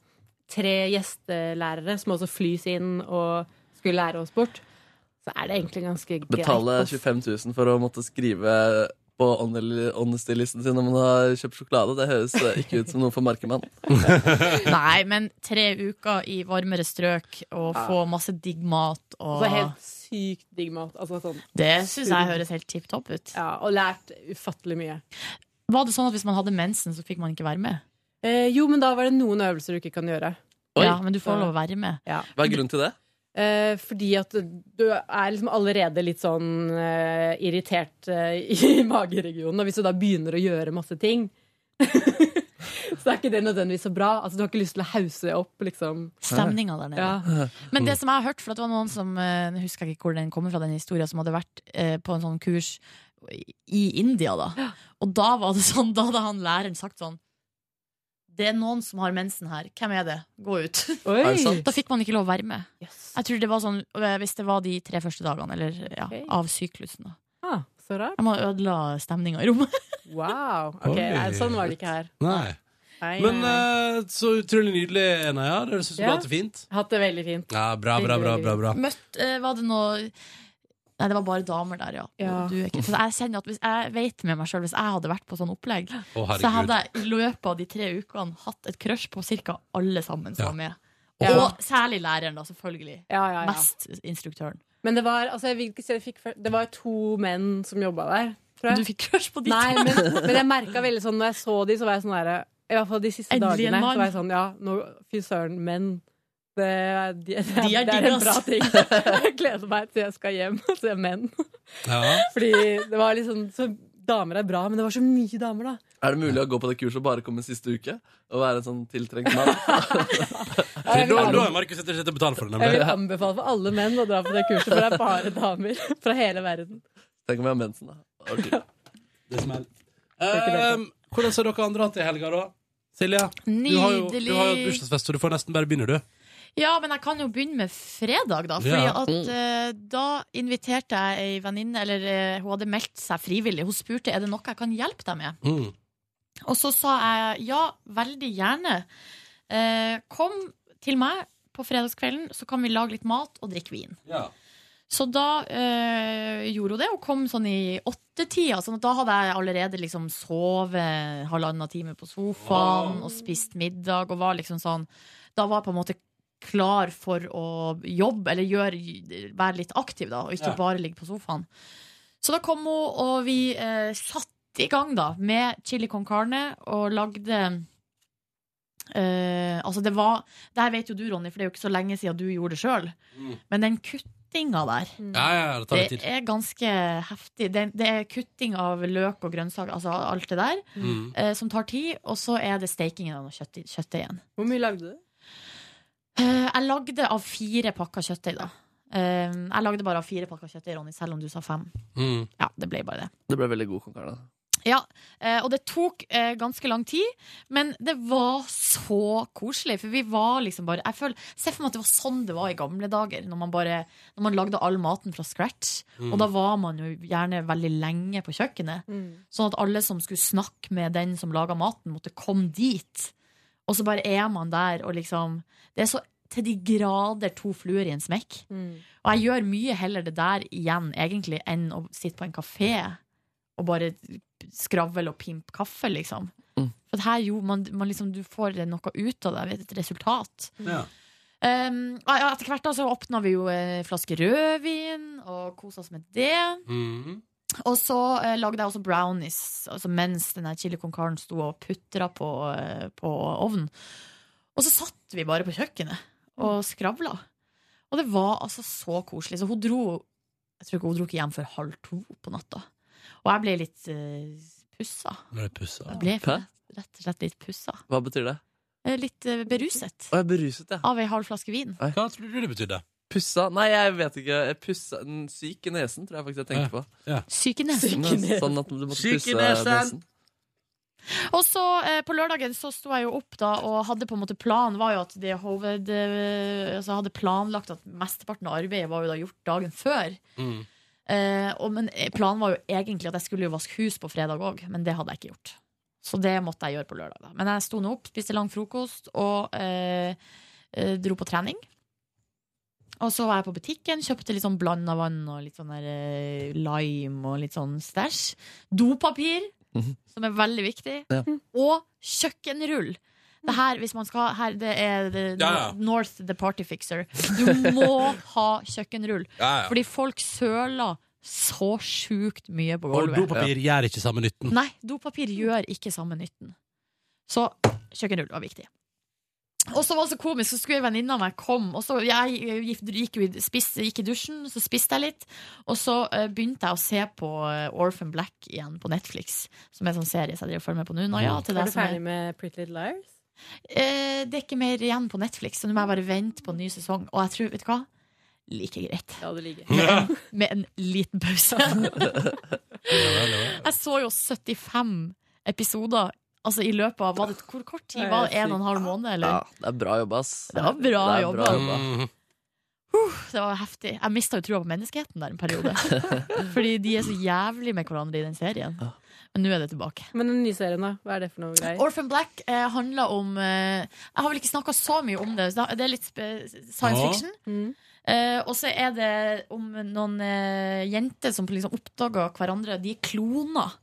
[SPEAKER 8] tre gjestelærere som også flys inn og skulle lære oss bort. så er det egentlig ganske greit.
[SPEAKER 5] Betale 25 000 for å måtte skrive på honesty-listen sin når man har kjøpt sjokolade. Det høres eh, ikke ut som noe for markemann.
[SPEAKER 3] Nei, men tre uker i varmere strøk og få masse digg mat og
[SPEAKER 8] Altså helt sykt digg mat. Altså, sånn.
[SPEAKER 3] Det syns jeg høres helt tipp topp ut.
[SPEAKER 8] Ja, Og lært ufattelig mye.
[SPEAKER 3] Var det sånn at hvis man hadde mensen, så fikk man ikke være med?
[SPEAKER 8] Eh, jo, men da var det noen øvelser du ikke kan gjøre.
[SPEAKER 5] Oi.
[SPEAKER 3] Ja, men du får lov å være med.
[SPEAKER 8] Ja.
[SPEAKER 5] Hva er grunnen til det?
[SPEAKER 8] Eh, fordi at du er liksom allerede litt sånn eh, irritert eh, i mageregionen. Og hvis du da begynner å gjøre masse ting, så er ikke det nødvendigvis så bra. Altså, du har ikke lyst til å hause opp, liksom.
[SPEAKER 3] Stemninga der nede.
[SPEAKER 8] Ja.
[SPEAKER 3] Men det som jeg har hørt, for at det var noen som eh, Nå husker jeg ikke hvor den kommer fra, den historien som hadde vært eh, på en sånn kurs i India, da. Og da var det sånn, da hadde han læreren sagt sånn Det er noen som har mensen her. Hvem er det? Gå ut.
[SPEAKER 8] Oi. Er det sant?
[SPEAKER 3] Da fikk man ikke lov å være med. Jeg tror det var sånn eh, hvis det var de tre første dagene eller, ja,
[SPEAKER 8] Ok.
[SPEAKER 3] av syklusen. Da.
[SPEAKER 8] Ah, så rart.
[SPEAKER 3] Jeg må ødela stemninga i rommet.
[SPEAKER 8] Wow. Ok, nei, sånn var det ikke her.
[SPEAKER 2] Nei.
[SPEAKER 8] Nei,
[SPEAKER 2] Men
[SPEAKER 8] nei, nei.
[SPEAKER 2] eh, så utrolig nydelig, Naya. Det høres ut som du
[SPEAKER 8] Ja.
[SPEAKER 2] har hatt det fint.
[SPEAKER 8] Hatt det veldig fint.
[SPEAKER 2] Ja, bra, bra, bra. bra, bra.
[SPEAKER 3] Møtt, eh, var det noe Nei, det var bare damer der, ja.
[SPEAKER 8] Ja.
[SPEAKER 3] Du er ikke, for jeg kjenner at hvis jeg vet med meg sjøl, hvis jeg hadde vært på sånn opplegg,
[SPEAKER 2] herregud.
[SPEAKER 3] så hadde jeg i løpet av de tre ukene hatt et crush på ca. alle sammen som
[SPEAKER 8] Ja.
[SPEAKER 3] var med.
[SPEAKER 8] Ja.
[SPEAKER 3] Og særlig læreren, da, selvfølgelig.
[SPEAKER 8] Ja, ja, ja.
[SPEAKER 3] Mest instruktøren.
[SPEAKER 8] Men det var, altså, jeg vil ikke si jeg fikk, før- det var to menn som jobba der. Tror jeg.
[SPEAKER 3] Du fikk crush på de
[SPEAKER 8] Nei,
[SPEAKER 3] to.
[SPEAKER 8] men, men jeg merka veldig sånn når jeg så de, så var jeg sånn derre I hvert fall de siste
[SPEAKER 3] Endelig en
[SPEAKER 8] dagene.
[SPEAKER 3] mann.
[SPEAKER 8] Så var jeg sånn, ja, nå, Fy søren, menn. Det, er- de, det,
[SPEAKER 3] De er
[SPEAKER 8] det
[SPEAKER 3] digg,
[SPEAKER 8] er en bra
[SPEAKER 3] ass.
[SPEAKER 8] ting. Jeg gleder meg til jeg skal hjem og se menn. Fordi det var liksom så, Damer er bra, men det var så mye damer, da.
[SPEAKER 5] Er det mulig å gå på det kurset og bare komme siste uke? Og være en sånn tiltrengt mann?
[SPEAKER 2] Da da er Markus etter å betale for det,
[SPEAKER 8] Jeg
[SPEAKER 2] nemlig.
[SPEAKER 8] vil anbefale for alle menn å dra på det kurset, for det er bare damer fra hele verden.
[SPEAKER 5] Tenk om jeg har mensen, da. Ok.
[SPEAKER 2] Ehm, hvordan ser dere andre hatt det i helga, da? Silja? Du har jo, du har jo et
[SPEAKER 3] Nydelig.
[SPEAKER 2] bursdagsfest, så du får nesten bare begynne, du.
[SPEAKER 3] Ja, men jeg kan jo begynne med fredag, da. Fordi
[SPEAKER 2] Ja.
[SPEAKER 3] at eh, da inviterte jeg ei venninne, eller eh, hun hadde meldt seg frivillig. Hun spurte er det noe jeg kan hjelpe deg med.
[SPEAKER 2] Mm.
[SPEAKER 3] Og så sa jeg ja, veldig gjerne. Eh, kom til meg på fredagskvelden, så kan vi lage litt mat og drikke vin. Så da eh, gjorde hun det, og kom sånn i åttetida. Sånn at da hadde jeg allerede liksom sovet halvannen time på sofaen og spist middag og var liksom sånn Da var jeg på en måte klar for å jobbe, eller gjøre, være litt aktiv, da, og ikke
[SPEAKER 13] Ja.
[SPEAKER 3] bare ligge på sofaen. Så da kom hun, og vi eh, satte i gang da med chili con carne og lagde eh, altså det var Det her vet jo du, Ronny, for det er jo ikke så lenge siden du gjorde det sjøl.
[SPEAKER 2] Mm.
[SPEAKER 3] Men den kuttinga der,
[SPEAKER 2] Ja, ja, ja, det tar litt tid.
[SPEAKER 3] er ganske heftig. Det, det er kutting av løk og grønnsaker, altså alt det der,
[SPEAKER 2] Mm.
[SPEAKER 3] eh, som tar tid. Og så er det stekingen av noe kjøtt, i- kjøttet igjen.
[SPEAKER 8] Hvor mye lagde du?
[SPEAKER 3] Eh, jeg lagde av fire pakker kjøttdeig, da. Eh, jeg lagde bare av fire pakker kjøttdeig, Ronny, selv om du sa fem.
[SPEAKER 2] mm.
[SPEAKER 3] Ja, det ble bare det.
[SPEAKER 5] Det ble veldig god konkurranse.
[SPEAKER 3] Ja, eh, og det tok eh, ganske lang tid, men det var så koselig. For vi var liksom bare Jeg føler, Se for meg at det var sånn det var i gamle dager, når man, bare, når man lagde all maten fra scratch.
[SPEAKER 13] Mm.
[SPEAKER 3] Og da var man jo gjerne veldig lenge på kjøkkenet.
[SPEAKER 8] Mm.
[SPEAKER 3] Sånn at alle som skulle snakke med den som laga maten, måtte komme dit. Og så bare er man der, og liksom Det er så til de grader to fluer i en smekk.
[SPEAKER 8] Mm.
[SPEAKER 3] Og jeg gjør mye heller det der igjen, egentlig, enn å sitte på en kafé og bare skravle og pimpe kaffe, liksom.
[SPEAKER 5] Mm.
[SPEAKER 3] For at her jo, man, man liksom, du får noe ut av det, vet, et resultat. Um, og ja, etter hvert da så åpna vi jo en flaske rødvin og kosa oss med det.
[SPEAKER 2] Mm.
[SPEAKER 3] Og så eh, lagde jeg også brownies altså mens den her chili con carne sto og putra på, eh, på ovnen. Og så satt vi bare på kjøkkenet og skravla. Og det var altså så koselig. Så hun dro Jeg tror ikke hun dro ikke hjem før halv to på natta. Og jeg ble litt uh, pussa.
[SPEAKER 2] Nå er det pussa.
[SPEAKER 3] Jeg ble
[SPEAKER 5] Hæ?
[SPEAKER 3] rett rett og slett litt pussa.
[SPEAKER 5] Hva betyr det?
[SPEAKER 3] Eh, Litt eh, beruset
[SPEAKER 5] Å, jeg er beruset, ja.
[SPEAKER 3] av ei halv flaske vin.
[SPEAKER 2] Hva tror du det betydde?
[SPEAKER 5] Pussa? Nei, jeg vet ikke. Jeg pussa n- Syk i nesen, tror jeg faktisk jeg tenkte på.
[SPEAKER 3] Syk i nesen.
[SPEAKER 5] Sånn-
[SPEAKER 3] Syk i nesen.
[SPEAKER 5] Sånn at du måtte
[SPEAKER 3] Syk i
[SPEAKER 5] pusse
[SPEAKER 3] nesen.
[SPEAKER 5] nesen.
[SPEAKER 3] Og så eh, på lørdagen så sto jeg jo opp da og hadde på en måte plan var jo at det hoved, eh, altså hadde planlagt at mesteparten av arbeidet var jo da gjort dagen før.
[SPEAKER 2] Mm.
[SPEAKER 3] Eh, og, men eh, planen var jo egentlig at jeg skulle jo vaske hus på fredag òg, men det hadde jeg ikke gjort. Så det måtte jeg gjøre på lørdag. da Men jeg sto nå opp, spiste lang frokost og eh, eh, dro på trening. Og så var jeg på butikken, kjøpte litt sånn blanda vann og litt sånn der, eh, lime og litt sånn stæsj. Dopapir,
[SPEAKER 5] Mhm.
[SPEAKER 3] som er veldig viktig.
[SPEAKER 5] Ja.
[SPEAKER 3] Og kjøkkenrull. Det her, hvis man skal her, Det er the,
[SPEAKER 13] Ja, ja.
[SPEAKER 3] North the party fixer. Du må ha kjøkkenrull.
[SPEAKER 2] Ja, ja.
[SPEAKER 3] Fordi folk søler så sjukt mye på
[SPEAKER 2] Og
[SPEAKER 3] gulvet.
[SPEAKER 2] dopapir gjør ikke samme nytten.
[SPEAKER 3] Nei, dopapir gjør ikke samme nytten. Så kjøkkenrull var viktig. Og så var det så komisk, så skulle en venninne av meg komme. Og så jeg eh, gikk, gikk, jo i- spiste- gikk i dusjen, så spiste jeg litt. Og så eh, begynte jeg å se på eh, Orphan Black igjen på Netflix, som er en sånn serie som jeg driver og følger med på nå. Nå, ja,
[SPEAKER 2] Mm.
[SPEAKER 3] til
[SPEAKER 8] Er
[SPEAKER 3] deg
[SPEAKER 8] du
[SPEAKER 3] som er-
[SPEAKER 8] ferdig med Pretty Little Liars?
[SPEAKER 3] Eh, det er ikke mer igjen på Netflix, så nå må jeg bare vente på en ny sesong. Og jeg tror, vet du hva? Like greit. Med en, med en liten pause. jeg så jo 75 episoder altså i løpet av var det, Hvor kort tid var det? En og en halv måned,
[SPEAKER 5] Ja,
[SPEAKER 3] eller?
[SPEAKER 5] det er bra jobba, ass.
[SPEAKER 3] Det var bra
[SPEAKER 5] Det er
[SPEAKER 3] jobba.
[SPEAKER 2] Mm.
[SPEAKER 5] jobba.
[SPEAKER 3] Uh, det var heftig. Jeg mista jo trua på menneskeheten der en periode. Fordi de er så jævlig med hverandre i den serien. Men nå er det tilbake.
[SPEAKER 8] Men den nye serien, da? Hva er det for noe greier?
[SPEAKER 3] Orphan Black eh, handler om eh, Jeg har vel ikke snakka så mye om det. så da- Det er litt spe- science
[SPEAKER 8] Ja.
[SPEAKER 3] fiction.
[SPEAKER 8] Mm.
[SPEAKER 3] Eh, og så er det om noen eh, jenter som liksom oppdager hverandre. De er kloner.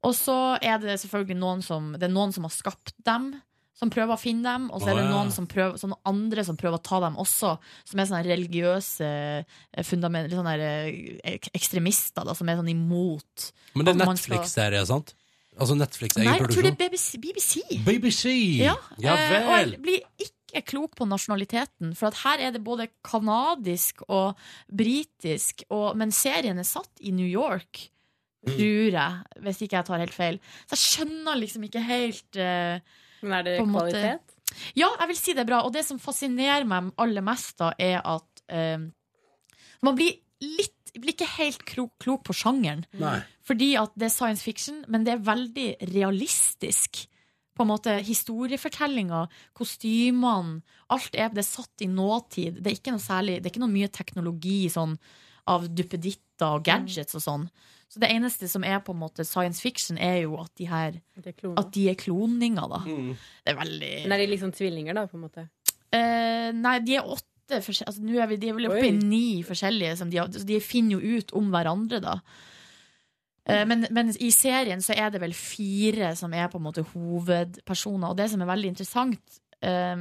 [SPEAKER 3] Og så er det selvfølgelig noen som Det er noen som har skapt dem. Som prøver å finne dem, og så er det
[SPEAKER 8] Å, ja.
[SPEAKER 3] noen som prøver, sånne andre som prøver å ta dem også. Som er sånne religiøse eh, fundamen- eller sånne eh, ek- ekstremister, da, som er sånn imot.
[SPEAKER 2] Men det er
[SPEAKER 3] at man skal-
[SPEAKER 2] Netflix-serie, sant? Altså Netflix
[SPEAKER 3] Nei,
[SPEAKER 2] egen
[SPEAKER 3] jeg tror
[SPEAKER 2] produksjon?
[SPEAKER 3] det er BBC. BBC.
[SPEAKER 2] BBC!
[SPEAKER 3] Ja,
[SPEAKER 2] Ja
[SPEAKER 3] eh, og
[SPEAKER 2] vel!
[SPEAKER 3] jeg blir ikke klok på nasjonaliteten, for at her er det både kanadisk og britisk, og, men serien er satt i New York,
[SPEAKER 8] Mm.
[SPEAKER 3] tror jeg, hvis ikke jeg tar helt feil. Så jeg skjønner liksom ikke helt eh,
[SPEAKER 8] Men er det
[SPEAKER 3] på en måte-
[SPEAKER 8] kvalitet?
[SPEAKER 3] Ja, jeg vil si det er bra. Og det som fascinerer meg aller mest, da, er at eh, man blir litt blir ikke helt klo, klok på sjangeren.
[SPEAKER 2] Nei.
[SPEAKER 3] Fordi at det er science fiction, men det er veldig realistisk. På en måte Historiefortellinga, kostymene, alt er, det er satt i nåtid. Det er ikke noe særlig Det er ikke noe mye teknologi sånn, av duppeditter og gadgets og sånn. Så det eneste som er på en måte science fiction, er jo at de her At de er kloninger, da. Det er veldig
[SPEAKER 8] Men er de liksom tvillinger, da? på en måte?
[SPEAKER 3] Eh, nei, de er åtte forskjell- altså, nå er vi, De er vel oppe i ni forskjellige. Som de, har, så de finner jo ut om hverandre, da. Eh, Men, men i serien så er det vel fire som er på en måte hovedpersoner. Og det som er veldig interessant, eh,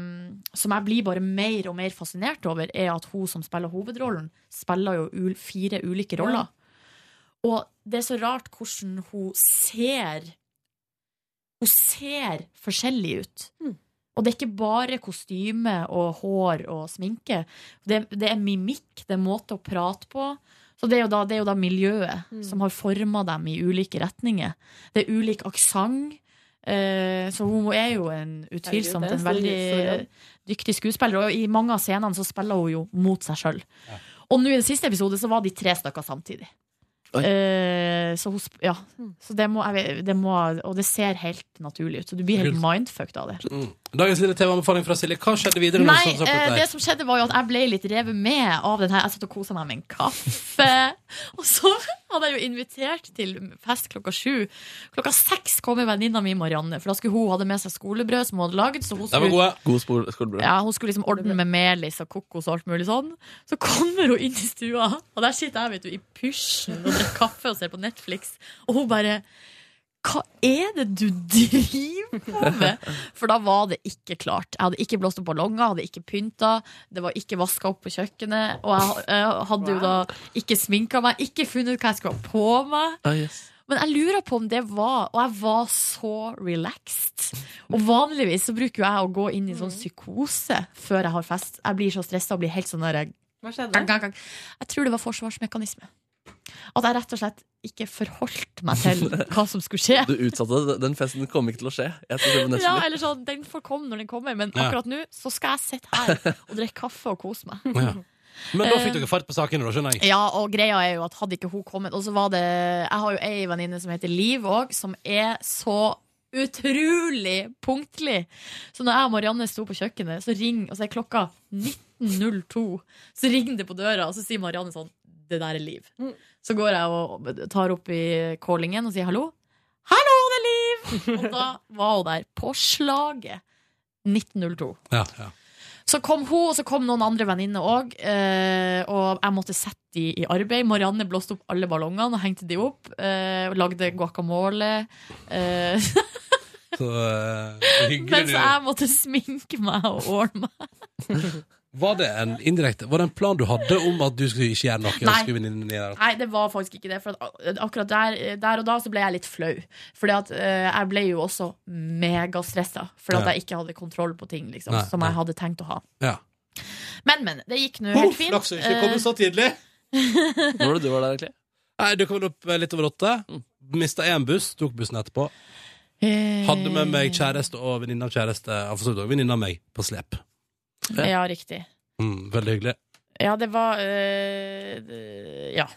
[SPEAKER 3] som jeg blir bare mer og mer fascinert over, er at hun som spiller hovedrollen, spiller jo ul fire ulike roller. Og det er så rart hvordan hun ser Hun ser forskjellig ut. Og det er ikke bare kostyme og hår og sminke. Det, det er mimikk, det er måte å prate på. Så det er jo da, det er jo da miljøet
[SPEAKER 8] Mm.
[SPEAKER 3] som har forma dem i ulike retninger. Det er ulik aksent. eh, så hun er jo en utvilsomt
[SPEAKER 8] Herregud, det er
[SPEAKER 3] en
[SPEAKER 8] så
[SPEAKER 3] veldig
[SPEAKER 8] mye stor jobb.
[SPEAKER 3] dyktig skuespiller, og i mange av scenene så spiller hun jo mot seg sjøl. Og nå i den siste episode så var de tre stykker samtidig. Eh, så hun, sp- ja.
[SPEAKER 8] Mm.
[SPEAKER 3] så det må, jeg vet- det må Og det ser helt naturlig ut, så du blir helt mindfucked av det.
[SPEAKER 2] Mm. Dagens lille TV-anbefaling fra Silje. Hva skjedde videre? når
[SPEAKER 3] Nei,
[SPEAKER 2] du så- så på
[SPEAKER 3] eh,
[SPEAKER 2] der?
[SPEAKER 3] det som skjedde var jo at jeg ble litt revet med av den her. Jeg satt og kosa meg med en kaffe. og så hadde jeg jo invitert til fest klokka sju. Klokka seks kom venninna mi Marianne, for da skulle hun hadde med seg skolebrød som hun hadde lagd. Så hun
[SPEAKER 5] Det var
[SPEAKER 3] skulle,
[SPEAKER 5] God skole- skolebrød.
[SPEAKER 3] ja, hun skulle liksom ordne med melis og kokos og alt mulig sånn. Så kommer hun inn i stua, og der sitter jeg vet du, i pysjen og drikker kaffe og ser på Netflix. Og hun bare Hva er det du driver på med? For da var det ikke klart. Jeg hadde ikke blåst opp ballonger, jeg hadde ikke pynta, det var ikke vaska opp på kjøkkenet. Og jeg, jeg hadde jo da ikke sminka meg, ikke funnet ut hva jeg skulle ha på meg.
[SPEAKER 5] Ah, yes.
[SPEAKER 3] Men jeg lurer på om det var Og jeg var så relaxed. Og vanligvis så bruker jo jeg å gå inn i sånn psykose før jeg har fest. Jeg blir så stressa og blir helt sånn der
[SPEAKER 8] Hva
[SPEAKER 3] Gang, gang, gang. Jeg tror det var forsvarsmekanisme. At jeg rett og slett ikke forholdt meg til hva som skulle skje.
[SPEAKER 5] Du utsatte det. Den festen kommer ikke til å skje. Jeg skal se på
[SPEAKER 3] Ja,
[SPEAKER 5] Netflix.
[SPEAKER 3] eller sånn, Den får komme når den kommer, men
[SPEAKER 2] Ja.
[SPEAKER 3] akkurat nå så skal jeg sitte her og drikke kaffe og kose meg.
[SPEAKER 2] Ja. Men da
[SPEAKER 3] Eh,
[SPEAKER 2] fikk dere fart på saken, da, skjønner jeg.
[SPEAKER 3] Ja, og greia er jo at hadde ikke hun kommet Og så var det Jeg har jo ei venninne som heter Liv òg, som er så utrolig punktlig. Så når jeg og Marianne sto på kjøkkenet, så ring, og så er klokka 19.02. Så ringer det på døra, og så sier Marianne sånn Det der er Liv. Så går jeg og tar opp i callingen og sier hallo. Hallo, det er Liv! Og da var hun der på slaget. 1902.
[SPEAKER 2] Ja, ja.
[SPEAKER 3] Så kom hun, og så kom noen andre venninner òg. eh, og jeg måtte sette de i arbeid. Marianne blåste opp alle ballongene og hengte de opp. eh, og lagde guacamole. eh,
[SPEAKER 2] Så eh, hyggelig.
[SPEAKER 3] mens
[SPEAKER 2] du-
[SPEAKER 3] jeg måtte sminke meg og ordne meg.
[SPEAKER 2] Var det en indirekte Var det en plan du hadde om at du skulle ikke gjøre noe? og
[SPEAKER 3] Nei.
[SPEAKER 2] skulle venninnen din gjøre noe?
[SPEAKER 3] Nei, det var faktisk ikke det. For at akkurat der, der og da så ble jeg litt flau. Fordi at eh, jeg ble jo også megastressa fordi at
[SPEAKER 2] Ja.
[SPEAKER 3] jeg ikke hadde kontroll på ting liksom,
[SPEAKER 2] Nei,
[SPEAKER 3] som
[SPEAKER 2] nei.
[SPEAKER 3] jeg hadde tenkt å ha.
[SPEAKER 2] Ja.
[SPEAKER 3] Men, men. Det gikk nå Eh, helt fint.
[SPEAKER 2] Flaks å Oh, ikke komme
[SPEAKER 3] Eh,
[SPEAKER 2] så tidlig.
[SPEAKER 5] Når var det du var der, egentlig?
[SPEAKER 2] Nei, Du kom opp eh, litt over åtte. Mista én buss, tok bussen etterpå.
[SPEAKER 3] Eh.
[SPEAKER 2] Hadde med meg kjæreste og venninne av kjæreste, ja, for så vidt også venninne av meg, på slep.
[SPEAKER 3] Ja, riktig.
[SPEAKER 2] Mm, veldig hyggelig.
[SPEAKER 3] Ja, det var eh, det- Ja.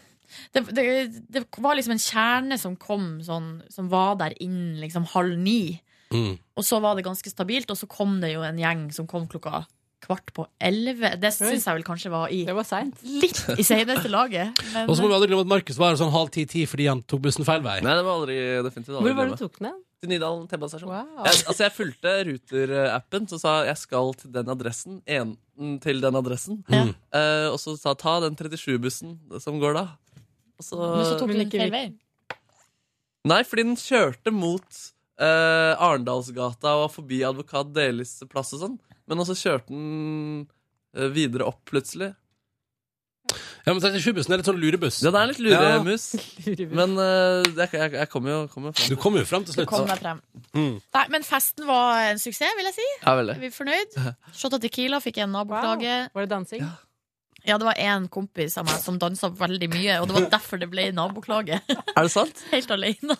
[SPEAKER 3] Det, det, det var liksom en kjerne som kom sånn, som var der innen liksom halv ni.
[SPEAKER 2] Mm.
[SPEAKER 3] Og så var det ganske stabilt, og så kom det jo en gjeng som kom klokka kvart på elleve. Det syns jeg vel kanskje var i litt i seneste laget. Men,
[SPEAKER 2] Og så må vi aldri glemme at Markus var her sånn halv ti-ti fordi han tok bussen feil vei.
[SPEAKER 5] Nei, det var aldri definitivt aldri
[SPEAKER 8] Hvor var det
[SPEAKER 5] glemme.
[SPEAKER 8] du tok den? hen?
[SPEAKER 5] Til Nydalen T-banestasjon. Jeg, altså, jeg fulgte Ruter-appen, så sa jeg skal til den adressen. Enten til den adressen.
[SPEAKER 2] Mm.
[SPEAKER 5] Eh, og så sa ta den 37-bussen som går da. Og så,
[SPEAKER 3] eh, men så tok du
[SPEAKER 8] Men
[SPEAKER 3] den
[SPEAKER 8] ikke
[SPEAKER 3] feil vei.
[SPEAKER 8] vi-
[SPEAKER 5] Nei, fordi den kjørte mot eh, Arendalsgata og forbi Advokat Delis plass og sånn. Men også kjørte den eh, videre opp plutselig.
[SPEAKER 2] Ja, men 37-bussen er litt sånn lurebuss.
[SPEAKER 5] Den er litt
[SPEAKER 2] Ja.
[SPEAKER 5] luremus. Men eh, jeg, jeg, jeg kommer jo kom jo
[SPEAKER 2] Du
[SPEAKER 5] frem.
[SPEAKER 2] kom jo fram til
[SPEAKER 3] Du
[SPEAKER 2] slutt.
[SPEAKER 3] kom deg frem.
[SPEAKER 2] Mm.
[SPEAKER 3] Nei, men festen var en suksess, vil jeg si.
[SPEAKER 5] Ja, veldig.
[SPEAKER 3] Vi er fornøyd. Shot av Tequila fikk en naboklage.
[SPEAKER 8] Wow. Var det dansing?
[SPEAKER 3] Ja, det var én kompis av meg som dansa veldig mye, og det var derfor det ble naboklage.
[SPEAKER 5] Er det sant?
[SPEAKER 3] Helt alene.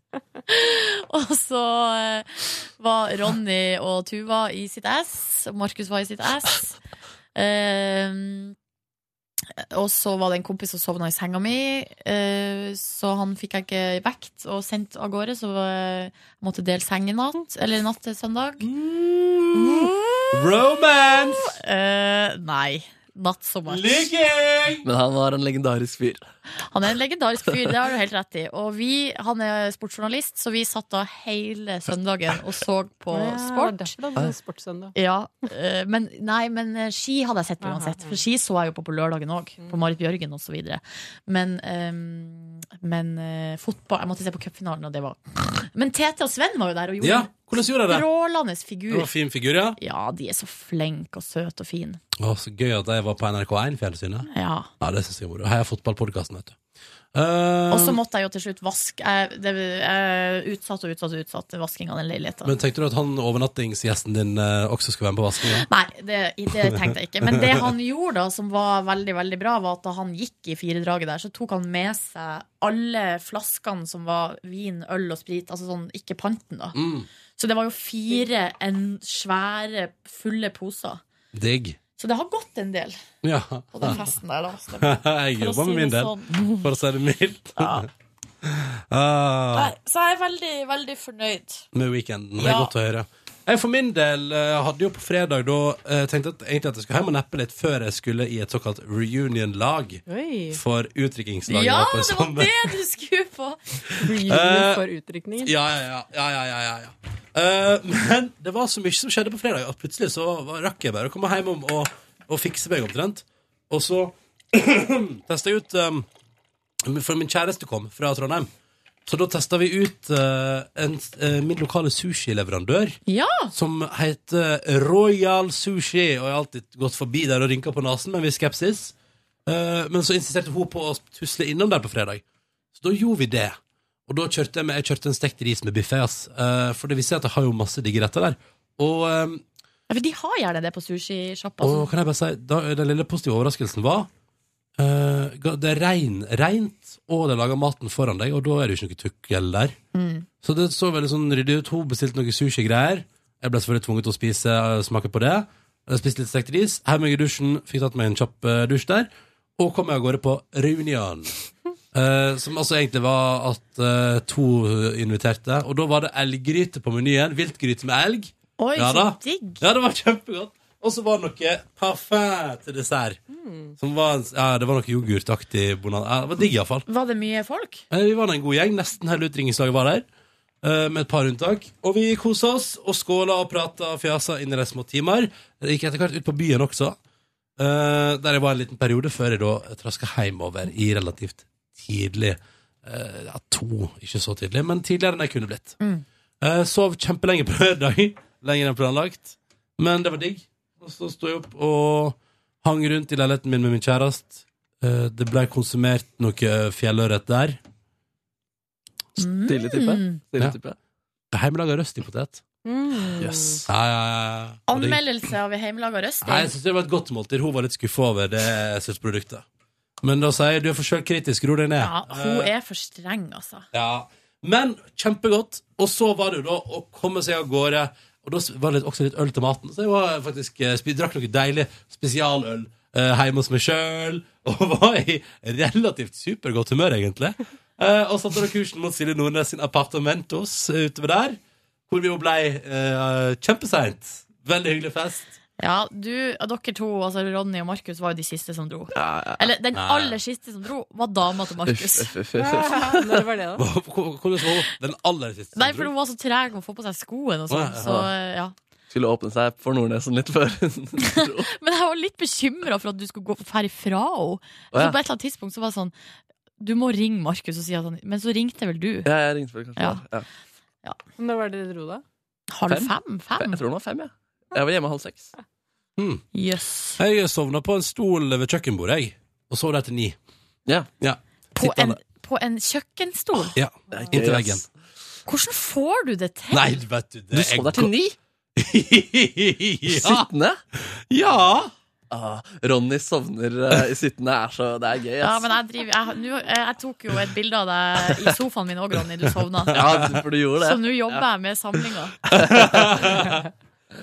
[SPEAKER 3] og så eh, var Ronny og Tuva i sitt ass, og Markus var i sitt ass. Ehm, og så var det en kompis som sovna i senga mi, eh, så han fikk jeg ikke vekt og sendt av gårde, så eh, jeg måtte dele seng i natt, eller natt til søndag.
[SPEAKER 2] Romance!
[SPEAKER 3] Eh, nei. Not so much.
[SPEAKER 2] Ligging!
[SPEAKER 5] Men han var en legendarisk fyr.
[SPEAKER 3] Han er en legendarisk fyr, det har du helt rett i. Og vi, han er sportsjournalist, så vi satt da hele søndagen og så på
[SPEAKER 8] Ja, det var
[SPEAKER 3] sport.
[SPEAKER 8] Derfor du hadde en sportssøndag.
[SPEAKER 3] Ja, eh, men, nei, men eh, ski hadde jeg sett uansett. For ski så jeg jo på på lørdagen òg, på Marit Bjørgen osv. Men, eh, men eh, fotball Jeg måtte se på cupfinalen, og det var Men Tete og Sven var jo der og gjorde
[SPEAKER 2] Ja,
[SPEAKER 3] en
[SPEAKER 2] hvordan gjorde jeg det?
[SPEAKER 3] strålende
[SPEAKER 2] Det var
[SPEAKER 3] figur.
[SPEAKER 2] en fin figur, ja.
[SPEAKER 3] Ja, de er så flinke og søte og fine.
[SPEAKER 2] Å, så gøy at jeg var på NRK1 fjernsynet.
[SPEAKER 3] Ja.
[SPEAKER 2] Ja, det synes jeg var moro. Heia fotballpodkasten, vet du. Eh,
[SPEAKER 3] Og så måtte jeg jo til slutt vaske. Jeg, det, jeg utsatt og utsatt og utsatt vasking av den leiligheten.
[SPEAKER 2] men tenkte du at han overnattingsgjesten din eh, også skulle være med på vaskinga?
[SPEAKER 3] Nei, det, det tenkte jeg ikke. Men det han gjorde da, som var veldig veldig bra, var at da han gikk i firedraget der, så tok han med seg alle flaskene som var vin, øl og sprit. Altså sånn ikke panten, da.
[SPEAKER 2] Mm.
[SPEAKER 3] Så det var jo fire en svære, fulle poser.
[SPEAKER 2] Digg.
[SPEAKER 3] Så det har gått en del
[SPEAKER 2] Ja.
[SPEAKER 3] på den festen der, da. Så det-
[SPEAKER 2] jeg
[SPEAKER 3] for å
[SPEAKER 2] jobba
[SPEAKER 3] si
[SPEAKER 2] med min
[SPEAKER 3] det
[SPEAKER 2] del,
[SPEAKER 3] sånn.
[SPEAKER 2] for å si det mildt. Ah,
[SPEAKER 3] Nei, Så jeg er veldig, veldig fornøyd.
[SPEAKER 2] med weekenden. Det er
[SPEAKER 3] Ja.
[SPEAKER 2] godt å høre. Jeg for min del eh, hadde jo på fredag da eh, tenkt at, egentlig at jeg skulle hjem og neppe litt før jeg skulle i et såkalt reunion-lag
[SPEAKER 8] Oi.
[SPEAKER 2] for utdrikningslaget.
[SPEAKER 3] Ja,
[SPEAKER 2] på
[SPEAKER 3] det var
[SPEAKER 2] sommer.
[SPEAKER 3] det du skulle på!
[SPEAKER 8] Reunion for utrykningen.
[SPEAKER 2] Ja, ja, ja. ja, ja, ja, ja, ja. Eh, men det var så mye som skjedde på fredag at plutselig så var- rakk jeg bare å komme hjem om og, og fikse meg omtrent. Og så testa jeg ut um, For min kjæreste kom fra Trondheim. Så da testa vi ut eh, en, eh, min lokale sushileverandør.
[SPEAKER 3] Ja!
[SPEAKER 2] som heter Royal Sushi. Og jeg har alltid gått forbi der og rynka på nesen med en viss skepsis. Eh, men så insisterte hun på å tusle innom der på fredag. Så da gjorde vi det. Og da kjørte jeg, med, jeg kjørte en stekt ris med biffé. ass. Eh, for det viser seg at jeg har jo masse digge retter der. Og eh,
[SPEAKER 3] Ja, For de har gjerne det på sushisjappa.
[SPEAKER 2] og kan jeg bare si, da, den lille positive overraskelsen var eh, ga- Det er rein, reint, og de lager maten foran deg, og da er det jo ikke noe tukkel der. Så det så veldig sånn ryddig ut. Hun bestilte noen sushigreier. Jeg ble selvfølgelig tvunget til å spise eh, smake på det. Jeg spiste litt stekt ris. Hev meg i dusjen, fikk tatt meg en kjapp eh, dusj der. Og kom jeg av gårde på reunion. Eh, som altså egentlig var at eh, to inviterte. Og da var det elggryte på menyen. Viltgryte med elg.
[SPEAKER 3] Oi,
[SPEAKER 2] Ja da.
[SPEAKER 3] så digg!
[SPEAKER 2] Ja, det var kjempegodt. Og så var det noe parfum til dessert. Som var, ja, det var noe yoghurtaktig bonan. Ja, det var digg, iallfall.
[SPEAKER 3] Var det mye folk?
[SPEAKER 2] Eh, Vi var en god gjeng. Nesten hele utringningslaget var der. eh, med et par unntak. Og vi kosa oss og skåla og prata og fjasa inn i de små timer. Jeg gikk etter hvert ut på byen også, eh, der jeg var en liten periode før jeg da traska hjemover i relativt tidlig. eh, ja, to, ikke så tidlig, men tidligere enn jeg kunne blitt.
[SPEAKER 3] Mm.
[SPEAKER 2] Eh, sov kjempelenge på lørdag, lenger enn planlagt, men det var digg. Og så sto jeg opp og hang rundt i leiligheten min med min kjæreste. Eh, det ble konsumert noe fjellørret der.
[SPEAKER 5] Stille type.
[SPEAKER 2] Mm.
[SPEAKER 5] Stille
[SPEAKER 2] Ja.
[SPEAKER 5] type.
[SPEAKER 2] Hjemmelaga røstipotet.
[SPEAKER 3] Mm.
[SPEAKER 2] Yes. Ja, ja, ja. Og det-
[SPEAKER 3] Anmeldelse av hjemmelaga røsting.
[SPEAKER 2] Nei, jeg synes det var et godt måltid. Hun var litt skuffa over det sluttproduktet. Men da sier jeg du er for sjølkritisk, ro deg ned.
[SPEAKER 3] Ja, hun
[SPEAKER 2] Eh,
[SPEAKER 3] er for streng, altså.
[SPEAKER 2] Ja, men kjempegodt. Og så var det jo da å komme seg av gårde. Og da var det også litt øl til maten. Så jeg var faktisk, eh, spi- drakk noe deilig spesialøl eh, hjemme hos meg sjøl. Og var i relativt supergodt humør, egentlig. Eh, og satte da kursen mot Silje Nordnes sin Apartamentos eh, utover der. Hvor vi jo ble eh, kjempeseint. Veldig hyggelig fest.
[SPEAKER 3] Ja, du, dere to, altså Ronny og Markus, var jo de siste som dro. Eller den
[SPEAKER 2] Ja, ja.
[SPEAKER 3] aller siste som dro, var dama til Markus.
[SPEAKER 2] Uff, uff, uff, uff.
[SPEAKER 8] Når var det, da?
[SPEAKER 2] Hvordan var hun? Den aller siste
[SPEAKER 3] Nei, for hun var så treg å få på seg skoene og sånn.
[SPEAKER 5] Å, ja.
[SPEAKER 3] Så, ja.
[SPEAKER 5] Skulle åpne seg for Nordnesen litt før.
[SPEAKER 3] Men jeg var litt bekymra for at du skulle gå færre fra henne.
[SPEAKER 5] Å,
[SPEAKER 3] Så på
[SPEAKER 5] ja.
[SPEAKER 3] et eller annet tidspunkt så var det sånn Du må ringe Markus og si at han Men så ringte vel du?
[SPEAKER 5] ja, jeg ringte for det kanskje.
[SPEAKER 3] Ja.
[SPEAKER 5] der. Ja.
[SPEAKER 8] Når var det dere dro, da?
[SPEAKER 3] Halv fem? Fem?
[SPEAKER 5] Jeg tror det var fem, jeg. Jeg var hjemme halv seks.
[SPEAKER 2] Mm.
[SPEAKER 3] Yes.
[SPEAKER 2] Jeg sovna på en stol ved kjøkkenbordet, jeg. Og sov der til ni. Ja.
[SPEAKER 3] På en, på en kjøkkenstol?
[SPEAKER 2] Ja, inntil veggen.
[SPEAKER 3] Hvordan får du det til?
[SPEAKER 2] Nei, vet du det
[SPEAKER 5] Du sov
[SPEAKER 2] er
[SPEAKER 5] der til
[SPEAKER 2] go-
[SPEAKER 5] ni?
[SPEAKER 2] ja.
[SPEAKER 5] Sittende?
[SPEAKER 2] Ja!
[SPEAKER 5] Ah, Ronny sovner eh, i sittende. Er så, det er gøy, ass.
[SPEAKER 3] Ja, men jeg, driver, jeg, nå- jeg tok jo et bilde av deg i sofaen min òg, Ronny. Du sovna.
[SPEAKER 5] Ja, for du gjorde det.
[SPEAKER 3] Så nå jobber jeg med samlinga.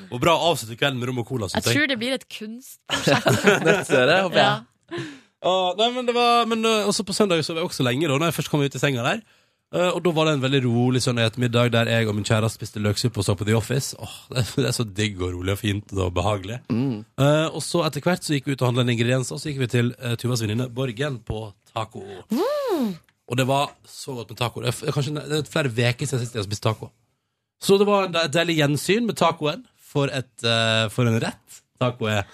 [SPEAKER 2] Og bra å avslutte kvelden med rom og cola.
[SPEAKER 3] Jeg
[SPEAKER 2] synes
[SPEAKER 3] tror det blir et kunstprosjekt.
[SPEAKER 2] Nettserie, håper jeg.
[SPEAKER 3] Ja.
[SPEAKER 2] Å, nei, men det var, men eh, også på søndag sov jeg også lenge, da Når jeg først kom ut i senga der. Eh, og da var det en veldig rolig søndag ettermiddag der jeg og min kjæreste spiste løksuppe og så på The Office. Åh, det, er- det er så digg og rolig og fint og behagelig. Eh, og så etter hvert så gikk vi ut og handla en ingrediens, og så gikk vi til eh, Tuvas venninne Borgen på taco. Og det var så godt med taco. Det er, f- kanskje, det er flere uker siden sist jeg har spist taco. Så det var en de- deilig gjensyn med tacoen for, et, eh, for en rett. Taco er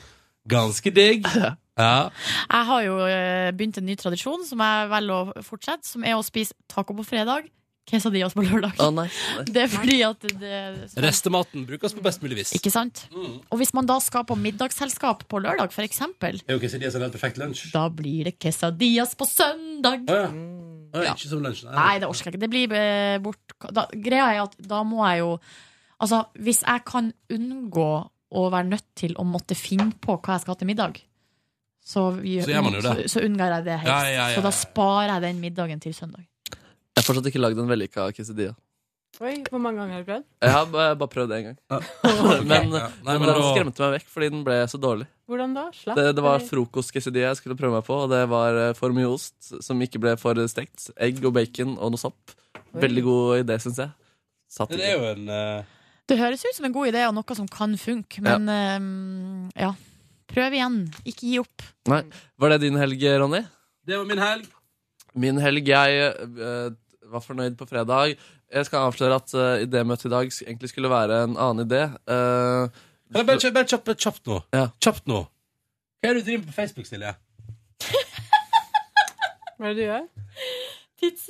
[SPEAKER 2] ganske digg. Ja.
[SPEAKER 3] Jeg har jo eh, begynt en ny tradisjon som jeg velger å fortsette, som er å spise taco på fredag, quesadillas på lørdag.
[SPEAKER 2] Å, nice, nice.
[SPEAKER 3] Det er fordi at det, det
[SPEAKER 2] Restematen brukes på best mulig vis.
[SPEAKER 3] Ikke sant?
[SPEAKER 5] Mm.
[SPEAKER 3] Og hvis man da skal på middagsselskap på lørdag, for eksempel,
[SPEAKER 2] Er jo quesadillas en helt perfekt lunsj?
[SPEAKER 3] da blir det quesadillas på søndag.
[SPEAKER 2] Å ja. Å ja, Ikke som lunsj, nei.
[SPEAKER 3] Nei, det orker jeg ikke. Det blir eh, bort... Da, greia er at da må jeg jo Altså, hvis jeg kan unngå å være nødt til å måtte finne på hva jeg skal ha til middag, så, vi,
[SPEAKER 5] Så gjør man jo det.
[SPEAKER 3] Så, så unngår jeg det helt.
[SPEAKER 5] Ja, ja, ja,
[SPEAKER 3] Så da
[SPEAKER 5] ja.
[SPEAKER 3] sparer jeg den middagen til søndag.
[SPEAKER 5] Jeg har fortsatt ikke lagd en vellykka quesadilla.
[SPEAKER 8] Oi, hvor mange ganger har du prøvd?
[SPEAKER 5] Jeg har ba- bare prøvd det en gang.
[SPEAKER 2] Nei,
[SPEAKER 5] Men,
[SPEAKER 8] Ja.
[SPEAKER 2] men
[SPEAKER 5] men den
[SPEAKER 2] da-
[SPEAKER 5] skremte meg vekk fordi den ble så dårlig.
[SPEAKER 8] Hvordan da? Slapp?
[SPEAKER 5] Det, det var
[SPEAKER 8] eller?
[SPEAKER 5] frokostquesidilla jeg skulle prøve meg på, og det var eh, for mye ost som ikke ble for stekt. Egg og bacon og noe sopp.
[SPEAKER 3] Oi.
[SPEAKER 5] Veldig god idé, syns jeg. Satt
[SPEAKER 2] Det er jo en eh,
[SPEAKER 3] Det høres ut som en god idé og noe som kan funke, men ehm, ja. Prøv igjen. Ikke gi opp.
[SPEAKER 5] Nei. Var det din helg, Ronny?
[SPEAKER 2] Det var min helg.
[SPEAKER 5] Min helg jeg eh, var fornøyd på fredag. Jeg skal avsløre at eh, idémøtet i dag sk- egentlig skulle være en annen idé. Eh,
[SPEAKER 2] Bare, bare, bare kjapt, bare kjapt nå.
[SPEAKER 5] Ja.
[SPEAKER 2] Kjapt nå. Hva er det du driver med på Facebook, Silje?
[SPEAKER 8] Hva er det du gjør?
[SPEAKER 3] Tids...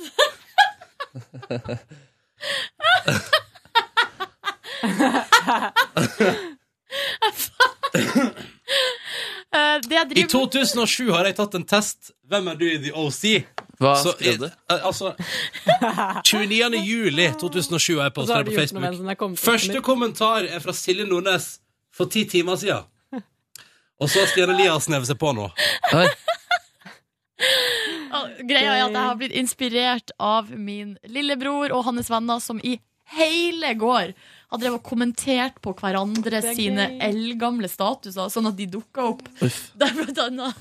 [SPEAKER 3] Eh, det jeg
[SPEAKER 2] I
[SPEAKER 3] driver
[SPEAKER 2] 2007 har jeg tatt en test. Hvem er du i The OC?
[SPEAKER 5] Hva
[SPEAKER 2] Så i-
[SPEAKER 5] skrev du?
[SPEAKER 2] eh, Altså 29. juli 2007 har jeg
[SPEAKER 8] Og så
[SPEAKER 2] posta
[SPEAKER 8] har
[SPEAKER 2] det
[SPEAKER 8] du
[SPEAKER 2] på
[SPEAKER 8] gjort noe med den som er
[SPEAKER 2] Facebook.
[SPEAKER 8] kommet opp
[SPEAKER 2] Første
[SPEAKER 8] med.
[SPEAKER 2] kommentar er fra Silje Nordnes for ti timer siden. Og så har Stian Eliassen hevet seg på nå.
[SPEAKER 3] Og Greia er at jeg har blitt inspirert av min lillebror og hans venner som i hele går har drevet og kommentert på hverandre
[SPEAKER 9] Det er
[SPEAKER 3] sine
[SPEAKER 9] gøy.
[SPEAKER 3] eldgamle statuser, sånn at de dukka opp. Der blant annet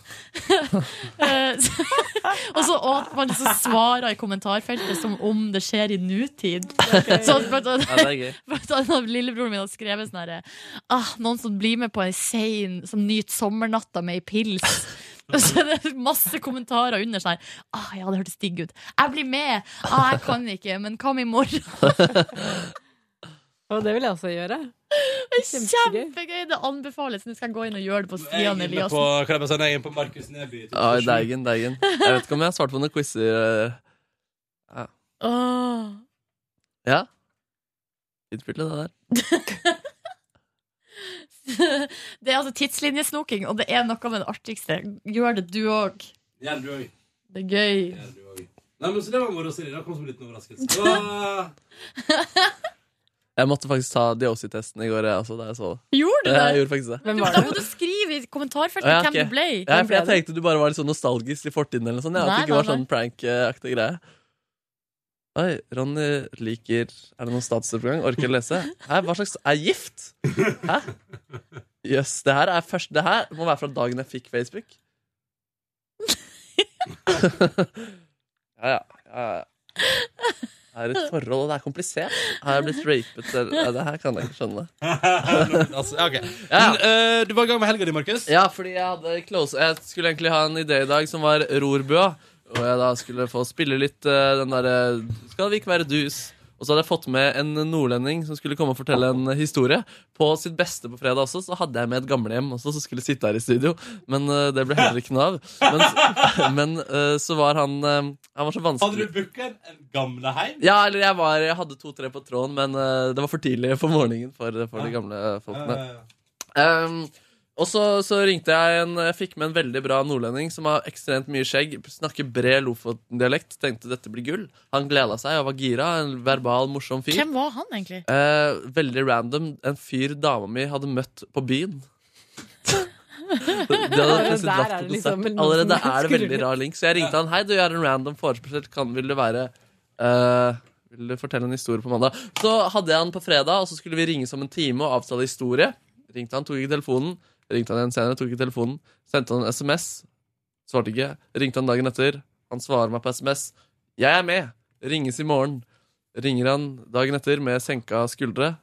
[SPEAKER 3] Eh, så- Og så og at man så svarer i kommentarfeltet som om det skjer i nutid.
[SPEAKER 9] er gøy.
[SPEAKER 3] Så at blant
[SPEAKER 9] Ja, det er gøy.
[SPEAKER 3] annet, blant annet lillebroren min har skrevet sånn herre ah, Noen som blir med på en sein som nyter sommernatta med ei pils. Så det er masse kommentarer under sånn her. Ah, ja, det hørtes digg ut. Jeg blir med! Ah, jeg kan ikke, men hva med i morgen?
[SPEAKER 8] Og det vil jeg også gjøre.
[SPEAKER 3] Det er Kjempegøy! Det anbefales. Nå skal jeg gå inn og gjøre det på
[SPEAKER 2] Jeg er
[SPEAKER 3] Stian
[SPEAKER 2] inne på,
[SPEAKER 3] Eliassen.
[SPEAKER 2] kan jeg bare si, jeg er inne på Markus Neby.
[SPEAKER 5] Ja, i Deigen, Deigen. Jeg vet ikke om jeg har svart på noen quizer. eh. Ja.
[SPEAKER 3] Åh.
[SPEAKER 5] ja. Utfylle det der.
[SPEAKER 3] Det er altså tidslinjesnoking, og det er noe med det artigste. Gjør det, du òg.
[SPEAKER 2] Ja, du òg.
[SPEAKER 3] Det er gøy.
[SPEAKER 2] Nei, men så det var moro, Siri. Det kom som en liten overraskelse. Åh!
[SPEAKER 5] Jeg måtte faktisk ta DOC-testen i går. jeg, Altså, da jeg så det.
[SPEAKER 3] Gjorde du
[SPEAKER 5] Ja, Jeg
[SPEAKER 3] det?
[SPEAKER 5] gjorde faktisk det.
[SPEAKER 8] Hvem
[SPEAKER 3] Du,
[SPEAKER 8] var
[SPEAKER 3] da
[SPEAKER 8] det?
[SPEAKER 3] må du skrive i kommentarfeltet
[SPEAKER 5] Ja, ok.
[SPEAKER 3] hvem du ble.
[SPEAKER 5] Ja, for jeg tenkte du bare var litt sånn nostalgisk i fortiden. eller noe sånt. Ja, at
[SPEAKER 3] Nei,
[SPEAKER 5] det ikke var
[SPEAKER 3] nei, nei.
[SPEAKER 5] sånn prank-aktig greie. Oi, Ronny liker Er det noen statsoppgang? Orker å lese? Hæ, hva slags Er gift? Hæ? Jøss, det her er først Det her må være fra dagen jeg fikk Facebook. ja, ja. ja, ja. Her er et forhold, og det er komplisert. Her er jeg blitt rapet eller- ja, Det her kan jeg ikke skjønne.
[SPEAKER 2] altså, ja, ok. Men, eh, du var i gang med helga di, Markus.
[SPEAKER 5] Ja, fordi jeg hadde close Jeg skulle egentlig ha en idé i dag som var rorbua. Og jeg da skulle få spille litt eh, den derre Skal vi ikke være dus? Og så hadde jeg fått med en nordlending som skulle komme og fortelle en historie. På sitt beste på fredag også, så hadde jeg med et gamlehjem også som skulle sitte her i studio. Men eh, det ble heller ikke noe av. Men, men eh, så var han eh, Han var så
[SPEAKER 2] Hadde du
[SPEAKER 5] vanskelig.
[SPEAKER 2] booka en gamle heim?
[SPEAKER 5] Ja, eller jeg, var, jeg hadde to-tre på tråden, men eh, det var for tidlig for morgenen for, for de gamle folkene.
[SPEAKER 2] Eh,
[SPEAKER 5] Ehm, og så, så ringte jeg en Jeg fikk med en veldig bra nordlending som har ekstremt mye skjegg. Snakker bred Lofoten-dialekt. Tenkte dette blir gull. Han gleda seg og var gira. En verbal, morsom fyr.
[SPEAKER 3] Hvem var han, egentlig?
[SPEAKER 5] Eh, veldig random. En fyr dama mi hadde møtt på byen. De hadde
[SPEAKER 8] Allerede
[SPEAKER 5] plutselig
[SPEAKER 8] der
[SPEAKER 5] dratt
[SPEAKER 8] er
[SPEAKER 5] på
[SPEAKER 8] det liksom
[SPEAKER 5] konsert.
[SPEAKER 8] noe som
[SPEAKER 5] Allerede er det
[SPEAKER 8] skrur
[SPEAKER 5] veldig
[SPEAKER 8] litt.
[SPEAKER 5] rar link. Så jeg ringte han. Hei, du, jeg har en random forespørsel. Kan, vil du være eh, Vil du fortelle en historie på mandag? Så hadde jeg han på fredag, og så skulle vi ringes om en time og avtale historie. Ringte han, tok ikke telefonen. Ringte han igjen senere, tok ikke telefonen. Sendte han en SMS. Svarte ikke. Ringte han dagen etter. Han svarer meg på SMS. Jeg er med. Ringes i morgen. Ringer han dagen etter med senka skuldre.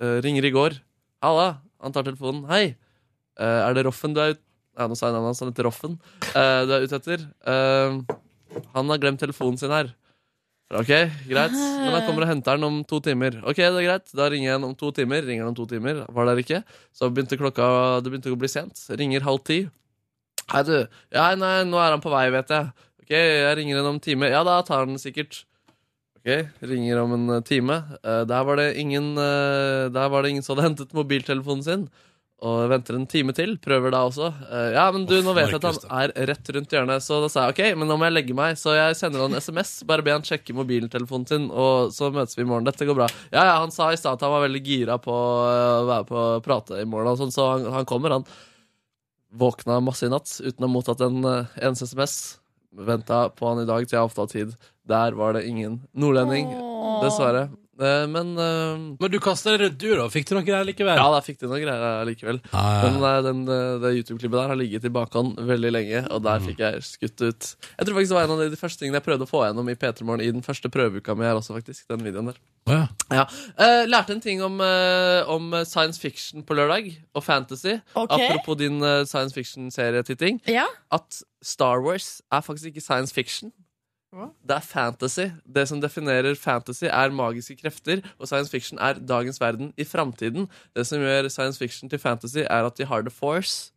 [SPEAKER 5] Eh, ringer i går. Halla! Han tar telefonen. Hei! Eh, er det Roffen du er ut... Ja, nå sa jeg navnet hans. Han heter Roffen. Eh, du er ute etter? Eh, han har glemt telefonen sin her. Ok, greit. Men jeg kommer og henter den om to timer. Ok, det er greit. Da ringer jeg han om to timer. Ringer han om to timer. Var der ikke. Så begynte klokka Det begynte å bli sent. Ringer halv ti. Hei, du. Ja, nei, nå er han på vei, vet jeg. Ok, jeg ringer henne om en time. Ja, da tar han den sikkert. Ok, ringer om en eh, time. Eh, der, var det ingen, eh, der var det ingen som hadde hentet mobiltelefonen sin. Og venter en time til. Prøver da også. Eh, ja, men du, nå vet jeg at han er rett rundt hjørnet, så da sa jeg ok, men nå må jeg legge meg. Så jeg sender han en SMS. Bare be han sjekke mobiltelefonen sin, og så møtes vi i morgen. Dette går bra. Ja, ja, han sa i stad at han var veldig gira på eh, å være på å prate i morgen, og sånn, så han, han kommer, han. Våkna masse i natt uten å ha mottatt en eh, eneste SMS. Venta på han i dag til jeg avtalte tid. Der var det ingen nordlending,
[SPEAKER 2] Åh.
[SPEAKER 5] dessverre. Eh, Men
[SPEAKER 2] Men du kasta det rundt, du, da. Fikk du noen greier likevel? Ah,
[SPEAKER 5] Ja, da fikk du noen greier eh, likevel.
[SPEAKER 2] Ja, ja, ja.
[SPEAKER 5] Men eh, den, eh, det YouTube-klippet der har ligget i bakhånd veldig lenge, og der fikk jeg skutt ut. Jeg tror faktisk det var en av de første tingene jeg prøvde å få gjennom i P3 Morgen i den første prøveuka mi her også, faktisk. Den videoen der. Ja. Eh, lærte en ting om, eh, om science fiction på lørdag, og fantasy.
[SPEAKER 3] Ok.
[SPEAKER 5] Apropos din eh, science fiction-serietitting.
[SPEAKER 3] Ja?
[SPEAKER 5] At Star Wars er faktisk ikke science fiction. Det er fantasy. Det som definerer fantasy, er magiske krefter, og science fiction er dagens verden i framtiden. Det som gjør science fiction til fantasy, er at de har the force.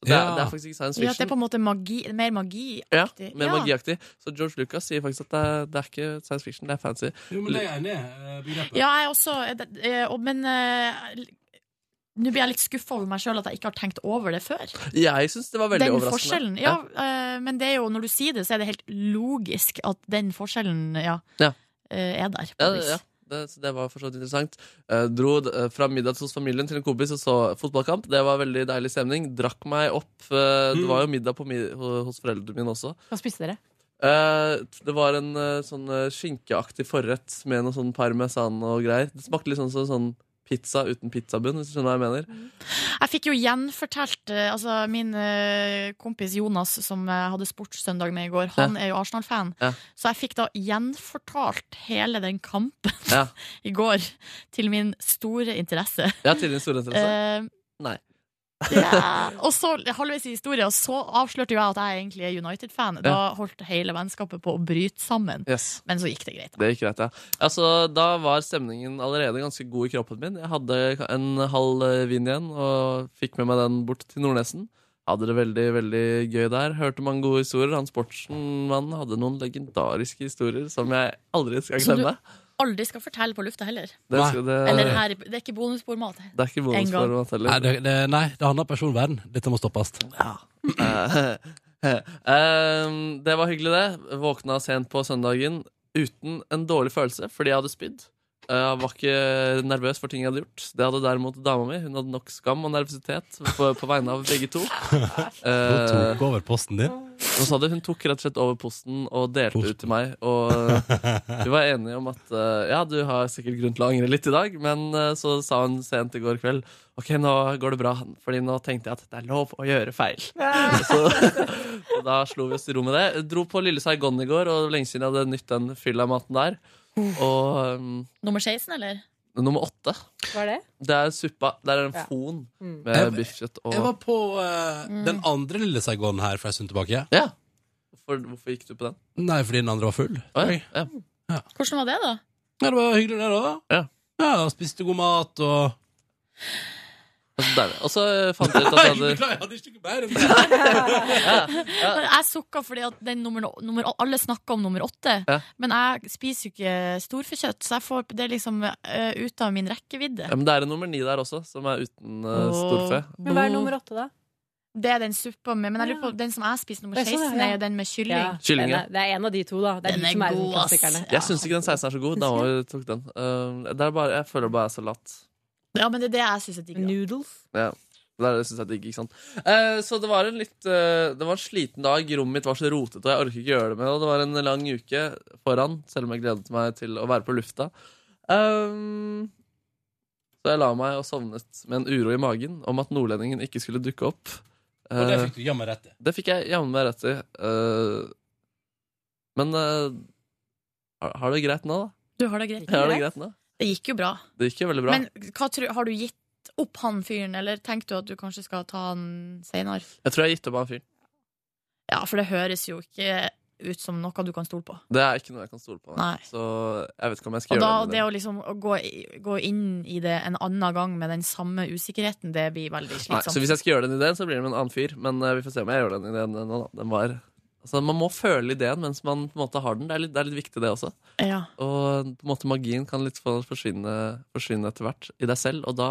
[SPEAKER 5] Det, er-
[SPEAKER 3] Ja.
[SPEAKER 5] det er faktisk ikke science
[SPEAKER 3] Ja, at det er
[SPEAKER 5] fiction.
[SPEAKER 3] på en måte magi, mer magi
[SPEAKER 5] Ja, mer magiaktig. Så George Lucas sier faktisk at det er, det er ikke science fiction, det er fantasy.
[SPEAKER 2] Jo, men det er jeg enig i. eh, begrepet.
[SPEAKER 3] Ja, jeg også eh, det- eh, og- Men eh, nå blir jeg litt skuffa over meg sjøl at jeg ikke har tenkt over det før.
[SPEAKER 5] Jeg syns det var veldig
[SPEAKER 3] den
[SPEAKER 5] overraskende.
[SPEAKER 3] forskjellen. Ja, eh, men det er jo, når du sier det, så er det helt logisk at den forskjellen ja,
[SPEAKER 5] Ja.
[SPEAKER 3] eh, er der. på
[SPEAKER 5] Ja,
[SPEAKER 3] et vis.
[SPEAKER 5] ja. Det, så det var for så vidt interessant. Eh, dro eh, fra middag hos familien til en kompis og så fotballkamp. Det var veldig deilig stemning. Drakk meg opp. eh, Det var jo middag på mi- ho- hos foreldrene mine også.
[SPEAKER 8] Hva spiste dere?
[SPEAKER 5] Eh, det var en eh, sånn eh, skinkeaktig forrett med noe sånn parmesan og greier. Det smakte litt sånn som sånn pizza uten pizzabunn, hvis du skjønner hva jeg mener.
[SPEAKER 3] Jeg fikk jo gjenfortalt eh, altså Min eh, kompis Jonas, som jeg hadde sportssøndag med i går, han
[SPEAKER 5] Ja.
[SPEAKER 3] er jo Arsenal-fan.
[SPEAKER 5] Ja.
[SPEAKER 3] Så jeg fikk da gjenfortalt hele den kampen
[SPEAKER 5] Ja,
[SPEAKER 3] i går, til min store interesse.
[SPEAKER 5] ja til din store interesse.
[SPEAKER 3] Eh,
[SPEAKER 5] Nei.
[SPEAKER 3] Ja. Og så halvveis i historien så avslørte jo jeg at jeg egentlig er United-fan. Da
[SPEAKER 5] Ja.
[SPEAKER 3] holdt hele vennskapet på å bryte sammen.
[SPEAKER 5] Yes.
[SPEAKER 3] Men så gikk det greit.
[SPEAKER 5] Det gikk greit, ja. Altså, da var stemningen allerede ganske god i kroppen min. Jeg hadde en halv eh, vin igjen og fikk med meg den bort til Nordnesen. Hadde det veldig veldig gøy der. Hørte mange gode historier. Han sportsmannen hadde noen legendariske historier som jeg aldri skal
[SPEAKER 3] Som du
[SPEAKER 5] glemme.
[SPEAKER 3] aldri skal fortelle på lufta heller.
[SPEAKER 5] Det skal- det-
[SPEAKER 3] Eller her, det er ikke bonusformat.
[SPEAKER 5] Det er ikke bonusformat heller.
[SPEAKER 2] Nei, det, det, nei, det handler om personvern. Dette må stoppes.
[SPEAKER 5] Eh, Ehm, det var hyggelig, det. Våkna sent på søndagen uten en dårlig følelse fordi jeg hadde spydd. Eh, Jeg var ikke nervøs for ting jeg hadde gjort. Det hadde derimot dama mi. Hun hadde nok skam og nervøsitet på, på vegne av begge to.
[SPEAKER 2] Hun
[SPEAKER 5] Eh,
[SPEAKER 2] tok over posten din.
[SPEAKER 5] hun sa det, hun tok rett og slett over posten og delte ut til meg. Og eh, vi var enige om at eh, ja, du har sikkert grunn til å angre litt i dag, men eh, så sa hun sent i går kveld Ok, nå går det bra, Fordi nå tenkte jeg at det er lov å gjøre feil. Så, og da slo vi oss til ro med det. Dro på Lille Saigon i går, og lenge siden jeg hadde nytt den fylla maten der. Og eh,
[SPEAKER 3] Nummer 16, eller?
[SPEAKER 5] nummer åtte,
[SPEAKER 8] Hva er det?
[SPEAKER 5] det er suppa. Der er en
[SPEAKER 3] Ja.
[SPEAKER 5] fon
[SPEAKER 8] Mm.
[SPEAKER 2] Jeg-
[SPEAKER 5] med biffkjøtt og
[SPEAKER 2] Jeg var på eh, den andre lille Saigon her for en stund tilbake.
[SPEAKER 5] Ja. Hvorfor, hvorfor gikk du på den?
[SPEAKER 2] Nei, fordi den andre var full.
[SPEAKER 5] Å, ja. Ja.
[SPEAKER 3] Hvordan var det, da?
[SPEAKER 2] Ja, det var hyggelig, det da.
[SPEAKER 5] Ja.
[SPEAKER 2] ja, Spiste god mat og
[SPEAKER 5] Altså, deilig. Og så fant jeg ut at jeg hadde
[SPEAKER 2] Beklager, jeg hadde ikke noe mer enn det.
[SPEAKER 3] Jeg sukka fordi at den nummer, nummer, alle snakker om nummer åtte,
[SPEAKER 5] Ja.
[SPEAKER 3] men jeg spiser jo ikke storfekjøtt, så jeg får det liksom eh, ut av min rekkevidde.
[SPEAKER 5] Ja, men det er en nummer ni der også, som er uten uh,
[SPEAKER 3] Åh.
[SPEAKER 5] storfe.
[SPEAKER 8] Men hva er nummer åtte, da?
[SPEAKER 3] Det er den suppa med, men jeg lurer på den som jeg spiser nummer
[SPEAKER 8] Det er sånn,
[SPEAKER 3] 16,
[SPEAKER 8] ja.
[SPEAKER 3] er jo den med kylling.
[SPEAKER 5] Kylling,
[SPEAKER 8] den
[SPEAKER 5] ja.
[SPEAKER 8] er- Det er en av de to, da. Det er
[SPEAKER 3] Den
[SPEAKER 8] de
[SPEAKER 3] er
[SPEAKER 8] som er
[SPEAKER 3] god, ass.
[SPEAKER 8] klassikerne.
[SPEAKER 3] Ja.
[SPEAKER 5] Jeg syns ikke den 16 er så god. Da var jeg tok den. Uh, det er bare, jeg føler bare jeg er så latt.
[SPEAKER 3] Ja, men det er det jeg syns er digg. da.
[SPEAKER 8] Noodles.
[SPEAKER 5] Ja. Det er det synes jeg digg, ikke sant? Eh, så det var en litt eh, Det var en sliten dag. Rommet mitt var så rotete, og jeg orker ikke gjøre det med det. og Det var en lang uke foran, selv om jeg gledet meg til å være på lufta. Um, så jeg la meg og sovnet med en uro i magen om at nordlendingen ikke skulle dukke opp.
[SPEAKER 2] Og det
[SPEAKER 5] Eh,
[SPEAKER 2] fikk du jammen rett i.
[SPEAKER 5] Det fikk jeg jammen meg rett i. eh, men eh, har, har det greit nå, da?
[SPEAKER 3] Du har det greit.
[SPEAKER 5] Har det, greit nå?
[SPEAKER 3] Det gikk jo bra.
[SPEAKER 5] det gikk jo veldig bra.
[SPEAKER 3] Men hva tror, har du gitt opp han fyren, eller tenker du at du kanskje skal ta han seinere?
[SPEAKER 5] Jeg tror jeg gitt opp han fyren.
[SPEAKER 3] Ja, for det høres jo ikke ut som noe du kan stole på.
[SPEAKER 5] Det er ikke noe jeg kan stole på.
[SPEAKER 3] Nei.
[SPEAKER 5] Så jeg vet ikke om jeg skal
[SPEAKER 3] Og da
[SPEAKER 5] gjøre
[SPEAKER 3] det
[SPEAKER 5] det.
[SPEAKER 3] å liksom å gå, i- gå inn i det en annen gang med den samme usikkerheten, det blir veldig
[SPEAKER 5] Nei, så hvis
[SPEAKER 3] slitsomt.
[SPEAKER 5] jeg skal gjøre den ideen, så blir det med en annen fyr. Men eh, vi får se om jeg gjør den ideen nå, da. Den var Altså, man må føle ideen mens man på en måte har den. Det er litt, det er litt viktig, det også.
[SPEAKER 3] Ja.
[SPEAKER 5] Og på en måte magien kan litt få- forsvinne, forsvinne etter hvert i deg selv, og da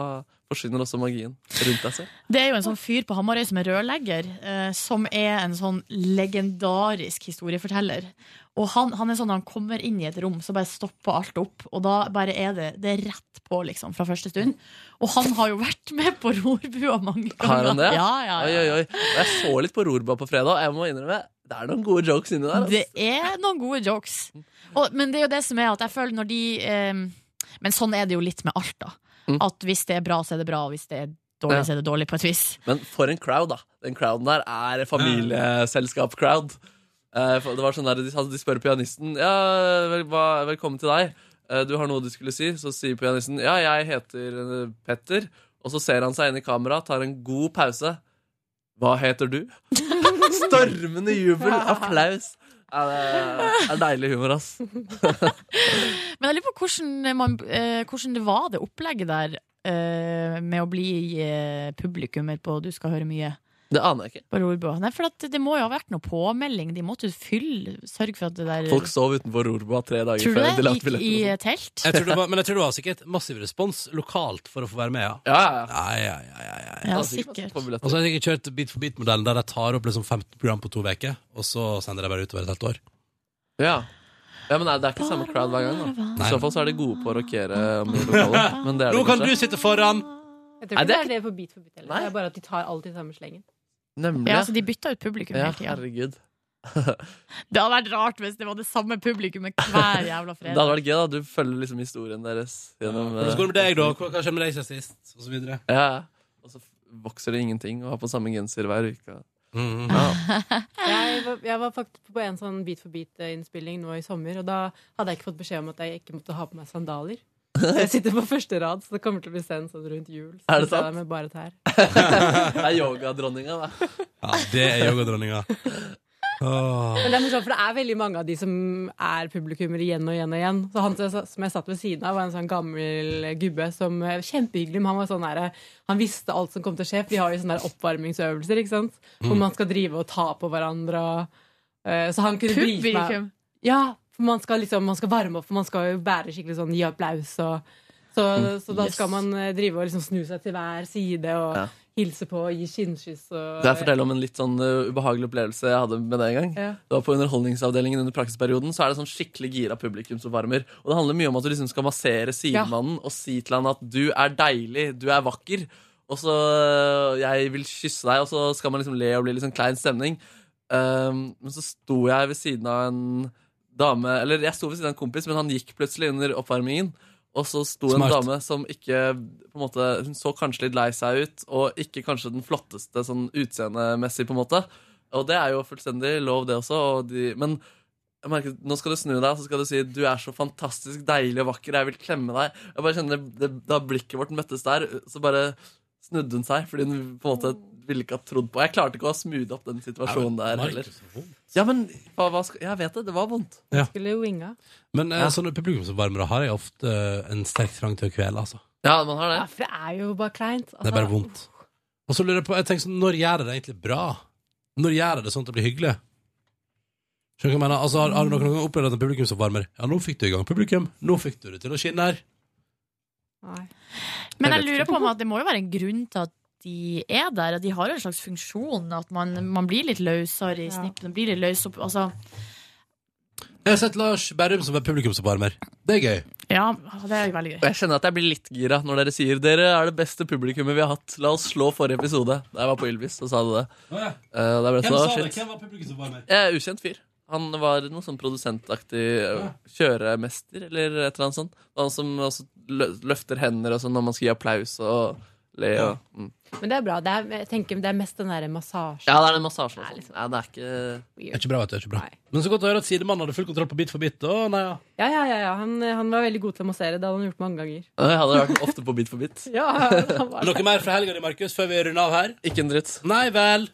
[SPEAKER 5] forsvinner også magien rundt deg selv.
[SPEAKER 3] Det er jo en sånn fyr på Hamarøy som er rørlegger, eh, som er en sånn legendarisk historieforteller. Og han, han er sånn når han kommer inn i et rom, så bare stopper alt opp. Og da bare er det, det er rett på, liksom, fra første stund. Og han har jo vært med på Rorbua mange ganger.
[SPEAKER 5] Har han det?
[SPEAKER 3] Ja, ja, ja.
[SPEAKER 5] Oi, oi, oi. Og jeg så litt på Rorba på fredag, og jeg må innrømme det er noen gode jokes inni der. ass.
[SPEAKER 3] Det er noen gode jokes. Og, men det er jo det som er at jeg føler når de eh, Men sånn er det jo litt med alt, da.
[SPEAKER 5] Mm.
[SPEAKER 3] At hvis det er bra, så er det bra. Og hvis det er dårlig,
[SPEAKER 5] Ja.
[SPEAKER 3] så er det dårlig, på et vis.
[SPEAKER 5] Men for en crowd, da. Den crowden der er familieselskap-crowd. Eh, for Det var sånn der, De hadde- de spør pianisten Ja, vel, hva, velkommen til deg. Eh, Du har noe du skulle si. Så sier pianisten Ja, jeg heter eh, Petter. Og så ser han seg inn i kamera, tar en god pause. Hva heter du? Stormende jubel, applaus. Ja, det er deilig humor, ass.
[SPEAKER 3] Men jeg lurer på hvordan, man, eh, hvordan det var, det opplegget der, eh, med å bli eh, publikummer på Du skal høre mye
[SPEAKER 5] Det aner jeg ikke.
[SPEAKER 3] på Rorbua. Nei, for at det må jo ha vært noe påmelding. De måtte jo fylle, sørge for at det der
[SPEAKER 5] Folk sov utenfor Rorba tre dager
[SPEAKER 3] Eh, Tror du
[SPEAKER 5] før.
[SPEAKER 3] det?
[SPEAKER 5] de lagt
[SPEAKER 3] Gikk i
[SPEAKER 5] billetter. sånn.
[SPEAKER 3] telt?
[SPEAKER 2] Jeg tror det var, men jeg tror det var sikkert massiv respons lokalt for å få være med, ja.
[SPEAKER 5] Ja, ja, ja.
[SPEAKER 2] Nei, ja, ja, ja, ja.
[SPEAKER 3] eh, Ja,
[SPEAKER 5] Det er sikkert masse
[SPEAKER 3] sikkert.
[SPEAKER 5] på billetter.
[SPEAKER 2] Og så har jeg kjørt bit for bit-modellen der jeg tar opp liksom 15 program på to uker, og så sender jeg bare utover et helt år.
[SPEAKER 5] Ja. ja, men nei, det er ikke samme crowd hver gang. da
[SPEAKER 2] Nei.
[SPEAKER 5] I så fall så er de gode på å rockere om de lokaler. Men det er
[SPEAKER 2] Nå
[SPEAKER 5] det
[SPEAKER 2] kan du
[SPEAKER 5] kanskje.
[SPEAKER 2] sitte foran!
[SPEAKER 8] Jeg tror
[SPEAKER 5] Nei,
[SPEAKER 8] ikke det
[SPEAKER 5] det er
[SPEAKER 8] er det for bit for bit heller.
[SPEAKER 5] Nei.
[SPEAKER 8] Det er bare at de tar alltid samme slengen.
[SPEAKER 5] Nemlig.
[SPEAKER 3] Ja, så de bytta ut publikum
[SPEAKER 5] Ja,
[SPEAKER 3] hele tida.
[SPEAKER 5] herregud.
[SPEAKER 3] Det hadde vært rart hvis det var det samme publikummet hver jævla
[SPEAKER 5] Det
[SPEAKER 3] fredag.
[SPEAKER 5] hadde vært gøy, da. Du følger liksom historien deres gjennom
[SPEAKER 2] Hvordan går det med deg, da? Hva skjer med deg siden sist? Og så videre.
[SPEAKER 5] eh, Ja, Og så vokser det ingenting å ha på samme genser hver uke.
[SPEAKER 2] Mhm.
[SPEAKER 5] Ja.
[SPEAKER 8] Jeg var, jeg var faktisk på en sånn Beat for beat-innspilling nå i sommer, og da hadde jeg ikke fått beskjed om at jeg ikke måtte ha på meg sandaler. Jeg sitter på første rad, så det kommer til å bli sendt sånn rundt jul. Så
[SPEAKER 5] Er det
[SPEAKER 8] sitter jeg
[SPEAKER 5] sant?
[SPEAKER 8] der Med bare tær.
[SPEAKER 5] Det er yogadronninga, da.
[SPEAKER 2] Ja, det er yogadronninga. Åh.
[SPEAKER 8] Men det er morsomt, for det er veldig mange av de som er publikummere igjen og igjen og igjen. Så han som- som jeg satt ved siden av, var en sånn gammel gubbe som eh, Kjempehyggelig, men han var sånn der, Han visste alt som kom til å skje, for de har jo sånne der oppvarmingsøvelser, ikke sant? Hvor
[SPEAKER 13] Mm.
[SPEAKER 8] man skal drive og ta på hverandre og eh, Så han kunne brife meg
[SPEAKER 3] liksom.
[SPEAKER 13] Publikum.
[SPEAKER 8] Ja, for man skal liksom Man skal varme opp, for man skal jo være skikkelig sånn gi applaus og så,
[SPEAKER 5] Mm.
[SPEAKER 8] så da
[SPEAKER 5] Yes.
[SPEAKER 8] skal man eh, drive og liksom snu seg til hver side og
[SPEAKER 5] Ja.
[SPEAKER 8] hilse på og gi kinnskyss og
[SPEAKER 5] Kan jeg fortelle om en litt sånn uh, ubehagelig opplevelse jeg hadde med det en gang?
[SPEAKER 8] Ja.
[SPEAKER 5] Det var På Underholdningsavdelingen under praksisperioden Så er det sånn skikkelig gira publikum som varmer. Og det handler mye om at du liksom skal massere sidemannen og si til han at du er deilig, du er vakker. Og så uh, jeg vil kysse deg, og så skal man liksom le og bli litt sånn klein stemning. Um, men så sto jeg ved siden av en dame Eller jeg sto ved siden av en kompis, men han gikk plutselig under oppvarmingen. Og så sto
[SPEAKER 2] Smart.
[SPEAKER 5] en dame som ikke på en måte, Hun så kanskje litt lei seg ut, og ikke kanskje den flotteste sånn utseendemessig, på en måte. Og det er jo fullstendig lov, det også. Og de, men jeg merker, nå skal du snu deg og så skal du si 'du er så fantastisk deilig og vakker, jeg vil klemme deg'. Jeg bare kjenner det, det, Da blikket vårt møttes der, så bare snudde hun seg, fordi hun på en måte ville ikke ha trodd på Jeg klarte ikke å smoothe opp den situasjonen
[SPEAKER 2] Nei, men,
[SPEAKER 5] der
[SPEAKER 2] Markus,
[SPEAKER 5] heller.
[SPEAKER 2] så vondt.
[SPEAKER 5] Ja, men hva, hva skal, Jeg vet det, det var vondt.
[SPEAKER 2] Ja.
[SPEAKER 8] Skulle winga.
[SPEAKER 2] Men eh, sånne publikumsvarmere har jeg ofte eh, en sterk trang til å kvele, altså.
[SPEAKER 5] Ja, man har det.
[SPEAKER 8] Ja, for det er jo bare kleint. Altså,
[SPEAKER 2] Det er bare vondt. Og så lurer jeg på, jeg tenker sånn, når gjør jeg det egentlig bra? Når gjør jeg det sånn at det blir hyggelig? Skjønner du hva jeg mener? Altså, har, har du noen gang opplevd at en publikum som varmer? Ja, nå fikk du i gang publikum. Nå fikk du det til å skinne her.
[SPEAKER 3] Men
[SPEAKER 2] Jeg
[SPEAKER 3] jeg
[SPEAKER 2] vet
[SPEAKER 3] lurer på om at det må jo være en grunn til at de er der, og de har en slags funksjon. At man, man blir litt løsere i snippen. Blir litt løs opp, altså,
[SPEAKER 2] Jeg har sett Lars Berrum som er publikum som varmer. Det er gøy.
[SPEAKER 3] ja, det er jo veldig gøy.
[SPEAKER 5] Og jeg kjenner at jeg blir litt gira når dere sier dere er det beste publikummet vi har hatt. La oss slå forrige episode. Da jeg var på Ylvis, så sa du det.
[SPEAKER 2] Å ja.
[SPEAKER 5] Eh, da ble jeg
[SPEAKER 2] Hvem
[SPEAKER 5] sånn,
[SPEAKER 2] sa
[SPEAKER 5] «Å,
[SPEAKER 2] det?
[SPEAKER 5] shit».
[SPEAKER 2] Hvem var publikum som varmer?
[SPEAKER 5] Jeg er ukjent fyr. Han var noe sånn produsentaktig eh, kjøremester eller et eller annet sånt. Det var Han som også lø- løfter hender og sånn når man skal gi applaus og le og mm.
[SPEAKER 8] Men det er bra. Det er, jeg tenker det er mest den derre massasjen.
[SPEAKER 5] Ja, det er den massasjen og sånn. Nei, det er ikke
[SPEAKER 2] Det er ikke bra, vet du. Det er ikke bra. Men så godt å høre at sidemannen hadde full kontroll på bit for bit. Å, nei, ja.
[SPEAKER 8] Ja, ja, ja, ja. Han, han var veldig god til å massere. Det hadde han gjort mange ganger.
[SPEAKER 5] Jeg hadde vært ofte på bit for bit.
[SPEAKER 8] Ja, han var
[SPEAKER 2] Noe mer fra helga di, Markus, før vi runder av her?
[SPEAKER 5] Ikke en dritt.
[SPEAKER 2] Nei vel.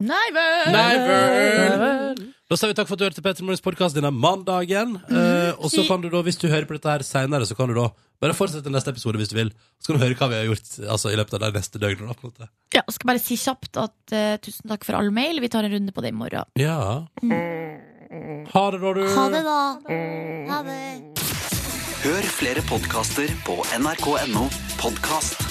[SPEAKER 3] Nei vel!
[SPEAKER 2] Nei vel. Da sier vi takk for at du hørte på Petter Morgens podkast denne mandagen. Eh, og
[SPEAKER 3] Mm.
[SPEAKER 2] så kan du da, hvis du hører på dette her seinere, så kan du da bare fortsette neste episode hvis du vil. Så kan du høre hva vi har gjort altså, i løpet av de neste døgnene. da, på en måte.
[SPEAKER 3] Ja, skal bare si kjapt at eh, tusen takk for all mail. Vi tar en runde på det i morgen.
[SPEAKER 2] Ja. Ha det, da, du.
[SPEAKER 3] Ha det, da.
[SPEAKER 1] Hør flere podkaster på nrk.no podkast.